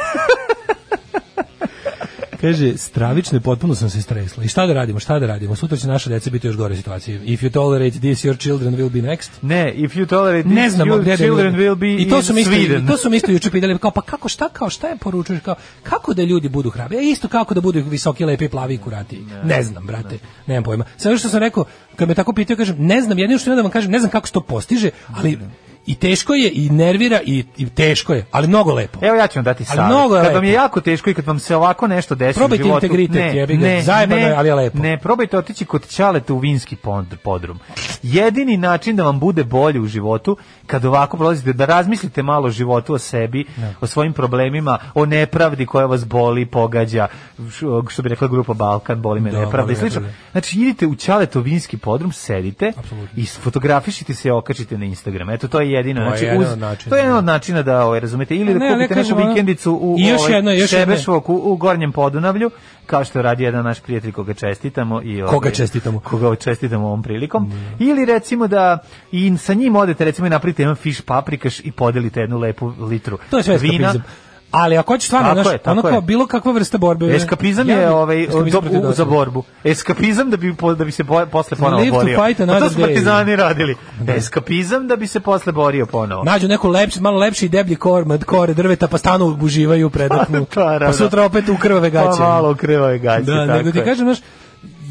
F: Kaže, stravično je, potpuno sam se stresla. I šta da radimo, šta da radimo? Sutra će naša deca biti u još gore situacije. If you tolerate this, your children will be next.
G: Ne, if you tolerate this,
F: Ne znamo
G: your
F: gde da
G: children
F: ljudi-
G: will be
F: I to
G: in
F: su mi isto,
G: Sweden.
F: i to su mi isto juče pitali kao pa kako šta kao šta je poručuješ kao kako da ljudi budu hrabri? E, isto kako da budu visoki, lepi, plavi i kurati. Ne, znam, brate. Nemam pojma. Sve što sam rekao, kad me tako pitaju kažem ne znam, jedino što imam da vam kažem, ne znam kako se to postiže, ali i teško je i nervira i, i teško je, ali mnogo lepo.
G: Evo ja ću vam dati
F: Ali
G: savjet.
F: mnogo je
G: Kad vam je
F: lepo.
G: jako teško i kad vam se ovako nešto desi
F: Probajte
G: u životu.
F: integritet, jebi ga. Zajebano je, ali je lepo.
G: Ne, probajte otići kod Ćaleta u Vinski pond- podrum. Jedini način da vam bude bolje u životu, kad ovako prolazite, da razmislite malo o životu, o sebi,
F: Da.
G: o svojim problemima, o nepravdi koja vas boli, pogađa, š- što bi rekla grupa Balkan, boli me
F: Da,
G: nepravda
F: boli
G: i slično.
F: nepravda.
G: Znači, idite u Ćaletu u Vinski podrum, sedite
F: Apsolutno.
G: i fotografišite se i okačite na Instagram. Eto, to je jedino.
F: To je
G: znači,
F: jedan
G: uz-
F: od načina,
G: to je jedan
F: da.
G: od načina da ovaj, razumete.
F: Ne,
G: Ili
F: ali
G: da
F: ja
G: kupite
F: kažem,
G: neku
F: ono-
G: vikendicu u,
F: I još
G: ovaj,
F: jedno, još jedno.
G: Šebešvok, u, u Gornjem Podunavlju, kao što radi jedan naš prijatelj koga čestitamo. I, ovaj,
F: Koga čestitamo?
G: Koga čestitamo ovom prilikom. Ili recimo da i sa njim odete recimo i napravite jedan fiš paprikaš i podelite jednu lepu litru
F: To je sve
G: vina.
F: eskapizam. Ali ako hoćeš stvarno,
G: Tako
F: znaš,
G: je, tako
F: ono kao
G: je.
F: bilo kakva vrsta borbe.
G: Eskapizam
F: Ja bi-
G: je ovaj,
F: eskapizam
G: do-
F: protiv
G: u- za
F: dosade.
G: borbu. Eskapizam da bi, po- da bi se bo- posle ponovo
F: Live to
G: borio.
F: fight
G: Pa to
F: another
G: su
F: day.
G: partizani radili. Eskapizam da bi se posle borio ponovo.
F: Nađu neko lepši, malo lepši i deblji kormad, kore drveta, pa stanu uživaju, predahnu.
G: Naravno.
F: pa sutra opet u krvave gaće.
G: Pa malo krvave gaće,
F: da,
G: tako
F: nego ti
G: je.
F: kažem, znaš,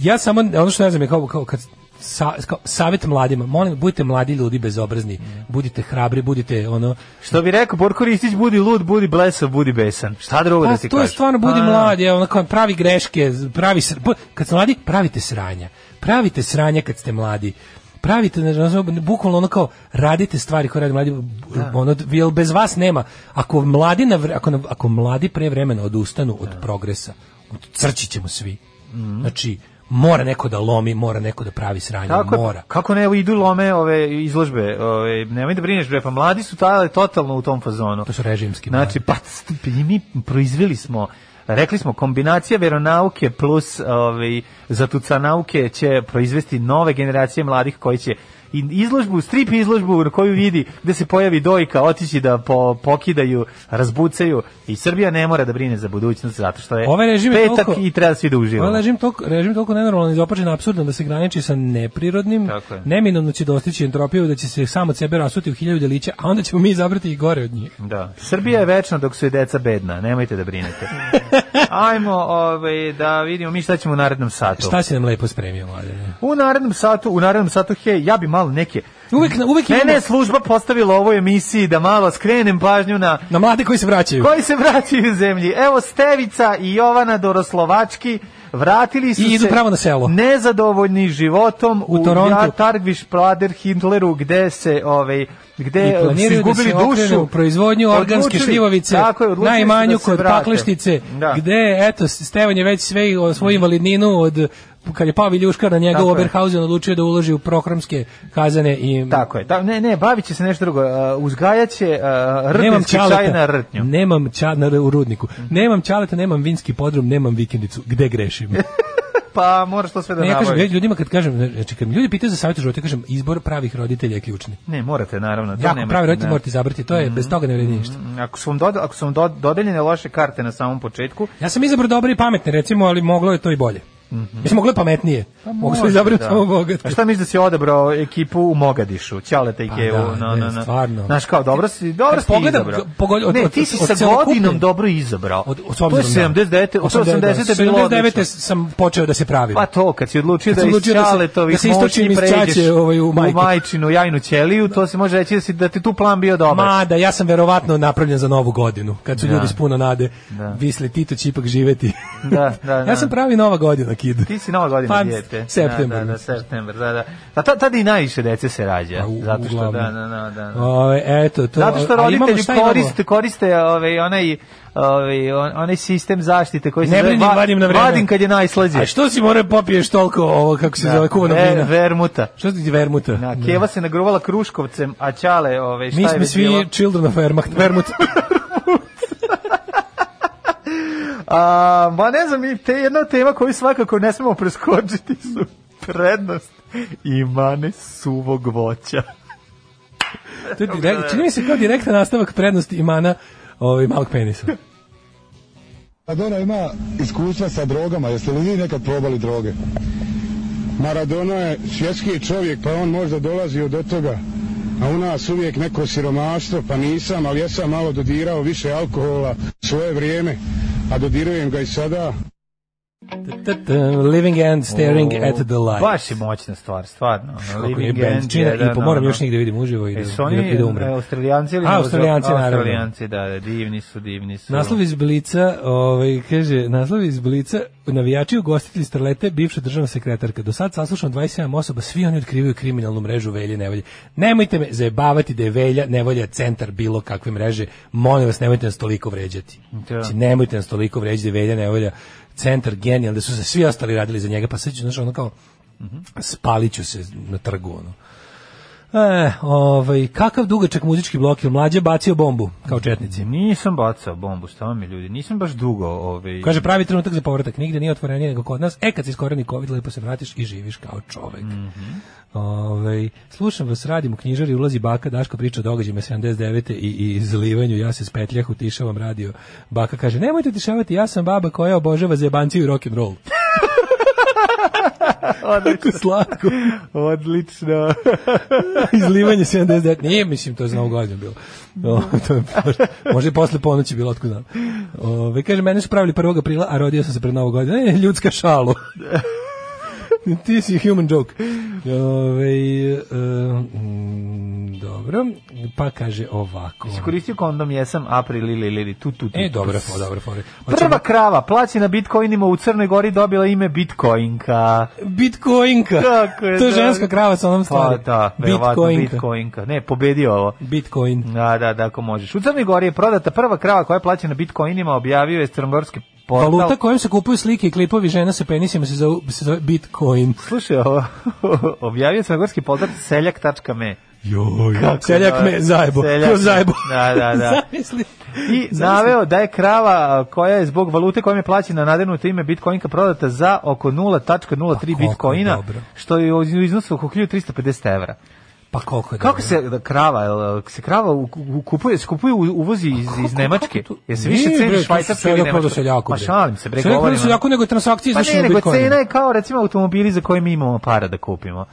F: ja samo, ono što ne znam je kao, kao kad sa, kao, savjet mladima, molim, budite mladi ljudi
G: Mhm.
F: bezobrazni, budite hrabri, budite ono...
G: Što bi rekao Borko Ristić, budi lud, budi blesav, budi besan. Šta drugo
F: Pa,
G: da ti
F: to je
G: kažem?
F: stvarno, budi
G: Pa,
F: mlad, je, ono, kao, pravi greške, pravi, sr- bu- kad ste mladi, pravite sranja. Pravite sranja kad ste mladi. Pravite, ne znam, bukvalno ono kao, radite stvari koje radi mladi,
G: Da.
F: ono, jel bez vas nema. Ako mladi, na vre- ako, na- ako mladi pre vremena odustanu od
G: Da.
F: progresa, crčit ćemo svi.
G: Mhm.
F: Znači, mora neko da lomi, mora neko da pravi sranje,
G: Kako, je-
F: mora.
G: kako ne, evo, idu lome ove izložbe, ove, nemoj da brineš, bre, pa mladi su tada totalno u tom fazonu.
F: To su režimski mladi.
G: Znači, pa st- i mi proizveli smo rekli smo kombinacija veronauke plus ovaj zatuca nauke će proizvesti nove generacije mladih koji će i izložbu, strip izložbu na koju vidi gde se pojavi dojka, otići da po, pokidaju, razbucaju i Srbija ne mora da brine za budućnost zato što je
F: Ovaj režim je
G: petak
F: toliko-
G: i treba svi da uživamo.
F: Ovaj režim toliko, režim toliko nenormalan i izopačen apsurdan da se graniči sa neprirodnim,
G: Tako je.
F: neminovno će dostići entropiju da će se sam od sebe rasuti u hiljadu delića, a onda ćemo mi izabrati i gore od njih.
G: Da. Srbija je večna dok su i deca bedna, nemojte da brinete. Ajmo ovaj, da vidimo mi šta ćemo u narednom satu.
F: Šta si nam lepo spremio, mladine?
G: U narednom satu, u narednom satu, hej, ja bi malo neke...
F: Uvek, uvek
G: Mene
F: imamo
G: je služba postavila u ovoj emisiji da malo skrenem pažnju na
F: na mlade koji se vraćaju.
G: koji se vraćaju u zemlji. Evo Stevica i Jovana Doroslovački vratili su
F: I idu
G: se
F: pravo na selo.
G: nezadovoljni životom u,
F: U Torontu.
G: Targviš Prader Hindleru gde se ovaj
F: I
G: gde su
F: planiraju da
G: izgubili
F: se okrenu
G: dušu
F: u proizvodnju organske
G: Odlučili-
F: šljivovice,
G: tako je, odlučili su
F: najmanju
G: da se
F: kod
G: vrate.
F: pakleštice,
G: Da.
F: gde, eto, Stevan je već sve o svoju invalidninu od kad je pao viljuškar na njega
G: Tako
F: u
G: je.
F: Oberhausen odlučio da uloži u prohromske kazane i
G: Tako je. Da, ne, ne, bavit će se nešto drugo. Uh, uzgajaće uh,
F: nemam
G: rtnjski čaj
F: čaleta,
G: na rtnju.
F: Nemam ča, na, r- u rudniku. Nemam čaleta, nemam vinski podrum, nemam vikendicu. Gde grešim?
G: Pa moraš to sve da
F: ne, ja kažem
G: nabaviš.
F: ljudima kad kažem, znači kad mi ljudi pitaju za savjet u životu, ja kažem izbor pravih roditelja je ključni.
G: Ne, morate naravno. to
F: Jako
G: nemate,
F: pravi roditelj
G: da.
F: morate izabrati, to je bez toga ne vredi ništa.
G: Ako su vam, doda, ako su vam do- dodeljene loše karte na samom početku,
F: Ja sam izabrao dobre i pametne, recimo, ali moglo je to i bolje.
G: Mhm.
F: Mislim, moglo je pametnije. Mogu sam izabrati samo bogate.
G: Pa da. A šta misliš da si odabrao ekipu u Mogadišu, Ćaleta i
F: Pa
G: Kevu?
F: da,
G: no,
F: ne,
G: no, no.
F: stvarno.
G: Znaš kao, dobro si, dobro
F: Kad
G: si
F: pogledam,
G: izabrao.
F: pogod- od-
G: ne,
F: od-
G: ti si
F: od
G: sa
F: celokupne-
G: godinom dobro izabrao.
F: Od, od, s
G: to je
F: obzirom na-
G: 79. To je 80. je bilo
F: 79.
G: odlično.
F: sam počeo da se pravim.
G: Pa to, kad si odlučio
F: Kad
G: da
F: sam
G: iz
F: odlučio da se-
G: Ćaletovih
F: da se istočim
G: moći
F: iz
G: pređeš
F: Ćaće, ovaj, u
G: u
F: majku.
G: majčinu jajnu ćeliju, to se može reći da, si, da ti tu plan bio dobar.
F: Mada, ja sam verovatno napravljen za novu godinu, kad su
G: Da.
F: ljudi s puno nade.
G: Da.
F: Visli, Tito će ipak živeti.
G: Da, da, da.
F: Ja sam pravi nova godina, kid.
G: Ti si nova godina
F: Pa,
G: dijete.
F: septembar.
G: Da, da, da, septembar, da, da. Pa ta, tada i najviše dece se rađa.
F: Pa, u-
G: zato što,
F: uglavnom.
G: da, da, da, da. da.
F: Ove, eto, to,
G: Zato što
F: a imamo
G: roditelji
F: šta imamo?
G: koriste, koriste ovaj, onaj, ovaj, on- onaj sistem zaštite koji se
F: Ne
G: zove
F: brinim,
G: va-
F: vadim na vreme.
G: Vadim kad je najslađe.
F: A što si mora popiješ toliko ovo, kako
G: Da,
F: se zove, kuvanog
G: Ver-
F: vina?
G: Vermuta.
F: Što ti vermuta?
G: Da,
F: Da.
G: Keva se nagruvala kruškovcem, a Ćale, ovaj, šta
F: Mi
G: je
F: smo
G: već
F: svi
G: bilo?
F: children of Wehrmacht, Wehrmut.
G: A, ma ne znam, i te jedna tema koju svakako ne smemo preskočiti su prednost i mane suvog voća.
F: To je direkt, čini mi se kao direktan nastavak prednosti imana ovaj, malog penisa.
J: Maradona Pa ima iskustva sa drogama, jeste li vi nekad probali droge? Maradona je svjetski čovjek, pa on možda dolazi od toga. A u nas uvijek neko siromaštvo, pa nisam, ali ja sam malo dodirao više alkohola svoje vrijeme, a dodirujem ga i sada.
F: Ta, ta, Living and staring at the light.
G: Baš je moćna stvar, stvarno. ono,
F: Kako je
G: Living
F: band
G: End
F: čina
G: je, da,
F: i po
G: da,
F: moram
G: da.
F: još nigde vidim uživo i da,
G: Jesu
F: i da,
G: oni
F: i da umrem.
G: e, Australijanci ili
F: A, Australijanci, naravno.
G: Australijanci, da, da, divni su, divni su.
F: Naslov iz Blica, ovaj, kaže, naslov iz Blica, navijači ugostitelji starlete, bivša državna sekretarka. Do sad saslušam 27 osoba, svi oni otkrivaju kriminalnu mrežu velje i nevolje. Nemojte me zajebavati da je velja nevolja centar bilo kakve mreže. Molim vas, nemojte nas toliko vređati.
G: Da.
F: Znači, nemojte nas toliko vređati da je velja nevolja centar genijal, da su se svi ostali radili za njega, pa sad ću, znaš, ono kao, spalit ću se na trgu, ono. E, ovaj, kakav dugačak muzički blok, je mlađe bacio bombu, kao četnici.
G: Nisam bacao bombu, šta mi ljudi, nisam baš dugo, ovaj...
F: Kaže pravi trenutak za povratak, nigde nije otvorenije nego kod nas. E kad se iskoreni covid, lepo se vratiš i živiš kao čovek. Ovaj, slušam vas, radim u knjižari, ulazi baka, Daško priča o događajima 79. i, i izlivanju, ja se s petljah utišavam radio. Baka kaže, nemojte utišavati, ja sam baba koja obožava zebanciju i rock'n'roll. Tako slatko.
G: Odlično.
F: Izlivanje 79. Nije, mislim, to je za novu godinu bilo. O, to je, baš- možda i posle ponoći bilo, otko znam. Ove, kaže, mene su pravili 1. aprila, a rodio sam se pred novu godinu. E, ljudska šalo. Ti si human joke. Ove, um, dobro, pa kaže ovako.
G: Iskoristio kondom, jesam, april ili ili tu, tu, tu.
F: E, pa dobra,
G: ps.
F: fo, dobra, fora.
G: Prva krava plaćena bitcoinima u Crnoj Gori dobila ime Bitcoinka.
F: Bitcoinka.
G: Kako je
F: to je
G: dobro.
F: ženska krava sa onom
G: Pa
F: stvari.
G: da, verovatno Mm.
F: Bitcoinka.
G: Bitcoinka. Ne, pobedio ovo.
F: Bitcoin.
G: Da, da, da, ako možeš. U Crnoj Gori je prodata prva krava koja je plaćena bitcoinima, objavio je crnogorski portal.
F: Valuta kojom se kupuju slike i klipovi žena sa penisima se zove, se zove Bitcoin.
G: Slušaj, ovo, objavio je crnogorski portal seljak.me.
F: Joj,
G: Kako
F: seljak
G: da?
F: me zajebo.
G: Seljak
F: Seljak.
G: me.
F: zajebo.
G: Da, da, da.
F: Zamisli.
G: I naveo da je krava a, koja je zbog valute kojom je plaćena nadenuto ime bitcoinka prodata za oko 0.03
F: Pa koliko
G: bitcoina,
F: dobro.
G: što je u iznosu oko 1350 evra.
F: Pa koliko je
G: Kako
F: dobro.
G: se da, krava, jel, se krava u- u- kupuje, se kupuje u- uvozi iz, iz Nemačke?
F: Pa kako to-
G: Jel se više
F: Nije, bre,
G: ceni
F: tu su
G: švajcarska
F: seljak
G: ili
F: prodao
G: nemačka?
F: seljaku,
G: Ma
F: bre.
G: šalim se,
F: Seljak
G: bre,
F: prodao
G: govorim. vam.
F: seljaku, nego je transakcija
G: Pa
F: izvršena
G: ne,
F: u
G: nego
F: bitcoinima.
G: cena je kao recimo automobili za koje mi imamo para da kupimo.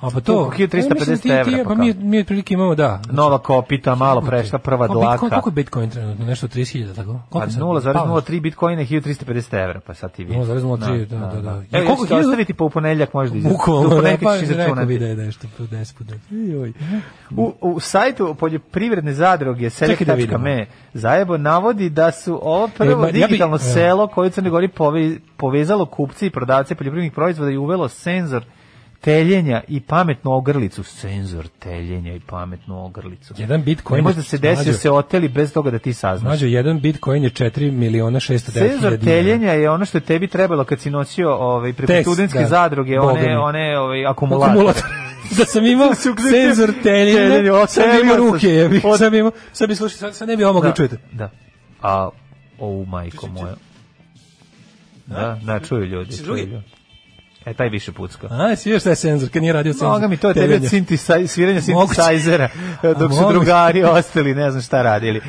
F: A pa
G: To
F: to,
G: oko 1350
F: E, mislim, ti- ti-
G: evra, pa
F: Pa mi, mi otprilike imamo, da.
G: Nova kopita, malo prešla, prva
F: Pa Bitcoin,
G: dlaka.
F: koliko je Bitcoin trenutno? Nešto 30.000, tako?
G: Pa
F: Koliko sad?
G: 0,03 bitcoina i 1350 evra, pa sad ti vidi.
F: 0,03, da, da, da.
G: Evo,
F: Ja,
G: ja
F: koliko
G: ću ti
F: hiljada-
G: ostaviti pa u ponedljak možda iz...
F: Bukvalno,
G: u
F: da,
G: ponedljak
F: pa
G: ćeš
F: rekao
G: izračunati.
F: bi da je nešto, to 10 puta. Joj.
G: U, u sajtu poljoprivredne zadruge
F: Čekaj da vidimo.
G: selek.me zajebo navodi da su ovo prvo
F: ma, ja bi-
G: digitalno
F: e.
G: selo koje u Crnoj Gori pove- povezalo kupce i prodavce poljoprivrednih proizvoda i uvelo senzor teljenja i pametnu ogrlicu. Senzor teljenja i pametnu ogrlicu.
F: Jedan Bitcoin
G: Ne
F: je-
G: može da se desi da
F: mlađo.
G: se oteli bez toga da ti saznaš.
F: Mađo, jedan Bitcoin je 4 miliona 609
G: Senzor teljenja je ono što je tebi trebalo kad si nosio ovaj, preko
F: Tekst,
G: studentske
F: da.
G: zadruge,
F: Boga mi.
G: one, one ovaj, akumulator.
F: Akumulator. da sam imao senzor
G: Teljenje,
F: teljenja, sad bi
G: otelio
F: imao
G: sam.
F: ruke, ja bih,
G: Od-
F: sad bi imao, sad bi slušao, sad, sad ne bi ovo mogli da. čujete.
G: Da. A, o, majko moja. Da, da, čuju ljudi, čuju
F: drugi?
G: ljudi. E, taj više pucka.
F: A, si vidio šta je senzor, kad nije radio senzor.
G: Moga mi to je tebi od
F: teljenja.
G: sintisaj, sviranja
F: Moguće.
G: sintisajzera,
F: A,
G: dok su
F: moguće.
G: drugari ostali, ne znam šta radili.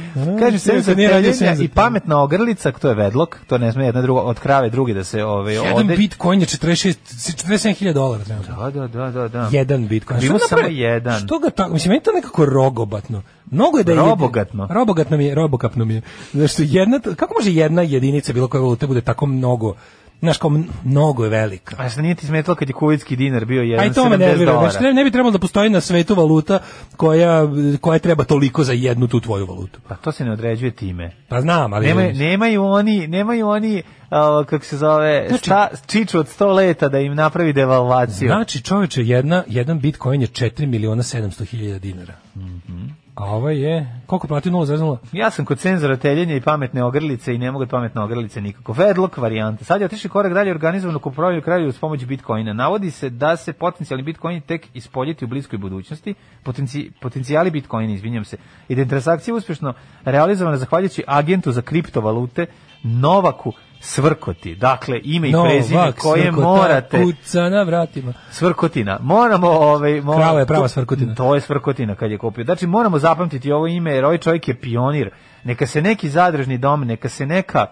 F: svirka
G: Kažem, senzor
F: nije radio
G: teljenja
F: senzor.
G: i pametna ogrlica, to je vedlok, to ne sme jedna druga, od krave druge da se ove,
F: Jedan
G: ode.
F: Bitcoin je 46, 47.000 dolara trenutno.
G: Da, da, da, da, da.
F: jedan bitcoin.
G: Bilo
F: Što
G: samo
F: napravi-
G: jedan.
F: Što ga tako, mislim, meni je to nekako rogobatno. Mnogo je da je... jedi-
G: Robogatno.
F: Robogatno mi je, robokapno mi je. Zašto jedna, kako može jedna jedinica bilo koje valute bude tako mnogo, znaš, kao mn- mnogo je velika.
G: A šta nije ti smetalo kad je kuvitski dinar bio
F: A i to me
G: 1,70
F: nervira. Znači,
G: dolara?
F: ne, ne bi trebalo da postoji na svetu valuta koja, koja treba toliko za jednu tu tvoju valutu.
G: Pa to se ne određuje time.
F: Pa znam, ali...
G: Nema, nemaju oni, nemaju oni, a, kako se zove,
F: Znači-
G: sta, čiču od 100 leta da im napravi devalvaciju.
F: Znači, čoveče, jedna, jedan bitcoin je 4 miliona 700 hiljada dinara.
G: Mhm.
F: A ovo je... Koliko plati 0,0?
G: Ja sam kod senzora teljenja i pametne ogrlice i ne mogu od pametne ogrlice nikako. Vedlok varijanta. Sad je otišli korak dalje organizovano kupovanje kralju uz pomoć bitcoina. Navodi se da se potencijalni bitcoin tek ispoljiti u bliskoj budućnosti. Potenci, potencijali bitcoina, izvinjam se. I da je transakcija uspješno realizovana zahvaljujući agentu za kriptovalute Novaku Svrkoti. Dakle, ime i prezime
F: Novak,
G: koje
F: Svrkota,
G: morate...
F: Kuca na vratima.
G: Svrkotina. Moramo ovaj moramo,
F: Krava je prava svrkotina.
G: To je svrkotina kad je kupio. Znači moramo zapamtiti ovo ime jer ovaj čovjek je pionir. Neka se neki zadružni dom, neka se neka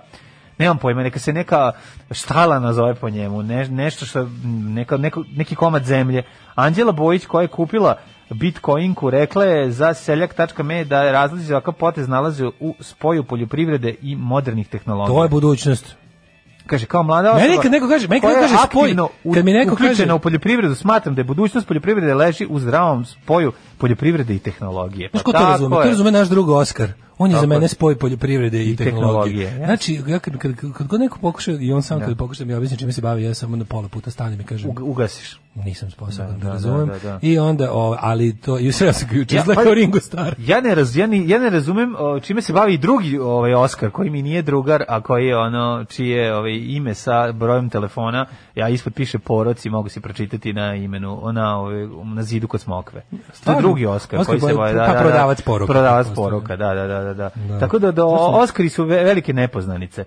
G: nemam pojma, neka se neka štala nazove po njemu, ne, nešto što neka, neko, neki komad zemlje. Anđela Bojić koja je kupila Bitcoinku rekla je za seljak.me da je različit ovakav potez nalazi u spoju poljoprivrede i modernih tehnologija.
F: To je budućnost.
G: Kaže kao mlada osoba.
F: Meni kad neko kaže- meni kad
G: koja
F: neko
G: je
F: kaže spoj,
G: aktivno u-
F: kad mi neko
G: uključena
F: kaže-
G: u poljoprivredu, smatram da je budućnost poljoprivrede leži u zdravom spoju poljoprivrede i tehnologije. Pa
F: Znaš ko to
G: tako
F: razume? To
G: je.
F: razume naš drug Oskar. On je
G: Tako
F: za
G: je.
F: mene spoj poljoprivrede i,
G: I tehnologije,
F: tehnologije.
G: ja.
F: Znači, ja kad, kad, kad, god neko pokuša, i on sam kad pokuša da mi objasni čime se bavi, ja samo na pola puta stanem i kažem,
G: U- ugasiš.
F: nisam sposoban
G: Da,
F: da,
G: da,
F: razumem.
G: da, da.
F: I onda, o, ali to, i sve ja sam ključe,
G: Ja,
F: izgleda
G: pa-
F: kao Ringo Starr.
G: Ja ne, raz, ja, ni- ja ne razumem o, čime se bavi i drugi ovaj Oskar koji mi nije drugar, a koji je ono čije ovaj ime sa brojem telefona, ja ispod piše poroci, mogu se pročitati na imenu, na ovaj, na zidu kod smokve. To je
F: Stvarno?
G: drugi Oskar,
F: Oskar
G: koji se
F: Bojan-
G: bavi, da,
F: pa
G: da, da.
F: prodavac poruka,
G: Prodavac
F: pretpostavljam.
G: poruka, da, da, da, da, da. Tako da, da Oskari su ve- velike nepoznanice.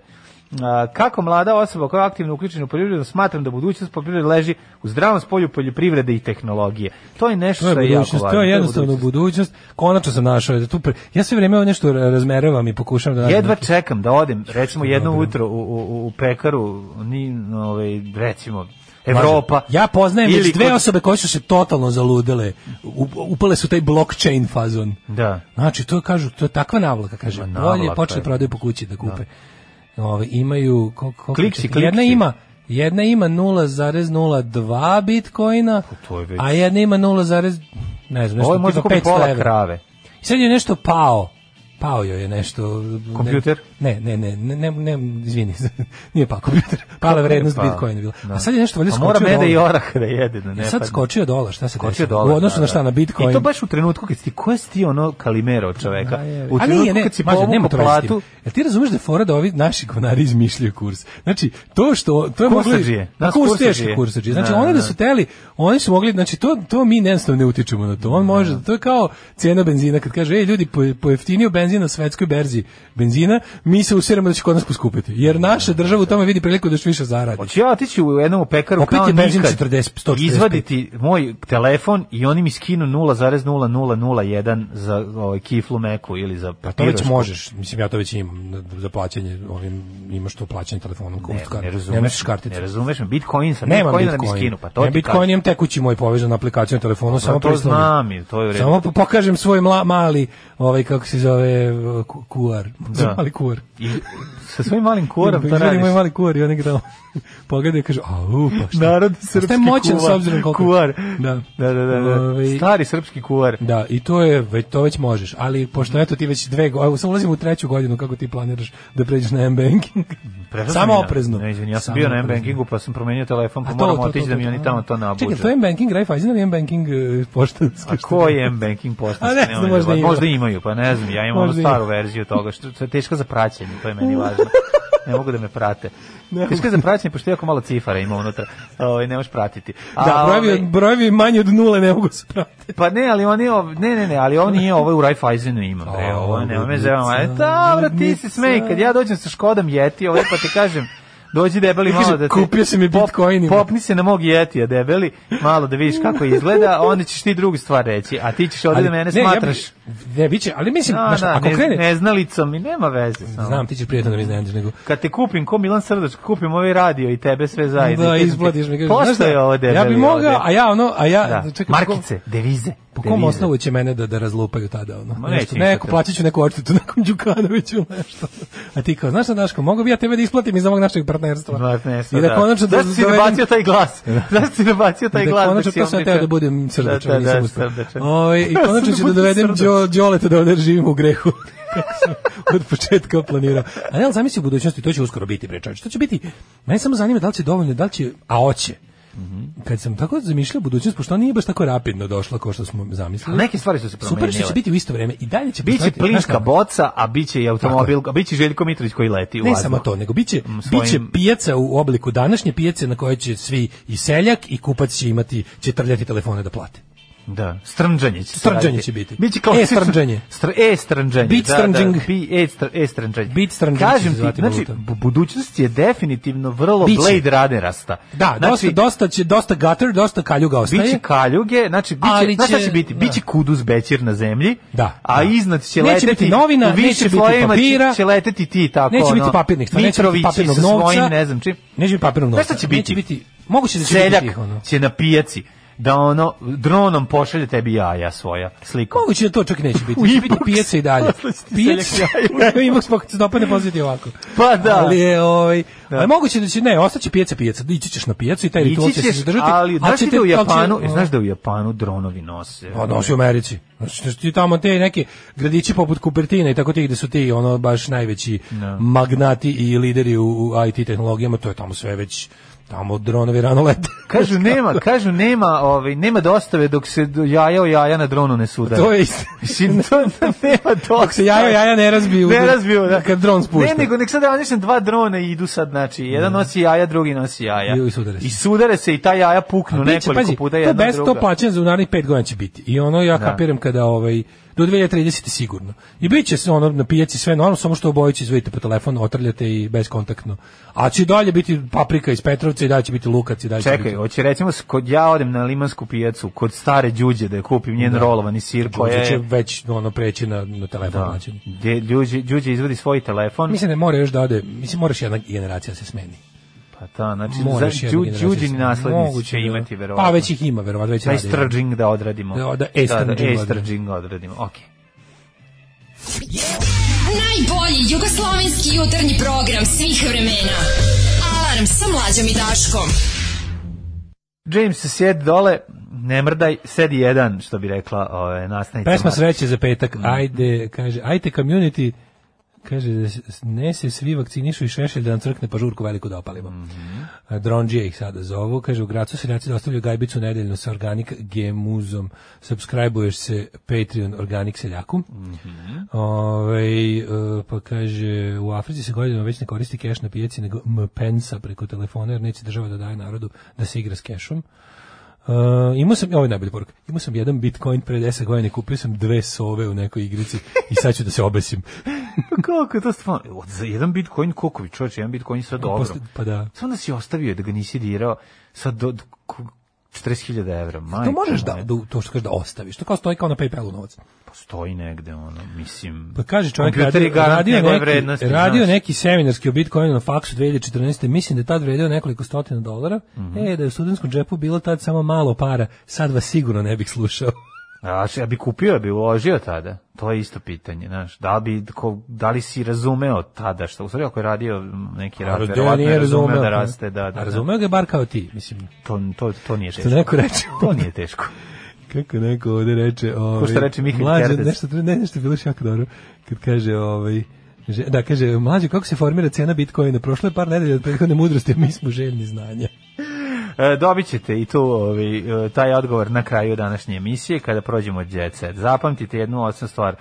G: A, kako mlada osoba koja je aktivno uključena u poljoprivredu, smatram da budućnost poljoprivrede leži u zdravom spolju poljoprivrede i tehnologije. To je nešto
F: To je
G: što je jako
F: budućnost,
G: važno.
F: to je jednostavno
G: budućnost.
F: budućnost. Konačno sam našao. Da tu pre... Ja sve vrijeme ovo nešto ra- razmeravam i pokušavam da... nađem
G: Jedva
F: neki-
G: čekam da odem, recimo jedno jutro u, u, u pekaru, ni, ovaj, recimo, Evropa.
F: Ja poznajem
G: Ili
F: već dve
G: kod-
F: osobe koje su se totalno zaludele. U- Upale su u taj blockchain fazon.
G: Da.
F: Znači, to kažu, to je takva navlaka, kaže.
G: Ma, navlaka
F: Bolje počne
G: je. Da.
F: prodaju po kući da kupe. Ove, imaju... Koliko, koliko
G: Kliksi,
F: će- Jedna
G: kliksi.
F: ima Jedna ima 0,02 bitcoina,
G: Pa to je već-
F: a jedna ima 0, ne znam, nešto
G: Ovo je možda
F: tipa
G: kupi
F: 500
G: pola
F: evra.
G: krave.
F: I sad je nešto pao. Pao joj je nešto... ne-
G: Kompjuter?
F: Ne, ne, ne, ne, ne, ne izvini, nije pao kompjuter. Pala je vrednost
G: Kako je pao?
F: bitcoina bila.
G: Da.
F: A sad je nešto valjda
G: A
F: skočio
G: mora meda i
F: dolar.
G: orah da jede, da ne
F: I sad
G: padne.
F: skočio dolar, šta se
G: Skočio
F: desilo?
G: dolar.
F: U odnosu
G: da,
F: na
G: da.
F: šta, na bitcoin.
G: I to baš u trenutku kad si ti, ko si ti ono kalimera od čoveka?
F: Da, je.
G: Pa U
F: A
G: trenutku
F: nije, ne,
G: kad si
F: mađo, nema
G: povukao
F: to veze s tim.
G: platu,
F: Jel ti razumeš da je fora da ovi naši govnari izmišljaju kurs? Znači, to što... To je moglo-
G: Kursadžije, nas
F: Kurs
G: kursadžije.
F: teški kursadžije. Znači,
G: Da,
F: oni
G: da.
F: da su teli, oni su mogli, znači, to, to mi jednostavno ne utičemo na to. On
G: Da.
F: može, to je kao cijena benzina. Kad kaže, ej, ljudi, po, pojeftinio benzin na svetskoj berzi benzina, mi se usiramo da će kod nas poskupiti. Jer naša država u tome vidi priliku da još više zaradi.
G: Hoću Pa ja otići u jednom pekaru
F: Opet
G: kao
F: je benzin
G: nekad,
F: 40, 145.
G: izvaditi moj telefon i oni mi skinu 0,0001 za ovaj, kiflu meku ili za
F: Pa To
G: papirošku.
F: već možeš, mislim ja to već imam na- za plaćanje, ovim imaš to plaćanje telefonom,
G: Ne,
F: kart,
G: ne
F: da ne
G: razumeš,
F: nosiš
G: ne,
F: karticu.
G: razumeš me, Bitcoin sam,
F: Nemam
G: Bitcoin da mi
F: Bitcoin.
G: skinu, pa to
F: ja
G: ti
F: Bitcoin
G: kažem. Pa
F: imam tekući moj povezan na aplikaciju na telefonu, samo
G: to
F: pristup mi.
G: znam, i to je u redu.
F: Samo po- pokažem svoj mla, mali, ovaj kako se zove, ku- kuar.
G: Da.
F: Mali kuar.
G: I sa svojim malim korom to
F: Izvori
G: radiš.
F: moj mali kuar i oni ga tamo pogledaju i kažu, a u, pa šta?
G: Narod
F: A
G: srpski
F: šta je moćan
G: kuvar.
F: s obzirom koliko...
G: Kuvar.
F: Da.
G: Da, da, da, da.
F: Ovaj,
G: Stari srpski kuvar.
F: Da, i to je već to već možeš, ali pošto eto ti već dve, go- evo samo ulazimo u treću godinu kako ti planiraš da pređeš na M-banking.
G: Prešao sam
F: Samo
G: ja.
F: oprezno.
G: Ne, izvini, ja sam
F: Samo
G: bio na
F: oprezno.
G: M-Bankingu pa sam promenio telefon, pa
F: A
G: moram otići da mi oni
F: to.
G: tamo to nabuđe.
F: Čekaj, to je M-banking Raiffeisen ili M-banking e, poštanski?
G: A ko je M-Banking
F: A
G: postanski?
F: ne znam, možda ima.
G: možda imaju, pa ne znam, ja imam onu
F: Možda
G: staru verziju toga, što, što je teško za praćenje, to je meni važno. Ne mogu da me prate. Teško je za praćenje, pošto jako malo cifara ima unutra, ovaj, ne možeš pratiti. A,
F: Da,
G: ovaj,
F: brojevi, brojevi manje od nule ne mogu se pratiti.
G: Pa ne, ali oni, ov- ne, ne, ne, ali ovo nije, ovo je ovaj u Raiffeisenu imam, bre,
F: A,
G: ovo ne, ovo me
F: ludnica,
G: zovem, a dobro, ti se
F: ludnica.
G: smej, kad ja dođem sa Škodom Jeti, ovaj, pa ti kažem, dođi debeli
F: I kaže,
G: malo da ti...
F: kupio si mi bitcoinima.
G: popni se na mog Jetija debeli, malo da vidiš kako izgleda, a onda ćeš ti drugu stvar reći, a ti ćeš ovdje da mene
F: ne,
G: smatraš...
F: Ja bi, ne, bit će, ali mislim,
G: A,
F: znaš,
G: da,
F: ako
G: ne,
F: krene...
G: neznalicom i nema veze. Samo.
F: Znam, ti ćeš prijatno da mi iznenadiš, nego...
G: Kad te kupim, ko Milan Srdoč, kad kupim ovaj radio i tebe sve zajedno.
F: Da,
G: i kažem ti,
F: izbladiš mi. kažeš,
G: "Pošto
F: znaš šta,
G: je ovo debeli
F: Ja bi mogao,
G: ovde?"
F: a ja ono, a ja...
G: Da.
F: čekaj, po kom-
G: Markice, devize.
F: Po kom
G: devize.
F: osnovu će mene da, da razlupaju tada? Ono?
G: Ma,
F: Nešto,
G: neće ništa
F: neko,
G: te-
F: plaćat ću neku odštetu nekom Đukanoviću ili nešto. A ti kao, znaš šta, Daško, mogu bi ja tebe da isplatim iz ovog našeg partnerstva?
G: Partnerstvo,
F: I da, konačno da,
G: Zašto si
F: dovedem-
G: nabacio taj glas? Zašto si nabacio taj
F: da
G: glas?
F: konačno
G: si
F: to sam
G: omničar?
F: teo da budem srdačan,
G: Da,
F: da,
G: da, da, srdačan.
F: I konačno ću da dovedem
G: Srdačan.
F: Đo- Đoleta da ovde živimo u grehu. Kako sam od početka planirao. A ne, ali zamisli u budućnosti, to će uskoro biti, bre čovječe. To će biti, mene samo zanima da li će dovoljno, da li će, a oće.
G: Mhm.
F: Kad sam tako zamišljao budućnost, pošto ona nije baš tako rapidno došla kao što smo zamislili.
G: Ali neke stvari su se
F: Super što će
G: promenile.
F: biti u isto vreme i dalje će
G: Biće
F: postojati- znaš
G: plinska
F: kako?
G: boca, a biće i automobil, a biće Željko Mitrović koji leti u
F: Ne
G: vazduh.
F: samo to, nego biće,
G: svojim-
F: biće pijaca u obliku današnje pijace na kojoj će svi i seljak i kupac će imati, će trljati telefone da plate.
G: Da, strnđanje će se
F: Strnđanje
G: raditi.
F: će biti.
G: Biće klasično-
F: E-strnđanje.
G: Str e strnđanje.
F: Bit
G: da,
F: strnđing.
G: Da, bi e str e strnđanje.
F: Bit strnđing će
G: Kažem
F: se
G: ti,
F: zvati
G: znači
F: valuta.
G: bu- budućnost je definitivno vrlo
F: Biće.
G: Blade Runnerasta.
F: Da,
G: znači,
F: dosta, dosta, će, dosta gutter, dosta kaljuga ostaje.
G: Biće kaljuge, znači biće,
F: Ali
G: znaš šta
F: će-
G: će biti?
F: da.
G: Biće kuduz bećir na zemlji,
F: Da,
G: a
F: da.
G: iznad će
F: Neće
G: leteti
F: biti novina,
G: u više
F: neće biti
G: slojevima će-
F: papira,
G: će leteti ti tako.
F: neće
G: ono,
F: biti papirnih stvari, neće biti
G: Mitrovići
F: papirnog
G: sa
F: novca.
G: svojim, ne znam čim.
F: Neće biti papirnog
G: Znaš
F: novca.
G: šta će biti?
F: Neće biti moguće da će
G: Seljak
F: biti tih, ono.
G: će na pijaci da ono dronom pošalje tebi jaja svoja slikom.
F: Moguće da to čak i neće biti.
G: U
F: Će biti
G: inbox.
F: pijaca i dalje.
G: Poslao će ti
F: Pijaca,
G: seljak jaja.
F: Evo, inbox pa kad se dopadne posjeti ovako.
G: Pa da.
F: Ali je, ovaj,
G: Da.
F: ali moguće da će, ne, ostaće pijaca pijaca. Ići ćeš na pijacu i taj ritual
G: Ići
F: će se
G: ćeš,
F: zadržati.
G: ali
F: ali
G: znaš ti
F: ćete-
G: da u
F: ali će-
G: Japanu, znaš da u Japanu dronovi nose.
F: Pa nosi u Americi. Znači, ti tamo te neke gradići poput Kupertina i tako ti gde su ti ono baš najveći
G: Da.
F: magnati i lideri u, u IT tehnologijama, to je tamo sve već tamo dronovi rano lete.
G: Kažu nema, kažu nema, ovaj nema dostave dok se do- jaja o jaja na dronu ne sudare.
F: to je isto.
G: Mislim, to nema to.
F: Dok se jaja jaja ne razbiju.
G: Ne razbiju, da.
F: Kad dron spušta. Da.
G: Ne, nego nek sad ja mislim dva drona idu sad, znači, jedan nosi jaja, drugi nosi jaja.
F: I- i sudare se.
G: I sudare se i ta jaja puknu
F: Biće,
G: nekoliko puta
F: to
G: jedna
F: bez
G: druga.
F: to
G: Da.
F: plaćanje za u narednih 5 godina će biti. I ono ja kapiram kada ovaj do 2030 sigurno. I biće se ono na pijaci sve normalno, samo što obojići izvedite po telefonu, otrljate i beskontaktno. A će i dalje biti paprika iz Petrovca i dalje će biti lukac i dalje će
G: Čekaj,
F: biti-
G: hoće recimo s- kod ja odem na limansku pijacu, kod stare đuđe da je kupim njen rolovani sir koji
F: Đuđe će
G: je
F: već ono preći na, na telefon
G: da,
F: plaćanje.
G: gde đuđe đuđe izvadi svoj telefon.
F: Mislim da mora još da ode, mislim moraš jedna generacija da se smeni.
G: pa da, znači
F: Moraš
G: za
F: jedna
G: Đu-
F: generacija da se
G: đuđini
F: smeni.
G: naslednici
F: Moguće
G: će
F: da-
G: imati verovatno.
F: Pa već ih ima verovatno, već
G: taj
F: rade.
G: strđing da odradimo.
F: Da, da,
G: da,
F: e-strđing odradimo.
G: e-strđing odradimo. Okej.
E: Najbolji jugoslovenski jutarnji program svih vremena. Alarm Alarm sa mlađom i Daškom.
G: James, sjed dole, ne mrdaj, sedi jedan, što bi rekla ove, nastavnica.
F: Pesma
G: Marta.
F: sreće za petak. Ajde, kaže, ajte community, kaže, da se- ne se svi vakcinišu i šešelj da nam crkne pažurku veliku da opalimo. Mm Dronđije ih sada zovu. Kaže, u Gracu seljaci dostavljaju gajbicu nedeljno sa Organic Gemuzom. Subscribeuješ se Patreon Organic seljaku. Ovaj, e, pa kaže, u Africi se godinama već ne koristi keš na pijaci, nego mpensa preko telefona, jer neće država da daje narodu da se igra s kešom. Uh, imao sam, ovo je najbolja poruka, imao sam jedan bitcoin pre 10 godina i kupio sam dve sove u nekoj igrici i sad ću da se obesim.
G: Kako je to stvarno? Za jedan bitcoin, koliko bi čovječe, jedan bitcoin sad dobro.
F: Posle- pa da.
G: Samo da si ostavio da ga nisi dirao sad do, do ku- 40.000 evra. Majko,
F: To možeš da,
G: moja.
F: da, to što kažeš da ostaviš, to kao stoji kao na Paypalu novac.
G: Postoji negde, ono, mislim...
F: Pa kaže čovjek
G: kompjuteri
F: radio,
G: garant
F: radio,
G: njegove
F: neki,
G: vrednosti,
F: radio
G: znaš.
F: neki seminarski o Bitcoinu na faksu 2014. Mislim da je tad vredio nekoliko stotina dolara.
G: Mhm.
F: E, da je u studenskom džepu bilo tad samo malo para, sad vas sigurno ne bih slušao.
G: A če- ja bi kupio, ja bi uložio tada. To je isto pitanje, znaš. Da li, bi, ko, da li si razumeo tada što? U stvari, ako je radio neki rad,
F: Rodeo
G: verovatno je razumeo
F: da,
G: da
F: pa-
G: raste, da, da.
F: A
G: da.
F: razumeo ga je bar kao ti, mislim.
G: To, to, to nije teško.
F: Što neko reče.
G: To nije teško.
F: Kako neko ovde reče, ovaj.
G: što reče Mihael
F: mlađe,
G: Kerdes.
F: nešto ne, nešto je bilo još jako dobro. Kad kaže ovaj že- Da, kaže, mlađe, kako se formira cena Bitcoina? Prošlo je par nedelja od prethodne mudrosti, a mi smo željni znanja.
G: E, dobit ćete i tu ovaj, e, taj odgovor na kraju današnje emisije kada prođemo od Jet Set. Zapamtite jednu osnovnu stvar.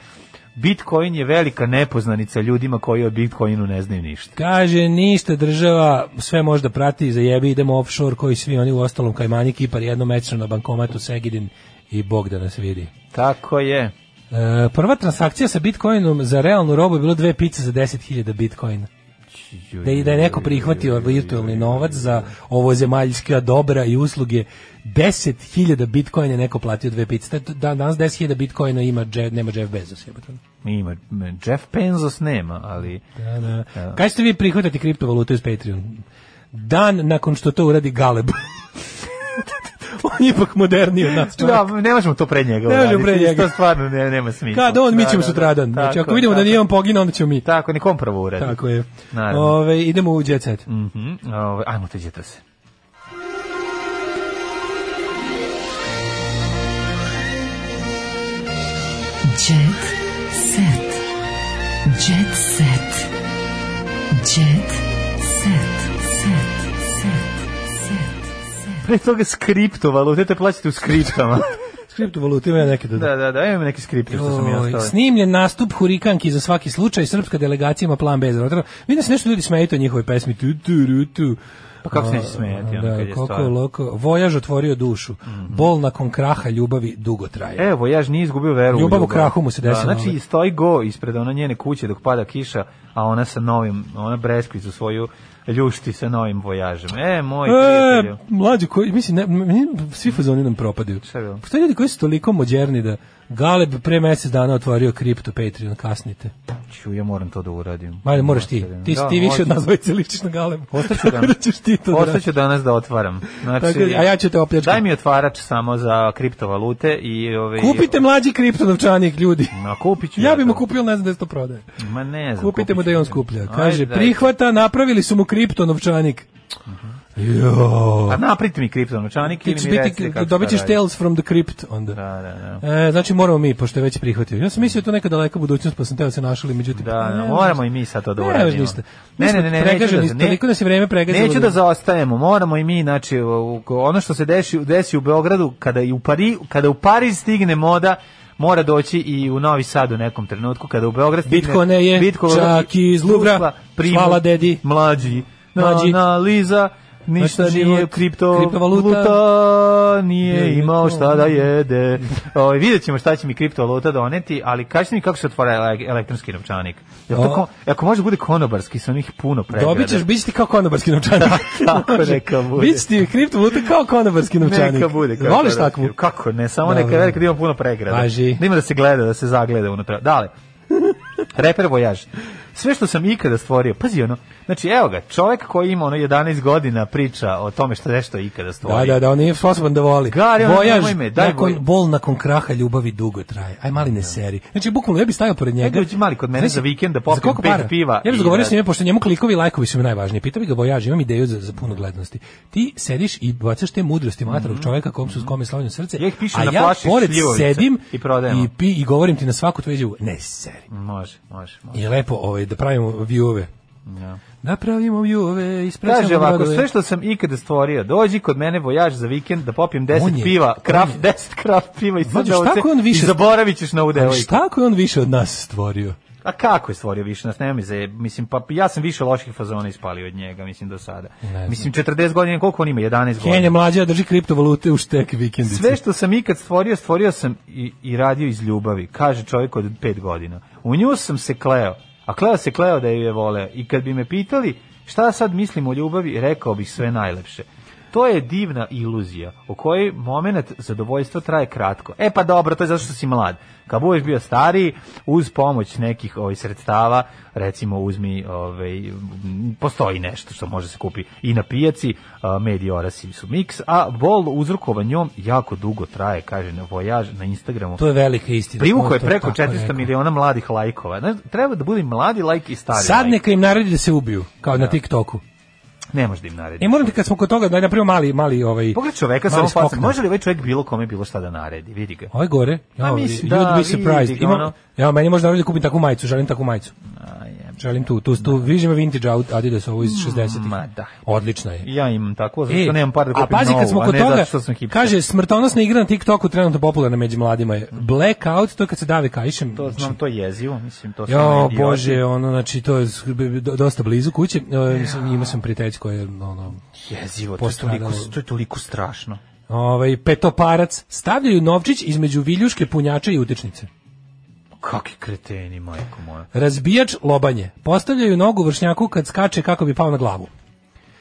G: Bitcoin je velika nepoznanica ljudima koji o Bitcoinu ne znaju ništa.
F: Kaže, ništa država, sve možda prati, za jebi, idemo offshore, koji svi oni u ostalom, Kajmani, Kipar, jednomečno na bankomatu, Segedin i Bog da nas vidi.
G: Tako je.
F: E, prva transakcija sa Bitcoinom za realnu robu je bilo dve pice za 10.000 Bitcoina. da je, da je neko prihvatio virtualni novac za ovo zemaljska dobra i usluge 10.000 bitcoina je neko platio dve pice. Da, da- danas 10.000 bitcoina ima Jeff, nema Jeff Bezos. jebote.
G: Ima, Jeff Penzos nema, ali...
F: Da, da. Kaj ste vi prihvatati kriptovalutu iz Patreon? Dan nakon što to uradi Galeb. On je ipak moderniji od nas. čovjek.
G: Da, ne možemo to pred njega
F: Ne možemo
G: uraditi,
F: pred njega.
G: To stvarno ne, nema smisla.
F: Kad on, mi
G: Da,
F: ćemo
G: da, da.
F: sutradan. Znači,
G: Tako
F: ako
G: je,
F: vidimo da
G: tako
F: nije
G: je.
F: on pogina, onda ćemo mi.
G: Tako, nikom prvo uradi.
F: Tako je.
G: Naravno.
F: Ove, idemo u Jet Set.
G: Mhm, ovaj, ajmo te djeta se.
E: Jet set. Jet set. Jet set. Set. Set. Set.
G: Pre toga skriptovalute, te plaćate u skriptama.
F: S kriptovalutima ja neke da
G: da, da, da, imam neki skripte što sam ja
F: Oj,
G: ostavio.
F: snimljen nastup Hurikanki za svaki slučaj, srpska delegacija ima plan B za Rotterdam. Vidim da se nešto ljudi smeju to njihove pesmi. Tu, tu, ru, tu.
G: Pa kako se neće
F: A,
G: smejati, ono,
F: Da,
G: kad je
F: koko,
G: stvar. Mhm.
F: loko. Vojaž otvorio dušu. Bol nakon kraha ljubavi dugo traje. E,
G: Evo, jaž nije izgubio veru.
F: Ljubav u krahu mu se desila,
G: Da, znači,
F: ovaj.
G: stoji go ispred ona njene kuće dok pada kiša, a ona sa novim, ona breskvicu svoju ljušti sa novim vojažem. E, moj prijatelju.
F: E, mlađi koji, mislim, ne, meni svi fazoni nam propadaju.
G: Šta je bilo?
F: Postoje ljudi koji su toliko mođerni da Galeb pre mjesec dana otvorio kripto Patreon, kasnite.
G: Ću, ja moram to da uradim.
F: Majde, moraš ti. Ti,
G: Da,
F: ti više od
G: hoću.
F: nas dvojice ličiš na Galeb.
G: Ostaću
F: Tako da ćeš ti to da radiš.
G: Ostaću danas da otvaram. Znači,
F: Tako da, a ja ću te opljačkati.
G: Daj mi otvarač samo za kriptovalute i... Ove,
F: E, Kupite mlađi kripto novčanik, ljudi.
G: Ma, kupit ću
F: Ja bi mu
G: to.
F: kupio, ali ne znam da se to prodaje.
G: Ma ne znam.
F: Kupite mu
G: kupit
F: da je
G: ću
F: on
G: to.
F: skuplja.
G: Ajde,
F: Kaže,
G: daj.
F: prihvata, napravili su mu kripto novčanik. Jo.
G: Mhm. A naprite Pa mi kriptonovčanik
F: Ti
G: ili
F: ćeš
G: mi recite
F: biti,
G: kako
F: dobit ćeš
G: šta radite.
F: Tales from the Crypt onda.
G: Da, da, da.
F: E, znači moramo mi, pošto je već prihvatio. Ja sam mislio da je to neka daleka budućnost, pa sam teo da se našali, međutim...
G: Da,
F: ne, znači,
G: da,
F: ne,
G: moramo i mi sad to da
F: Ne,
G: uradimo.
F: još niste. Mi
G: Ne,
F: smo
G: ne, ne, ne,
F: pregaženi,
G: neću da- ne,
F: toliko nas je vreme pregazilo da-
G: Neću da zaostajemo, moramo i mi, znači, u- u- ono što se desi, desi u Beogradu, kada, i u Pari, kada u Pariz stigne moda, mora doći i u Novi Sad u nekom trenutku, kada u Beograd stigne...
F: Bitcoine je čak i iz Luvra.
G: Luvra, Primo,
F: Hvala, dedi.
G: Mlađi,
F: Mlađi.
G: mlađi. Analiza, ništa
F: Mlađi
G: nije
F: život,
G: kripto,
F: kriptovaluta.
G: valuta, nije
F: Je,
G: imao
F: je,
G: šta da jede. O, vidjet ćemo šta će mi kriptovaluta doneti, ali kaži mi kako se otvara ele- elektronski novčanik. Jel to
F: O.
G: ko- e, ako može da bude konobarski, sa onih puno pregrada.
F: Dobit ćeš, bit će ti kao konobarski novčanik.
G: da.
F: Znači,
G: tako neka bude.
F: Bit će ti kriptovaluta kao konobarski novčanik.
G: Neka bude. kako
F: Voliš
G: da-
F: takvu?
G: Kako ne, samo
F: Dobro.
G: neka velika da ima puno pregrada.
F: Važi.
G: Da ima da se gleda, da se zagleda unutra. Dale. Reper vojaž. sve što sam ikada stvorio, pazi ono, znači evo ga, čovjek koji ima ono 11 godina priča o tome što nešto je ikada
F: Da,
G: stvorio.
F: da, da, on nije sposoban da voli.
G: Gari, ono,
F: Vojaž,
G: nemoj me, daj
F: nakon,
G: voj-
F: bol nakon kraha ljubavi dugo traje. Aj mali ne seri. Znači, bukvalno, ja bih stajao pored njega.
G: Ajde, dođi mali kod mene
F: Znaš,
G: za vikend da popim
F: za koliko
G: pet
F: para?
G: piva
F: Ja
G: i
F: bih govorio
G: da-
F: s njime, pošto njemu klikovi i lajkovi su mi najvažniji. Pitao bih ga, Vojaž, imam ideju za, za puno glednosti. Ti sediš i bacaš te mudrosti matravog čoveka kom su, kom je slavljeno srce,
G: Mhm. Ja ih pišem
F: a
G: na
F: ja
G: flaši
F: pored
G: šljivovica
F: sedim
G: i prodajemo.
F: i, pi, i govorim ti na svaku tvoju izjavu, ne seri.
G: Može, može, može.
F: I lepo ovaj, da pravimo view-ove. Da pravimo view-ove, ispraćamo
G: Kaže ovako,
F: da brodove.
G: sve što sam ikada stvorio, dođi kod mene vojaž za vikend da popijem
F: On
G: 10
F: je-
G: piva,
F: on
G: kraft,
F: je-
G: 10 kraft piva i
F: Mlađo, šta
G: srdovce
F: ako je on više-
G: i zaboravit ćeš na ovu
F: Ali
G: devojku.
F: šta ako je on više od nas stvorio?
G: A kako je stvorio više nas, nema mi za, mislim, pa ja sam više loših fazona ispalio od njega, mislim, do sada.
F: znam.
G: Mislim, 40 godina, koliko on ima, 11
F: Kenja
G: godina.
F: mlađa drži kriptovalute u štek vikendice.
G: Sve što sam ikad stvorio, stvorio sam i, i radio iz ljubavi, kaže čovjek od 5 godina. U nju sam se kleo, a kleo se kleo da ju je voleo. I kad bi me pitali šta sad mislim o ljubavi, rekao bih sve najlepše. To je divna iluzija, u kojoj moment zadovoljstva traje kratko. E pa dobro, to je zato što si mlad. Kad budeš bio stariji, uz pomoć nekih ovih sredstava, recimo uzmi, ovaj, m, postoji nešto što može se kupi i na pijaci, a, med i orasi su miks, a bol uzrokovan njom jako dugo traje, kaže na vojaž na Instagramu.
F: To je velika istina.
G: Privuko je
F: To je
G: preko
F: tako
G: 400
F: rekao.
G: miliona mladih lajkova. Znaš, treba da budu i mladi lajk i stari
F: Sad
G: lajk.
F: neka im naredi da se ubiju, kao na TikToku.
G: Ne može da im naredi.
F: E moram ti kad smo kod toga da napravimo mali mali ovaj
G: Pogled čoveka sa
F: mali
G: ovom facom,
F: skokna.
G: Može li ovaj čovjek bilo kome bilo šta da naredi? Vidi ga.
F: Ovo je gore.
G: A
F: Ja,
G: mislim,
F: mislim,
G: da,
F: you'd be
G: vidi
F: surprised.
G: ga,
F: Ima,
G: ono.
F: ja, meni možda da kupim takvu majicu, želim takvu majicu.
G: A, jebe.
F: Želim tu, tu, tu, vidiš ima vintage aut- Adidas ovo iz 60-ih.
G: Ma, da.
F: Odlična je.
G: Ja imam tako, zato što nemam par da kupim
F: E, a pazi kad
G: novu,
F: smo
G: a
F: kod
G: ne
F: toga,
G: zato što sam hipster.
F: kaže, smrtonosna igra na TikToku trenutno popularna među mladima je. Blackout, to je kad se dave kajšem.
G: To znam, to je jezivo, mislim, to su
F: Jo,
G: oni Ovaj idioti.
F: bože, ono, znači, to je sk- b- b- dosta blizu kuće. E, mislim, ima sam prijatelj koji je, ono,
G: Jezivo, to je,
F: Postradalo.
G: toliko, to je toliko strašno.
F: ovaj, petoparac. Stavljaju novčić između viljuške, punjača i utečnice.
G: Kakvi kreteni, majko moja.
F: Razbijač lobanje. Postavljaju nogu vršnjaku kad skače kako bi pao na glavu.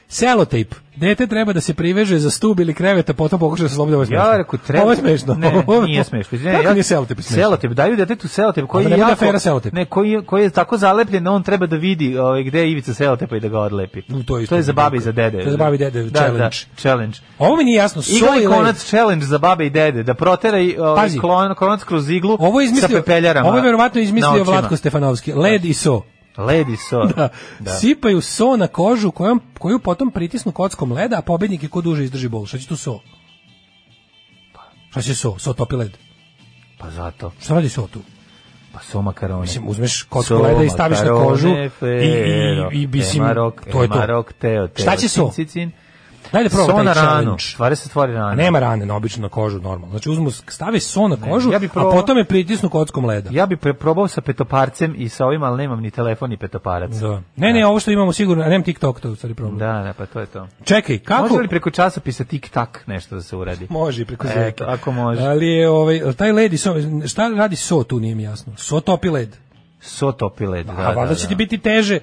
F: Selotejp. Dete treba da se priveže za stub ili kreveta, potom pokuša da se slobode. Ovo je smešno.
G: Ja rekao, treba...
F: Ovo je smešno.
G: Ne,
F: Ovo je-
G: nije smešno. Izvini,
F: Kako
G: ja-
F: nije selotejp smešno?
G: Selotejp, daju detetu selotejp koji
F: Onda
G: je
F: ne bude
G: jako...
F: afera selotejp.
G: Ne, koji, je- koji je tako zalepljen, da on treba da vidi ovaj, gde je ivica selotejpa i da ga odlepi.
F: U, to je isto
G: za babe i za dede.
F: To je za babe i dede,
G: Da,
F: challenge.
G: Da, challenge.
F: Ovo mi nije jasno.
G: Igla
F: Soj
G: i
F: lep.
G: konac challenge za babe i dede, da protera i ovaj,
F: Pazi.
G: klon, konac kroz iglu
F: Ovo je
G: sa
F: izmislio,
G: pepeljarama.
F: ovo je verovatno
G: na
F: izmislio
G: očima.
F: Vlatko Stefanovski. Led i so.
G: Ledi so.
F: Da.
G: Da.
F: Sipaju so na kožu kojom, koju potom pritisnu kockom leda, a pobednik je ko duže izdrži bol. Šta će tu so? Šta će so? So topi led.
G: Pa zato.
F: Šta radi so tu?
G: Pa so makaroni.
F: Mislim, uzmeš kocku
G: So,
F: leda i staviš na
G: makarone,
F: kožu i,
G: fero,
F: i, i, mislim,
G: emarok,
F: to je to.
G: emarok, teo, teo,
F: Šta će so?
G: cin, cin, cin.
F: Daj da
G: So
F: probamo
G: na
F: taj
G: ranu.
F: challenge.
G: Stvari se stvori
F: A
G: ranu.
F: nema rane na običnu na kožu, normalno. Znači uzmu, stave so na kožu,
G: ja bih
F: a
G: probao-
F: potom je pritisnu kockom leda.
G: Ja bih pre- probao sa petoparcem i sa ovim, ali nemam ni telefon ni petoparac.
F: Da. Ne, ne, ovo što imamo sigurno, a nemam TikTok, to je u stvari problem.
G: Da, da, pa to je to.
F: Čekaj, kako?
G: Može li preko časopisa tik-tak nešto da se uradi?
F: Može i preko
G: Eto,
F: zreke.
G: ako može.
F: Ali je ovaj jel taj led i so, šta radi so tu nije mi jasno. So topi led.
G: So topi led. Da,
F: A
G: da,
F: valjda će ti biti teže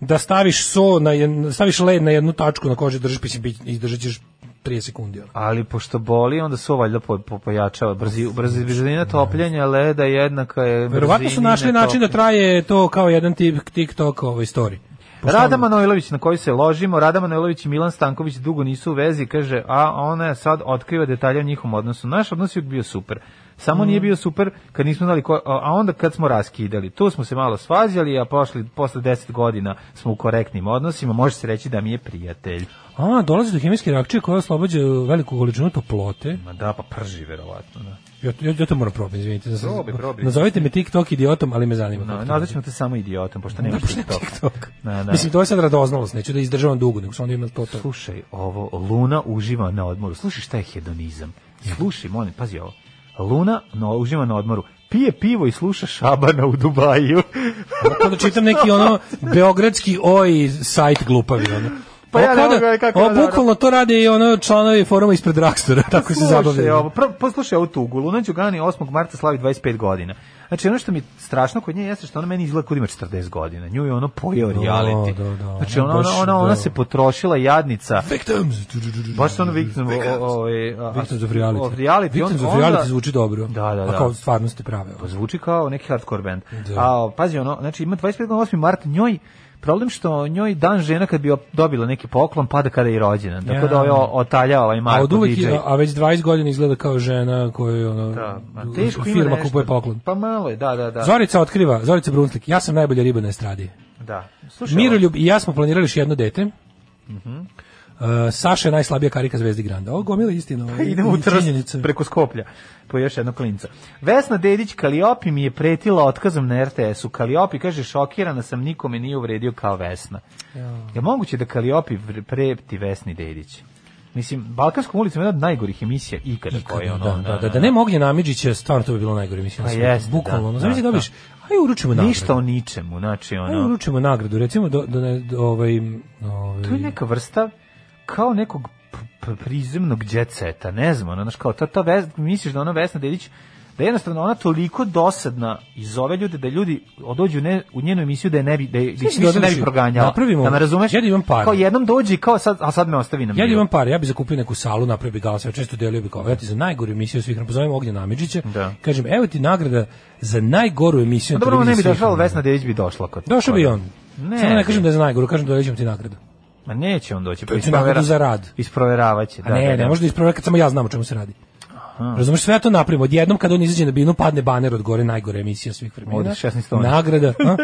F: da staviš so na jed- da staviš led na jednu tačku na koži držiš pa će biti i držat ćeš 30 sekundi. ono.
G: Ali pošto boli, onda so valjda po, po, pojačava. Brzi, brzi, brzina topljenja leda jednaka je...
F: Verovatno su
G: brzini
F: našli
G: na
F: način da traje to kao jedan tip TikTok ovaj story. Pošto
G: Rada
F: ono-
G: Manojlović na koju se ložimo, Rada Manojlović i Milan Stanković dugo nisu u vezi, kaže, a ona je sad otkriva detalje o njihovom odnosu. Naš odnos je uvijek bio super. Samo
F: Mm.
G: nije bio super kad nismo znali ko, a onda kad smo raskidali. Tu smo se malo svađali, a pošli, posle 10 godina smo u korektnim odnosima, može se reći da mi je prijatelj.
F: A, dolazi do hemijske reakcije koja oslobađa veliku količinu toplote.
G: Ma da, pa prži verovatno. Da.
F: Ja, ja, ja to moram probati, izvinite. Da sam-
G: Probaj, probaj.
F: Nazovite me TikTok idiotom, ali me zanima. kako
G: No,
F: to
G: nazvat ćemo te samo idiotom, pošto nemaš TikTok.
F: TikTok.
G: Da, da.
F: Mislim, to je sad radoznalost, neću da izdržavam dugo, nego sam onda imam to to.
G: Slušaj ovo, Luna uživa na odmoru. Slušaj šta je hedonizam. Slušaj, molim, pazi ovo. Luna no, uživa na odmoru. Pije pivo i sluša Šabana u Dubaju.
F: Onda čitam neki ono beogradski oj sajt glupavi. Ono.
G: Pa ja ne
F: Ovo kao
G: mogu,
F: da-
G: kako
F: ovo
G: da-
F: bukvalno to rade i ono članovi foruma ispred Rakstora, tako se
G: Slušaj
F: zabavljaju.
G: Ovo, prvo, poslušaj ovu tugu. Luna Đugani 8. marta slavi 25 godina. Znači, ono što mi je strašno kod nje jeste što ona meni izgleda kod ima 40 godina. Nju je ono pojeo reality.
F: da, da.
G: Znači, ona, ona,
F: Baš,
G: ona, ona
F: da.
G: se potrošila jadnica.
F: Victims.
G: Baš se ono victim, o, o, e, a-
F: Victims of reality.
G: Of reality.
F: Victims
G: On-
F: of reality
G: onda-
F: zvuči dobro.
G: Da, da,
F: A
G: da.
F: kao stvarno ste prave.
G: Pa zvuči kao neki hardcore band.
F: Da.
G: A o, pazi ono, znači ima 25. 8. mart njoj problem što njoj dan žena kad bi op- dobila neki poklon pada kada je i rođena. Tako
F: Ja.
G: da ovaj o- otalja ovaj
F: A
G: Marko
F: od uvek,
G: DJ.
F: je- a već 20 godina izgleda kao žena koja je ono,
G: Da, ma teško
F: firma
G: ima nešto.
F: kupuje poklon.
G: Pa malo je, da, da, da.
F: Zorica otkriva, Zorica Brunslik, ja sam najbolja riba na estradi.
G: Da. Slušaj, ovo-
F: Miroljub i ja smo planirali još jedno dete. Uh, Saša je najslabija karika Zvezdi Granda. Ovo gomila istina. Ovo,
G: Pa idemo
F: i
G: u trst
F: činjenice.
G: preko Skoplja po još jednog klinca. Vesna Dedić Kaliopi mi je pretila otkazom na RTS-u. Kaliopi kaže šokirana sam, nikome nije uvredio kao Vesna. Je moguće da Kaliopi vr- preti Vesni Dedić? Mislim, Balkanskom ulicom je jedna od najgorih emisija ikada,
F: Ikada,
G: koja je ono.
F: da, da, da, da nema ognjena Amidžića, stvarno to bi bilo najgore, mislim. na
G: Pa
F: svijetu.
G: jeste, da,
F: Bukvalno,
G: da,
F: ono, znači
G: da.
F: dobiš, aj uručimo nagradu.
G: Ništa o ničemu, znači
F: Ajde
G: ono,
F: uručimo nagradu, recimo do, do, ne, do ovaj, ovaj,
G: to je neka vrsta kao nekog p- p- prizemnog djeceta, ne znam, ono, znaš, kao ta, ta Vesna, misliš da ona Vesna Dedić, da je jednostavno ona toliko dosadna i zove ljude da ljudi odođu ne, u njenu emisiju da je ne bi, da je, da
F: Mislim,
G: ih više ne bi
F: dodaviš-
G: proganjala.
F: napravimo-
G: da me razumeš?
F: ja da imam par.
G: Kao jednom dođi, kao sad, a sad me ostavi na miru.
F: Ja da imam par, ja bih zakupio neku salu, napravio bi galas, ja često delio bi kao, ja ti za najgoru emisiju svih, vremena, pozovem Ognjena Amidžića,
G: Da.
F: kažem, evo ti nagrada za najgoru emisiju
G: No,
F: na
G: dobro, ona ne bi
F: televiziji svih
G: došla, ali
F: vremena.
G: Vesna Dedić bi došla kod.
F: Došao bi i
G: kod-
F: on.
G: Ne,
F: Samo ne kažem
G: bi.
F: da je za najgoru, kažem da ćemo ti nagradu.
G: Ma neće on doći. pa
F: To je
G: isprovera-
F: nagradu za rad.
G: Isprovjeravaće.
F: A ne, ne može da ispravlja kad samo ja znam o čemu se radi. Razumeš, sve ja to napravimo. Odjednom kad on izađe na binu, padne baner od gore, najgore emisija svih vremena.
G: Od 16 tona.
F: Nagrada. a?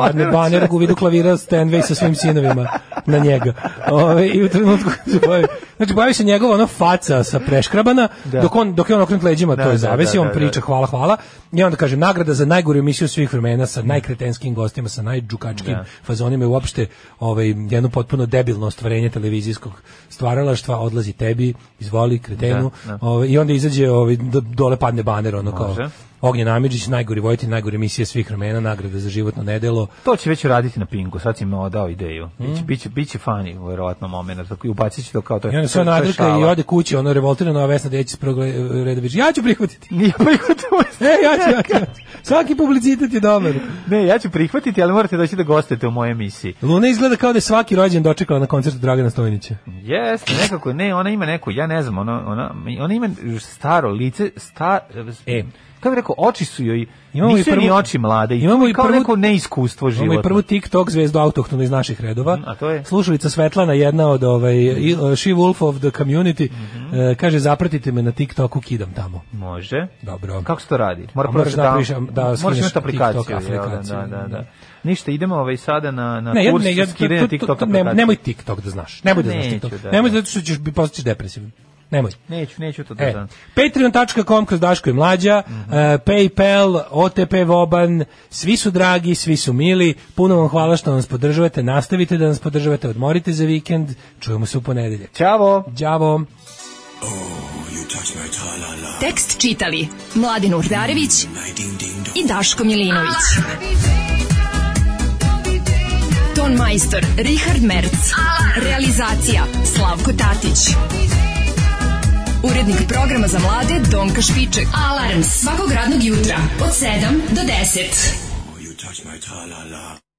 F: padne baner u vidu klavira Stanway sa svim sinovima na njega. Ove, I u trenutku se bavi. Znači, bavi se njegova ona faca sa preškrabana,
G: Da.
F: dok, on, dok je on okrenut leđima,
G: Da,
F: to je
G: da,
F: zavesi,
G: da,
F: on
G: da,
F: priča
G: da.
F: hvala, hvala. I onda kaže, nagrada za najgoru emisiju svih vremena sa najkretenskim gostima, sa najdžukačkim
G: Da.
F: fazonima i uopšte ovaj, jedno potpuno debilno ostvarenje televizijskog stvaralaštva, odlazi tebi, izvoli kretenu,
G: Da, da.
F: ovaj, i onda izađe, ovaj, do- dole padne baner, ono
G: Može.
F: kao, Ognjen Amidžić, najgori vojitelj, najgore emisije svih vremena, nagrada za životno nedelo,
G: To će već raditi na Pingu, sad si mi dao ideju.
F: Mm.
G: Biće, biće, biće funny, verovatno, moment. Tako, I ubacit će to kao to.
F: I onda se ona nadrka i ode kući, ono revoltirano, a Vesna Dejić iz prvog le- reda viče, ja ću prihvatiti.
G: Nije pa prihvatio.
F: E, ja ću, ja ću, ja ću. Svaki publicitet je dobar.
G: Ne, ja ću prihvatiti, ali morate doći da gostujete u mojoj emisiji.
F: Luna izgleda kao da je svaki rođen dočekala na koncertu Dragana Stojnića.
G: Jeste, nekako, ne, ona ima neku, ja ne znam, ona, ona, ona ima staro lice, sta,
F: E.
G: kako bi rekao, oči su joj,
F: Imamo i
G: nisu joj ni
F: prvu-
G: oči mlade, i
F: imamo i
G: kao
F: prvu-
G: neko neiskustvo životno.
F: Imamo i prvu TikTok zvezdu autohtonu iz naših redova.
G: Mhm, a to je?
F: Slušalica Svetlana, jedna od ovaj, i- She Wolf of the Community,
G: Mhm.
F: e, kaže zapratite me na TikToku, kidam tamo.
G: Može.
F: Dobro.
G: Kako se to radi? Mora
F: A moraš
G: proći
F: da napraviš, am- da
G: moraš
F: skineš
G: imati aplikaciju.
F: TikTok
G: jel da,
F: aplikaciju,
G: Da, da, da.
F: da.
G: Ništa, idemo ovaj sada na, na
F: Ne, ja,
G: kurs
F: ne, ja, to-
G: skidanja
F: to- to-
G: TikTok
F: to- ne-
G: aplikacije.
F: nemoj TikTok da znaš. Nemoj da znaš
G: Neću,
F: TikTok.
G: da,
F: nemoj
G: da.
F: zato što ćeš bi postaćeš depresivan. Nemoj.
G: Neću, neću to da Mhm.
F: E,
G: znam.
F: patreon.com kroz Daško i Mlađa, e, Paypal, OTP Voban, svi su dragi, svi su mili, puno vam hvala što nas podržavate, nastavite da nas podržavate, odmorite za vikend, čujemo se u ponedeljak.
G: Ćavo!
F: Đavo!
E: Tekst čitali Mladin Urdarević i Daško Milinović. Ton majstor Richard Merc. Realizacija Slavko Tatić. Urednik programa za mlade Donka Špiček. Alarms svakog radnog jutra od 7 do 10.